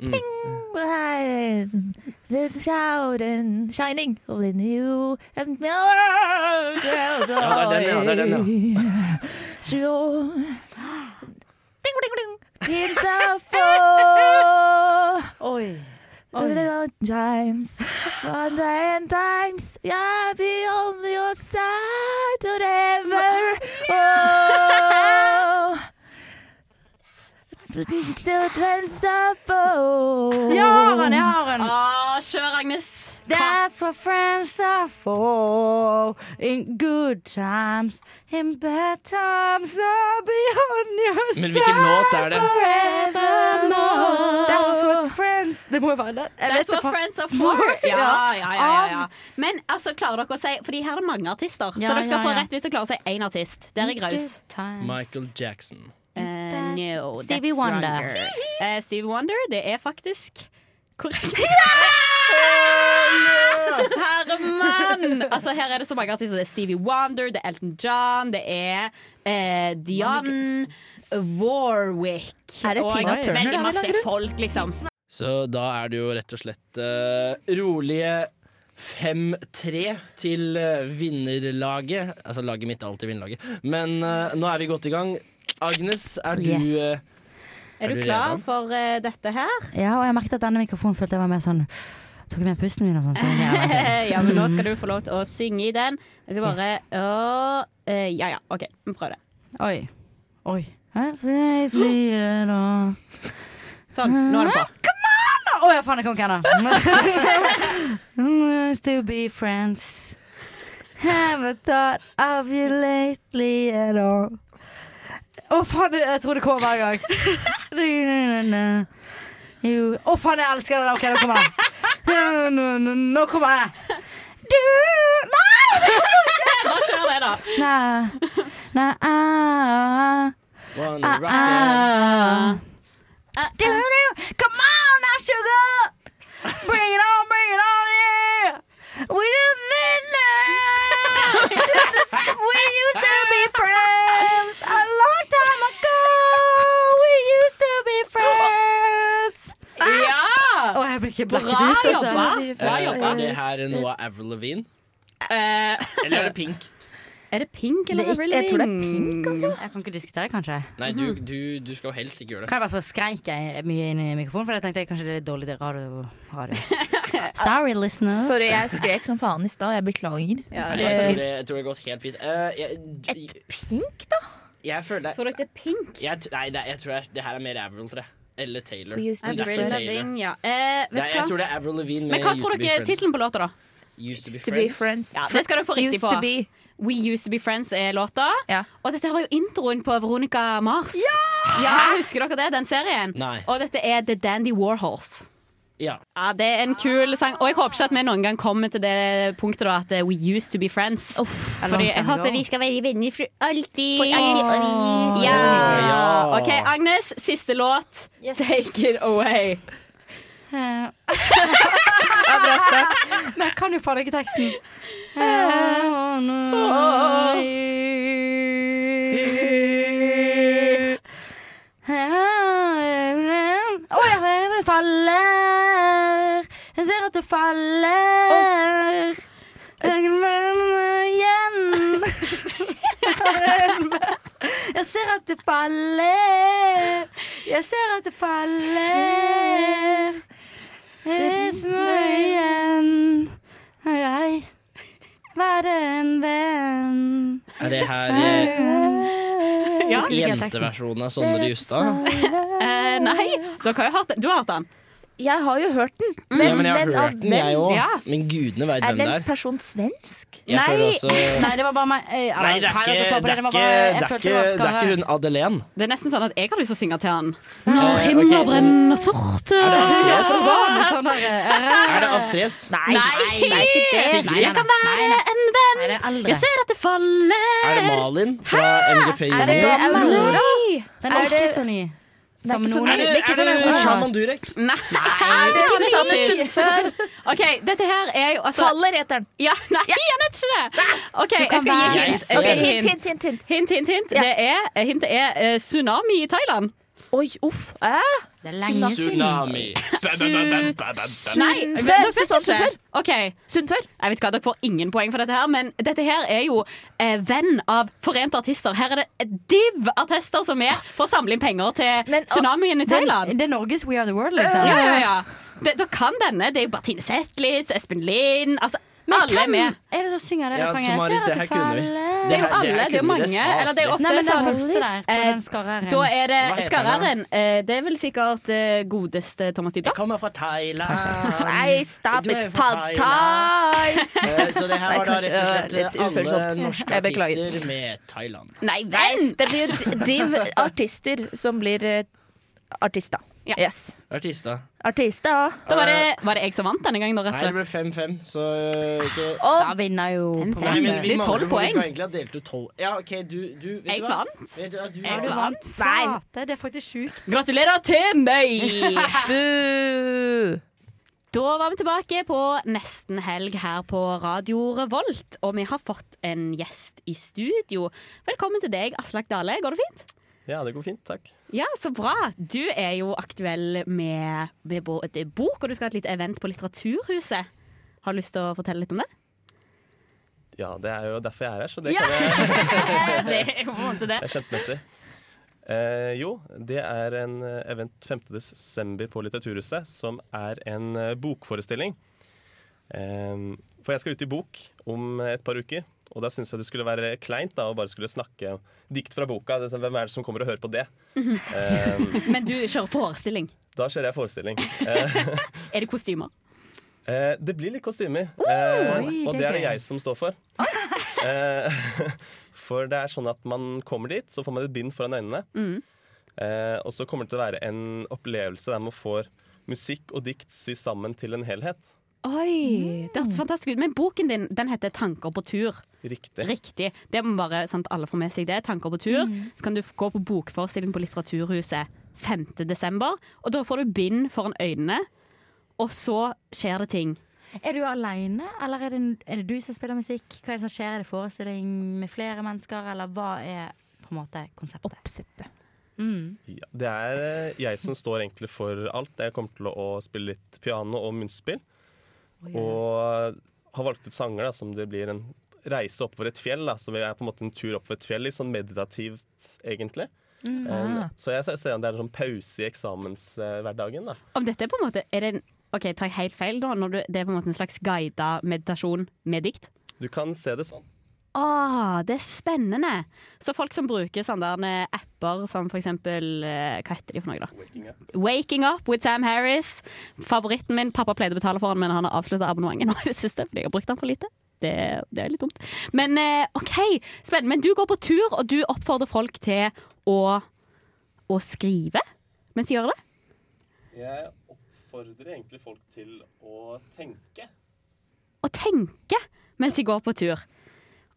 [SPEAKER 13] Ding! The shower and shining within you and milk will go
[SPEAKER 4] er Ja, det er den, ja,
[SPEAKER 13] Sure. Ding, ding, ding. It's a fall.
[SPEAKER 3] Oi.
[SPEAKER 13] Little times, fun and times, yeah, be on your side forever. Oh. Children suffer.
[SPEAKER 3] Jeg har den, jeg har den.
[SPEAKER 2] Å, kjør, Agnes.
[SPEAKER 3] That's what friends are for. In good times, in bad times, I'll be on your side
[SPEAKER 9] Men hvilken låt er det?
[SPEAKER 3] forevermore. That's what friends Det må jo være den. Jeg vet
[SPEAKER 2] That's
[SPEAKER 3] det
[SPEAKER 2] what
[SPEAKER 3] fa-
[SPEAKER 2] friends are for. Ja, ja, ja, ja, ja.
[SPEAKER 3] Av-
[SPEAKER 2] Men altså, klarer dere å si Fordi her er det mange artister,
[SPEAKER 3] Ja,
[SPEAKER 2] så dere skal
[SPEAKER 3] ja,
[SPEAKER 2] få
[SPEAKER 3] ja.
[SPEAKER 2] rett hvis dere klarer å si én artist. Der er graus.
[SPEAKER 4] Michael Jackson.
[SPEAKER 2] Eh, no,
[SPEAKER 3] Stevie
[SPEAKER 2] that's
[SPEAKER 3] Wonder.
[SPEAKER 2] wronger. Eh, Stevie Wonder, det er faktisk [laughs] korrekt. Herremann! Altså, her er det så mange artister. Det er Stevie Wonder, det er Elton John, det er eh, Dion Warwick.
[SPEAKER 5] Er det Tina
[SPEAKER 2] og
[SPEAKER 5] Turner det
[SPEAKER 2] veldig
[SPEAKER 5] har
[SPEAKER 2] masse
[SPEAKER 5] laget?
[SPEAKER 2] folk, liksom.
[SPEAKER 4] Så da er det jo rett og slett eh, rolige 5-3 til eh, vinnerlaget. Altså laget mitt er alltid vinnerlaget. Men eh, nå er vi godt i gang. Agnes, er du
[SPEAKER 3] Yes.
[SPEAKER 4] eh,
[SPEAKER 2] Er du klar for eh, dette her?
[SPEAKER 3] Ja, og jeg merket at denne mikrofonen følte jeg var mer sånn Tok jeg med pusten min og
[SPEAKER 2] [laughs]
[SPEAKER 3] sånn. Så det var veldig-
[SPEAKER 2] Eh, ja, men nå skal du få lov til å synge i den. Jeg skal bare Åh, eh, Ja ja, OK, vi prøver det.
[SPEAKER 3] Oi. Oi. Her ser jeg blir da-
[SPEAKER 2] Sånn, nå er det på.
[SPEAKER 3] Come on! [laughs] Å ja, faen, jeg kom ikke ennå. Mm, Still be friends. Haven't thought of you lately at all. Å faen, det- jeg tror det kommer hver gang. [laughs] Du-du-du-du. You- Å faen, jeg elsker den. Ok, nå kommer den. Du-du-du-du. [laughs] Nå kommer jeg. Du
[SPEAKER 2] Bare kjør det, da.
[SPEAKER 3] Na, na, ah,
[SPEAKER 4] Wanna
[SPEAKER 3] ah,
[SPEAKER 4] rock
[SPEAKER 3] ah. Do, do. Come on now, sugar. Bring it on, bring it on, yeah. We just need now. We used to [laughs] be friends a long time ago. We used to be friends. Ah!
[SPEAKER 2] Ja!
[SPEAKER 3] Å, jeg blir ikke
[SPEAKER 2] Bra
[SPEAKER 3] blacket ut, altså.
[SPEAKER 2] jobba! Bra
[SPEAKER 4] eh,
[SPEAKER 2] jobba.
[SPEAKER 4] Er det her noe av Avril Lavigne?
[SPEAKER 2] Eh,
[SPEAKER 4] Eller er det Pink?
[SPEAKER 2] er det pink eller
[SPEAKER 3] Det er ikke-
[SPEAKER 2] Avril
[SPEAKER 3] jeg tror det er
[SPEAKER 2] Lavigne?
[SPEAKER 3] pink, altså. Jeg kan ikke diskutere, kanskje.
[SPEAKER 4] Nei, du, du, du skal jo helst ikke gjøre
[SPEAKER 3] Kan
[SPEAKER 4] det.
[SPEAKER 3] jeg bare få skreik jeg mye inn i mikrofonen, for jeg tenkte kanskje det er dårlig til radio. [laughs] radio. Sorry, listeners.
[SPEAKER 13] Sorry, jeg skrek som faen i stad. Jeg beklager.
[SPEAKER 4] Nei, jeg, tror det, jeg tror det har gått helt fint. Eh, jeg, Et
[SPEAKER 13] pink, da?
[SPEAKER 4] Jeg føler
[SPEAKER 2] Tror dere det er pink?
[SPEAKER 4] Jeg, t- nei, nei, jeg tror jeg, det her er mer Avril, tror jeg. Eller Taylor. Det er
[SPEAKER 2] Avril
[SPEAKER 4] for Taylor.
[SPEAKER 2] Lavigne, ja. Eh,
[SPEAKER 4] Nei,
[SPEAKER 2] vet
[SPEAKER 4] jeg
[SPEAKER 2] du hva?
[SPEAKER 4] tror det er Avril Lavigne med
[SPEAKER 2] Men hva
[SPEAKER 4] Used
[SPEAKER 2] tror
[SPEAKER 4] to be
[SPEAKER 2] dere er
[SPEAKER 4] friends.
[SPEAKER 2] tittelen på låta, da?
[SPEAKER 4] Used to be
[SPEAKER 13] To be
[SPEAKER 4] friends.
[SPEAKER 13] friends.
[SPEAKER 2] Ja, det skal dere få riktig
[SPEAKER 13] Used
[SPEAKER 2] på.
[SPEAKER 13] to be.
[SPEAKER 2] We Used To Be Friends er låta. Og dette her var jo introen på Veronica Mars. Ja! Husker dere det, den serien?
[SPEAKER 4] Nei.
[SPEAKER 2] Og dette er The Dandy Warhorse.
[SPEAKER 4] Ja.
[SPEAKER 2] Ja, Det er en kul sang, og jeg håper ikke at vi noen gang kommer til det punktet da at eh, we used to be friends. Fordi jeg håper vi skal være venner for alltid.
[SPEAKER 9] For alltid, og vi-
[SPEAKER 2] Ja.
[SPEAKER 9] Ja.
[SPEAKER 2] OK, Agnes, siste låt.
[SPEAKER 9] Yes.
[SPEAKER 2] Take it away.
[SPEAKER 3] Eh, ja, bra [laughs] start. Men jeg kan jo faen ikke teksten. Eh, no, you. Å ja, det faller. Jeg ser at det faller. Jeg mener igjen. Jeg ser at det faller. Jeg ser at det faller. Det snør igjen. Og jeg var en venn.
[SPEAKER 4] Er det her eh,
[SPEAKER 2] Ja.
[SPEAKER 4] jenteversjonen av Sondre Justad?
[SPEAKER 2] Eh, nei, dere har jo hørt den. Du har hørt den.
[SPEAKER 13] Jeg har jo hørt den.
[SPEAKER 4] ja, men jeg har
[SPEAKER 13] av
[SPEAKER 4] hørt den,
[SPEAKER 13] hvem?
[SPEAKER 4] jeg òg.
[SPEAKER 13] Ja.
[SPEAKER 4] Men gudene veit
[SPEAKER 13] Er
[SPEAKER 4] hvem det
[SPEAKER 13] den
[SPEAKER 4] er.
[SPEAKER 13] personen
[SPEAKER 4] [laughs]
[SPEAKER 13] svensk?
[SPEAKER 4] Jeg Nei. føler også-
[SPEAKER 3] Nei, det var bare meg. Eh,
[SPEAKER 4] Nei, det er
[SPEAKER 3] Her
[SPEAKER 4] ikke,
[SPEAKER 3] at jeg
[SPEAKER 4] det er
[SPEAKER 3] så på det,
[SPEAKER 4] ikke,
[SPEAKER 3] var bare- jeg
[SPEAKER 4] det er
[SPEAKER 3] følte
[SPEAKER 4] ikke,
[SPEAKER 3] var
[SPEAKER 4] det er
[SPEAKER 3] skarre.
[SPEAKER 4] ikke hun Adelén.
[SPEAKER 2] Det er nesten sånn at jeg har lyst til å synge til han.
[SPEAKER 4] Når Eh, ok.
[SPEAKER 2] himmelen brenner sort
[SPEAKER 4] Er det Astrid S?
[SPEAKER 2] Er
[SPEAKER 4] Er det Astrid S?
[SPEAKER 2] Nei,
[SPEAKER 3] nei, det er ikke det.
[SPEAKER 4] Sigrid?
[SPEAKER 2] Jeg kan være en venn. Jeg ser at det faller.
[SPEAKER 4] Er det Malin fra MGP
[SPEAKER 2] Er det
[SPEAKER 4] Junior?
[SPEAKER 2] Aurora?
[SPEAKER 3] Den
[SPEAKER 2] Er
[SPEAKER 3] er ikke
[SPEAKER 2] det-
[SPEAKER 3] så ny.
[SPEAKER 2] Det er
[SPEAKER 3] Som
[SPEAKER 2] ikke så
[SPEAKER 3] noen
[SPEAKER 2] ny.
[SPEAKER 3] andre.
[SPEAKER 2] Er det-
[SPEAKER 3] Ikke sånn
[SPEAKER 2] er det
[SPEAKER 3] Aurora.
[SPEAKER 2] Shaman
[SPEAKER 4] Durek?
[SPEAKER 2] Nei,
[SPEAKER 3] det
[SPEAKER 2] sånn
[SPEAKER 3] er Susanne Sundfør.
[SPEAKER 2] [laughs] OK, dette her er jo altså
[SPEAKER 13] Faller heter den.
[SPEAKER 2] Ja, nei, han heter ikke det! OK,
[SPEAKER 13] Du kan
[SPEAKER 2] jeg skal gi
[SPEAKER 13] være-
[SPEAKER 2] hint.
[SPEAKER 13] Ok,
[SPEAKER 2] Jeg skal gi
[SPEAKER 13] hint, hint, hint, hint.
[SPEAKER 2] Hint, hint, hint. Det er, hintet er eh, tsunami i Thailand.
[SPEAKER 13] Oi, uff.
[SPEAKER 3] Det
[SPEAKER 2] er lenge
[SPEAKER 11] Tsunami.
[SPEAKER 2] Nei,
[SPEAKER 13] Sundfør,
[SPEAKER 2] men dere vet
[SPEAKER 13] Susanne
[SPEAKER 2] ikke.
[SPEAKER 13] Sundfør.
[SPEAKER 2] Ok. Jeg vet hva, Dere får ingen poeng for dette, her men dette her er jo eh, venn av Forente artister. Her er det div-attester som er for å samle inn penger til tsunamien i
[SPEAKER 3] Det er-
[SPEAKER 2] Thailand.
[SPEAKER 3] Det er Norges We Are The World, liksom.
[SPEAKER 2] Ja, ja, ja. Det, dere kan denne. Det er jo Bertine Zetlitz, Espen Lind altså, Alle er med.
[SPEAKER 3] Er det som synger det
[SPEAKER 2] Ja,
[SPEAKER 3] refrenget?
[SPEAKER 2] Tomaris,
[SPEAKER 3] Jeg ser
[SPEAKER 2] det
[SPEAKER 3] at
[SPEAKER 2] her
[SPEAKER 3] faller.
[SPEAKER 2] kunne vi. Det er jo alle, det er jo mange. Eller det er ofte
[SPEAKER 3] Nei, men den
[SPEAKER 2] sånn-
[SPEAKER 3] første der, på
[SPEAKER 2] Eh,
[SPEAKER 3] den skarreren.
[SPEAKER 2] Da er
[SPEAKER 3] Hva
[SPEAKER 2] det
[SPEAKER 3] heter
[SPEAKER 2] Skarreren. Eh, Det er vel sikkert eh, godeste Thomas Dybdahl. Jeg
[SPEAKER 4] kommer fra Thailand.
[SPEAKER 13] Nei, stop
[SPEAKER 4] Du er
[SPEAKER 13] it.
[SPEAKER 4] fra
[SPEAKER 13] Pad thai.
[SPEAKER 4] Eh, Så det her
[SPEAKER 13] Nei,
[SPEAKER 4] var da
[SPEAKER 13] kanskje,
[SPEAKER 4] rett og
[SPEAKER 13] øh, litt
[SPEAKER 4] slett eh, alle
[SPEAKER 13] ufølsomt.
[SPEAKER 4] norske
[SPEAKER 13] Jeg beklager.
[SPEAKER 4] artister med Thailand.
[SPEAKER 2] Nei,
[SPEAKER 13] venn! Det blir jo d- div artister som blir eh, artister. Yes.
[SPEAKER 4] Artister.
[SPEAKER 13] Artister.
[SPEAKER 2] Da var det, var det jeg som vant denne gangen, da, rett
[SPEAKER 4] Eh,
[SPEAKER 2] og
[SPEAKER 4] Nei, det
[SPEAKER 2] slett.
[SPEAKER 4] ble 5-5, så øh, ikke
[SPEAKER 3] Da vinner jo på
[SPEAKER 4] Nei, men vi
[SPEAKER 2] blir
[SPEAKER 4] mangler-
[SPEAKER 2] 12
[SPEAKER 4] Vi
[SPEAKER 2] poeng.
[SPEAKER 4] skal egentlig ha delt ut 12. Ja, OK, du, du vet
[SPEAKER 2] Jeg
[SPEAKER 4] du hva?
[SPEAKER 2] vant.
[SPEAKER 4] Vet du hva? Du,
[SPEAKER 2] Jeg vant.
[SPEAKER 3] Nei. Det er faktisk sjukt.
[SPEAKER 2] Gratulerer til meg! [laughs]
[SPEAKER 13] Bu!
[SPEAKER 2] Da var vi tilbake på nesten helg her på Radio Revolt, og vi har fått en gjest i studio. Velkommen til deg, Aslak Dale. Går det fint?
[SPEAKER 14] Ja, det går fint, takk.
[SPEAKER 2] Ja, så bra. Du er jo aktuell med, med både bok, og du skal ha et lite event på Litteraturhuset. Har du lyst til å fortelle litt om [laughs] det?
[SPEAKER 14] Ja, det er jo derfor jeg er her, så det
[SPEAKER 2] Ja!
[SPEAKER 14] kan jeg
[SPEAKER 2] Det er jo på en måte det.
[SPEAKER 14] er kjentmessig. Eh, jo, det er en eh, event 5. desember på Litteraturhuset som er en eh, bokforestilling. Eh, for jeg skal ut i bok om eh, et par uker, og da syns jeg det skulle være kleint da, å bare skulle snakke dikt fra boka. Det er sånn, Hvem er det som kommer og hører på det? Eh,
[SPEAKER 2] Men du kjører forestilling.
[SPEAKER 14] da kjører jeg forestilling. Eh,
[SPEAKER 2] Er det kostymer?
[SPEAKER 14] Eh, det blir litt kostymer, eh,
[SPEAKER 2] Oi,
[SPEAKER 14] og
[SPEAKER 2] det er
[SPEAKER 14] det er det
[SPEAKER 2] gøy. Ah.
[SPEAKER 14] jeg som står for. Eh, [laughs] for det er sånn at man kommer dit, så får man et bind foran øynene.
[SPEAKER 2] Mm.
[SPEAKER 14] Eh, og så kommer det til å være en opplevelse der man får musikk og dikt sydd sammen til en helhet.
[SPEAKER 2] Oi, det hørtes fantastisk ut. Men boken din den heter 'Tanker på tur'.
[SPEAKER 14] Riktig.
[SPEAKER 2] Riktig. Det må bare sånn at alle får med seg det. 'Tanker på tur'. Så kan du f- gå på bokforestilling på Litteraturhuset 5. desember, og da får du bind foran øynene, og så skjer det ting.
[SPEAKER 3] Er du alene, eller er det, er det du som spiller musikk? Hva er det som skjer? Er det forestilling med flere mennesker, eller hva er på en måte konseptet?
[SPEAKER 13] Oppsettet.
[SPEAKER 3] Mm.
[SPEAKER 14] Ja, det er eh, jeg som står egentlig for alt. Jeg kommer til å spille litt piano og munnspill. Og har valgt ut sanger da, som det blir en reise oppover et fjell. Da. Så vi er på en måte en tur oppover et fjell, litt sånn meditativt, egentlig.
[SPEAKER 2] Mm.
[SPEAKER 14] Eh,
[SPEAKER 2] Ah.
[SPEAKER 14] så jeg ser- ser an det er en sånn pause i eksamenshverdagen, da.
[SPEAKER 2] Om dette er på en måte er det en, OK, tar jeg helt feil da? Når du, det er på en måte en slags guida meditasjon med dikt?
[SPEAKER 14] Du kan se det sånn.
[SPEAKER 2] Ah, det er spennende! Så folk som bruker sånne der, eh, apper som for eksempel eh, Hva heter de for noe, da? Waking Up. with Sam Harris. Favoritten min. Pappa pleide å betale for han, men han har avslutta abonnementet nå i det siste fordi jeg har brukt han for lite. Det, det er litt dumt. Men eh, OK, spennende. Men du går på tur, og du oppfordrer folk til å, å skrive mens de gjør det?
[SPEAKER 14] Jeg oppfordrer egentlig folk til å tenke.
[SPEAKER 2] Å tenke mens de går på tur.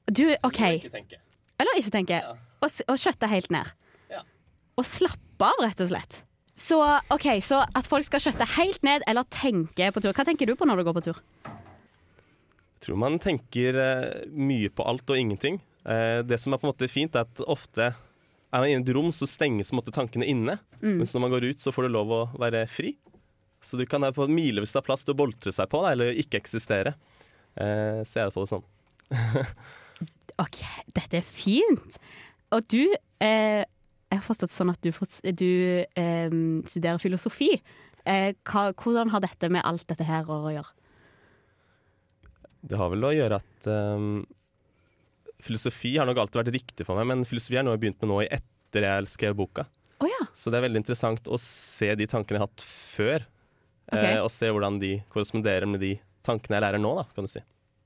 [SPEAKER 2] Du, OK.
[SPEAKER 14] Ikke tenke.
[SPEAKER 2] Eller ikke tenke. Og, s- og skjøtte helt ned.
[SPEAKER 14] Ja.
[SPEAKER 2] Og slappe av, rett og slett. Så ok, så at folk skal skjøtte helt ned eller tenke på tur. Hva tenker du på når du går på tur?
[SPEAKER 14] Jeg tror man tenker eh, mye på alt og ingenting. Eh, det som er på en måte fint, er at ofte er man inne i et rom, så stenges på en måte tankene inne.
[SPEAKER 15] Mm.
[SPEAKER 14] Mens når man går ut, så får du lov å være fri. Så du kan ha på milevis av plass til å boltre seg på, da, eller ikke eksistere. Eh, ser jeg på det sånn.
[SPEAKER 2] OK, dette er fint. Og du eh, Jeg har forstått sånn at du, forts- du eh, studerer filosofi. Eh, hva, hvordan har dette med alt dette her å gjøre?
[SPEAKER 14] Det har vel å gjøre at eh, Filosofi har nok alltid vært riktig for meg, men filosofi er noe jeg har begynt med nå i etter jeg skrev boka.
[SPEAKER 2] Å ja.
[SPEAKER 14] Så det er veldig interessant å se de tankene jeg har hatt før. eh,
[SPEAKER 2] Ok.
[SPEAKER 14] og se hvordan de korresponderer med de tankene jeg lærer nå, da, kan du si.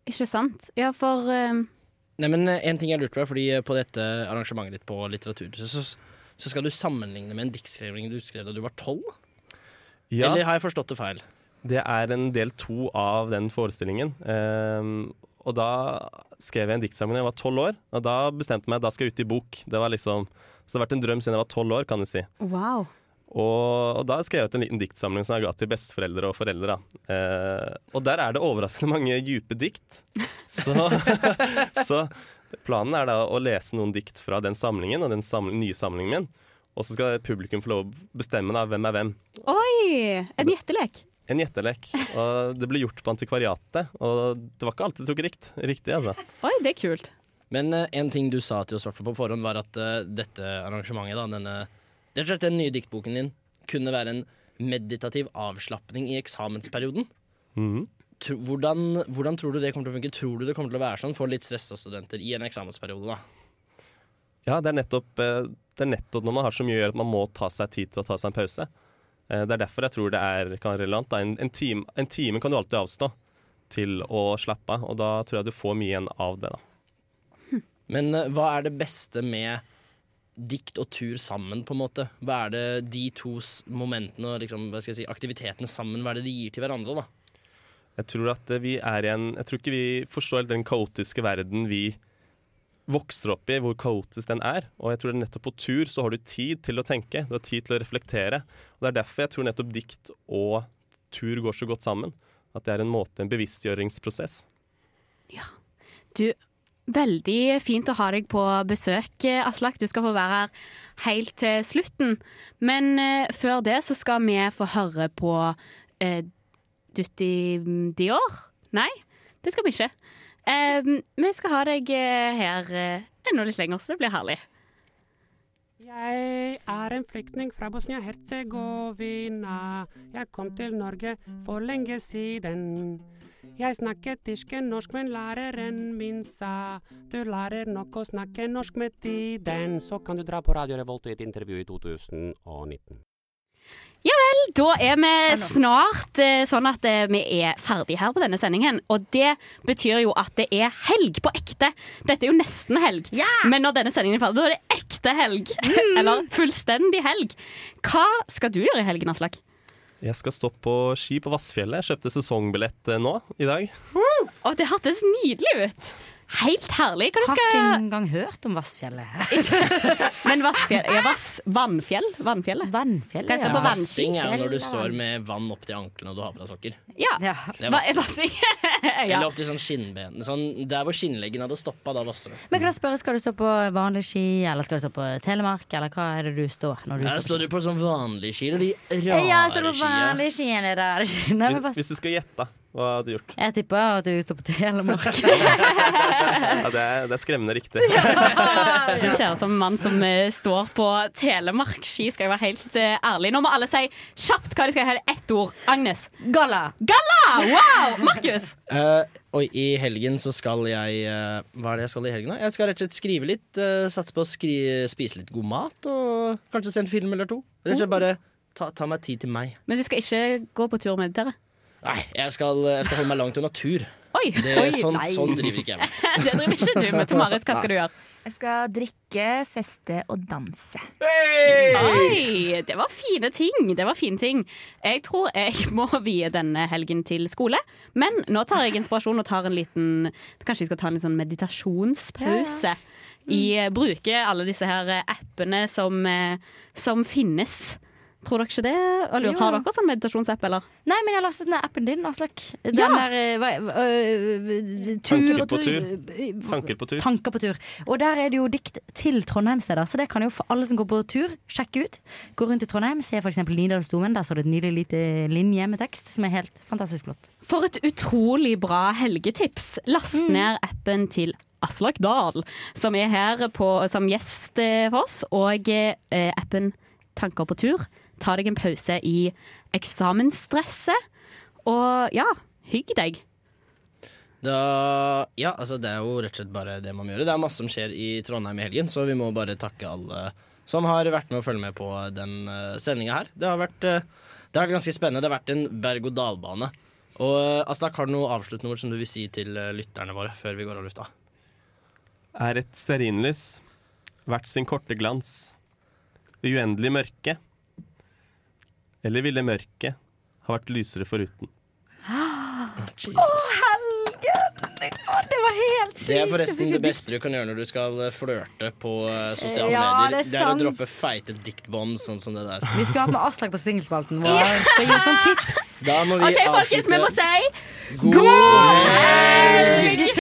[SPEAKER 2] Ikke sant? Ja, for eh,
[SPEAKER 4] Nei, men eh, en ting jeg lurte på, er fordi eh, på dette arrangementet ditt på Litteraturhuset, så, så skal du sammenligne med en diktskrivning du skrev da du var tolv?
[SPEAKER 14] Ja.
[SPEAKER 4] Eller har jeg forstått det feil?
[SPEAKER 14] Det er en del to av den forestillingen. Ehm, og da skrev jeg en diktsamling da jeg var tolv år, og da bestemte jeg meg da skal jeg ut i bok. Det var liksom, så det har vært en drøm siden jeg var tolv år, kan du si.
[SPEAKER 2] Wow.
[SPEAKER 14] Og, og da skrev jeg ut en liten diktsamling som jeg ga til besteforeldre og foreldre. da. Eh, og der er det overraskende mange dype dikt. Så, [laughs] så planen er da å lese noen dikt fra den samlingen og den samling, nye samlingen min. Og så skal publikum få lov å bestemme da, hvem er hvem.
[SPEAKER 2] Oi! En gjettelek.
[SPEAKER 14] En gjettelek. Og det ble gjort på antikvariatet, og det var ikke alltid det tok rikt, riktig. altså.
[SPEAKER 2] Oi, det er kult.
[SPEAKER 4] Men eh, en ting du sa til oss i hvert fall på forhånd, var at eh, dette arrangementet, da, denne, rett og slett den nye diktboken din, kunne være en meditativ avslapning i eksamensperioden.
[SPEAKER 14] Mhm.
[SPEAKER 4] Tro, hvordan, hvordan tror du det kommer til å funke? Tror du det kommer til å være sånn for litt stressa studenter i en eksamensperiode, da?
[SPEAKER 14] Ja, det er, nettopp, eh, det er nettopp når man har så mye å gjøre at man må ta seg tid til å ta seg en pause. Eh, Det er derfor jeg tror det er kan være relevant. da. En, en, time, en time kan du alltid avstå til å slappe av, og da tror jeg du får mye igjen av det. da.
[SPEAKER 4] Men eh, hva er det beste med dikt og tur sammen, på en måte? Hva er det de to s- momentene og liksom, hva skal jeg si, aktivitetene sammen, hva er det de gir til hverandre, da?
[SPEAKER 14] Jeg tror at eh, vi er i en Jeg tror ikke vi forstår helt den kaotiske verden vi vokser opp i, hvor kaotisk den er. Og jeg tror nettopp på tur så har du tid til å tenke, du har tid til å reflektere. Og det er derfor jeg tror nettopp dikt og tur går så godt sammen. At det er en måte, en bevisstgjøringsprosess.
[SPEAKER 2] Du, veldig fint å ha deg på besøk, eh, Aslak. Du skal få være her helt til slutten. Men eh, før det så skal vi få høre på eh, Dutti Dior. Nei, det skal vi ikke. Eh, vi skal ha deg eh, her eh, enda litt lenger, så det blir herlig.
[SPEAKER 15] Jeg er en flyktning fra Bosnia-Hercegovina. Jeg kom til Norge for lenge siden. Jeg snakket ikke norsk, men læreren min sa du lærer nok å snakke norsk med tiden. Så kan du dra på Radio Revolt og i et intervju i 2019.
[SPEAKER 2] Ja vel, da er vi snart eh, sånn at eh, vi er ferdig her på denne sendingen. Og det betyr jo at det er helg på ekte. Dette er jo nesten helg, men når denne sendingen er ferdig, da er det ekte helg. [laughs] Eller fullstendig helg. Hva skal du gjøre i helgen, Aslak?
[SPEAKER 14] Jeg skal stå på ski på Vassfjellet. Jeg kjøpte sesongbillett eh, nå i dag.
[SPEAKER 2] Å, det hørtes nydelig ut. Helt herlig. Hva du
[SPEAKER 3] Har
[SPEAKER 2] skal
[SPEAKER 3] ikke engang hørt om Vassfjellet.
[SPEAKER 2] Men Vassfjell ja, vass, Vannfjell? Vannfjellet?
[SPEAKER 3] Vannfjellet,
[SPEAKER 2] Hva jeg sa på
[SPEAKER 4] Vassing er jo når du
[SPEAKER 2] Vannfjell?
[SPEAKER 4] står med vann opp til anklene og du har på deg sokker.
[SPEAKER 2] Ja.
[SPEAKER 4] Det er
[SPEAKER 2] Va-
[SPEAKER 4] vassing.
[SPEAKER 2] vassing. [laughs] ja.
[SPEAKER 4] Eller opp til sånn skinnben. Sånn, der hvor skinnleggen hadde stoppa, da vasser du.
[SPEAKER 3] Men kan jeg spørre, Skal du stå på vanlig ski, eller skal du stå på Telemark, eller hva er det du står når du
[SPEAKER 4] Der
[SPEAKER 3] står
[SPEAKER 4] står du på sånn vanlige ski, og de
[SPEAKER 3] på Ja, jeg står
[SPEAKER 4] rare
[SPEAKER 3] på
[SPEAKER 4] skia.
[SPEAKER 3] vanlig ski eller rare ski. Nei, men
[SPEAKER 14] Hvis, hvis du skal gjette, da, hva har du gjort?
[SPEAKER 3] Jeg tipper at du står på Telemark. Eh.
[SPEAKER 14] Ja, det, er, det er skremmende riktig.
[SPEAKER 2] Du ser ut som en mann som eh, står på telemarkski, skal jeg være helt eh, ærlig. Nå må alle si kjapt hva de skal helle. Ett ord. Agnes.
[SPEAKER 3] Galla.
[SPEAKER 2] Galla! Wow! Markus.
[SPEAKER 4] Eh, og i helgen så skal jeg eh, Hva er det jeg skal i helgen, da? Jeg skal rett og slett skrive litt. eh, satse på å skri spise litt god mat, og kanskje se en film eller to. Rett og
[SPEAKER 3] Oh.
[SPEAKER 4] slett bare ta, ta meg tid til meg.
[SPEAKER 2] Men du skal ikke gå på tur med dere?
[SPEAKER 4] Nei, jeg skal, jeg skal holde meg langt unna
[SPEAKER 3] [laughs]
[SPEAKER 4] tur.
[SPEAKER 2] Oi,
[SPEAKER 4] Det,
[SPEAKER 2] oi,
[SPEAKER 4] sånn,
[SPEAKER 2] nei.
[SPEAKER 4] sånn driver ikke jeg med.
[SPEAKER 2] [laughs] Det driver ikke du med, Tomaris. Hva skal du gjøre?
[SPEAKER 5] Jeg skal drikke, feste og danse.
[SPEAKER 2] Oi, det var fine ting. Det var fine ting. Jeg tror jeg [laughs] må vie denne helgen til skole. Men nå tar jeg inspirasjon og tar en liten Kanskje vi skal ta en litt sånn meditasjonspause. I eh, Bruke alle disse her eh, appene som, eh, som finnes. Tror dere ikke det? Og lurer,
[SPEAKER 3] Jo.
[SPEAKER 2] har dere sånn meditasjonsapp, eller?
[SPEAKER 3] Nei, men jeg har lastet ned appen din, Aslak. Den
[SPEAKER 2] Ja.
[SPEAKER 3] der eh, hva, eh, tur
[SPEAKER 14] Tanker
[SPEAKER 3] og
[SPEAKER 14] på
[SPEAKER 3] tur.
[SPEAKER 14] tur. Tanker på tur.
[SPEAKER 3] Tanker på tur. Og der er det jo dikt til Trondheimssteder, så det kan jo for alle som går på tur, sjekke ut. Gå rundt i Trondheim, se f.eks. Nydalsdomen. Der står det et nydelig lite linje med tekst som er helt fantastisk flott.
[SPEAKER 2] For et utrolig bra helgetips. Last ned appen til Aslak Dahl, som er her på, som gjest eh, for oss. Og eh, appen Tanker på tur. Ta deg en pause i eksamensstresset. Og ja, hygg deg.
[SPEAKER 4] Da, ja, altså det er jo rett og slett bare det man må gjøre. Det er masse som skjer i Trondheim i helgen, så vi må bare takke alle som har vært med å følge med på den uh, sendinga her. Det har vært eh, Det har vært ganske spennende. Det har vært en berg-og-dal-bane. Og eh, Aslak, har du noe avsluttende ord som du vil si til eh, lytterne våre før vi går av lufta?
[SPEAKER 14] Er et stearinlys, hvert sin korte glans, det uendelige mørke? Eller ville mørket ha vært lysere foruten?
[SPEAKER 4] Å,
[SPEAKER 9] helgen! Å, det var helt sykt!
[SPEAKER 4] Det er forresten det beste du kan gjøre når du skal eh, flørte på eh, sosiale
[SPEAKER 3] Ja,
[SPEAKER 4] medier.
[SPEAKER 3] det er
[SPEAKER 4] Det er å
[SPEAKER 3] sant.
[SPEAKER 4] droppe feite diktbånd sånn som det der.
[SPEAKER 3] Vi skulle hatt med Aslak på singelspalten vår. Skal gi oss noen tips.
[SPEAKER 4] Da må vi
[SPEAKER 3] Ok, folkens,
[SPEAKER 4] avslutte
[SPEAKER 3] vi må
[SPEAKER 4] God
[SPEAKER 3] helg!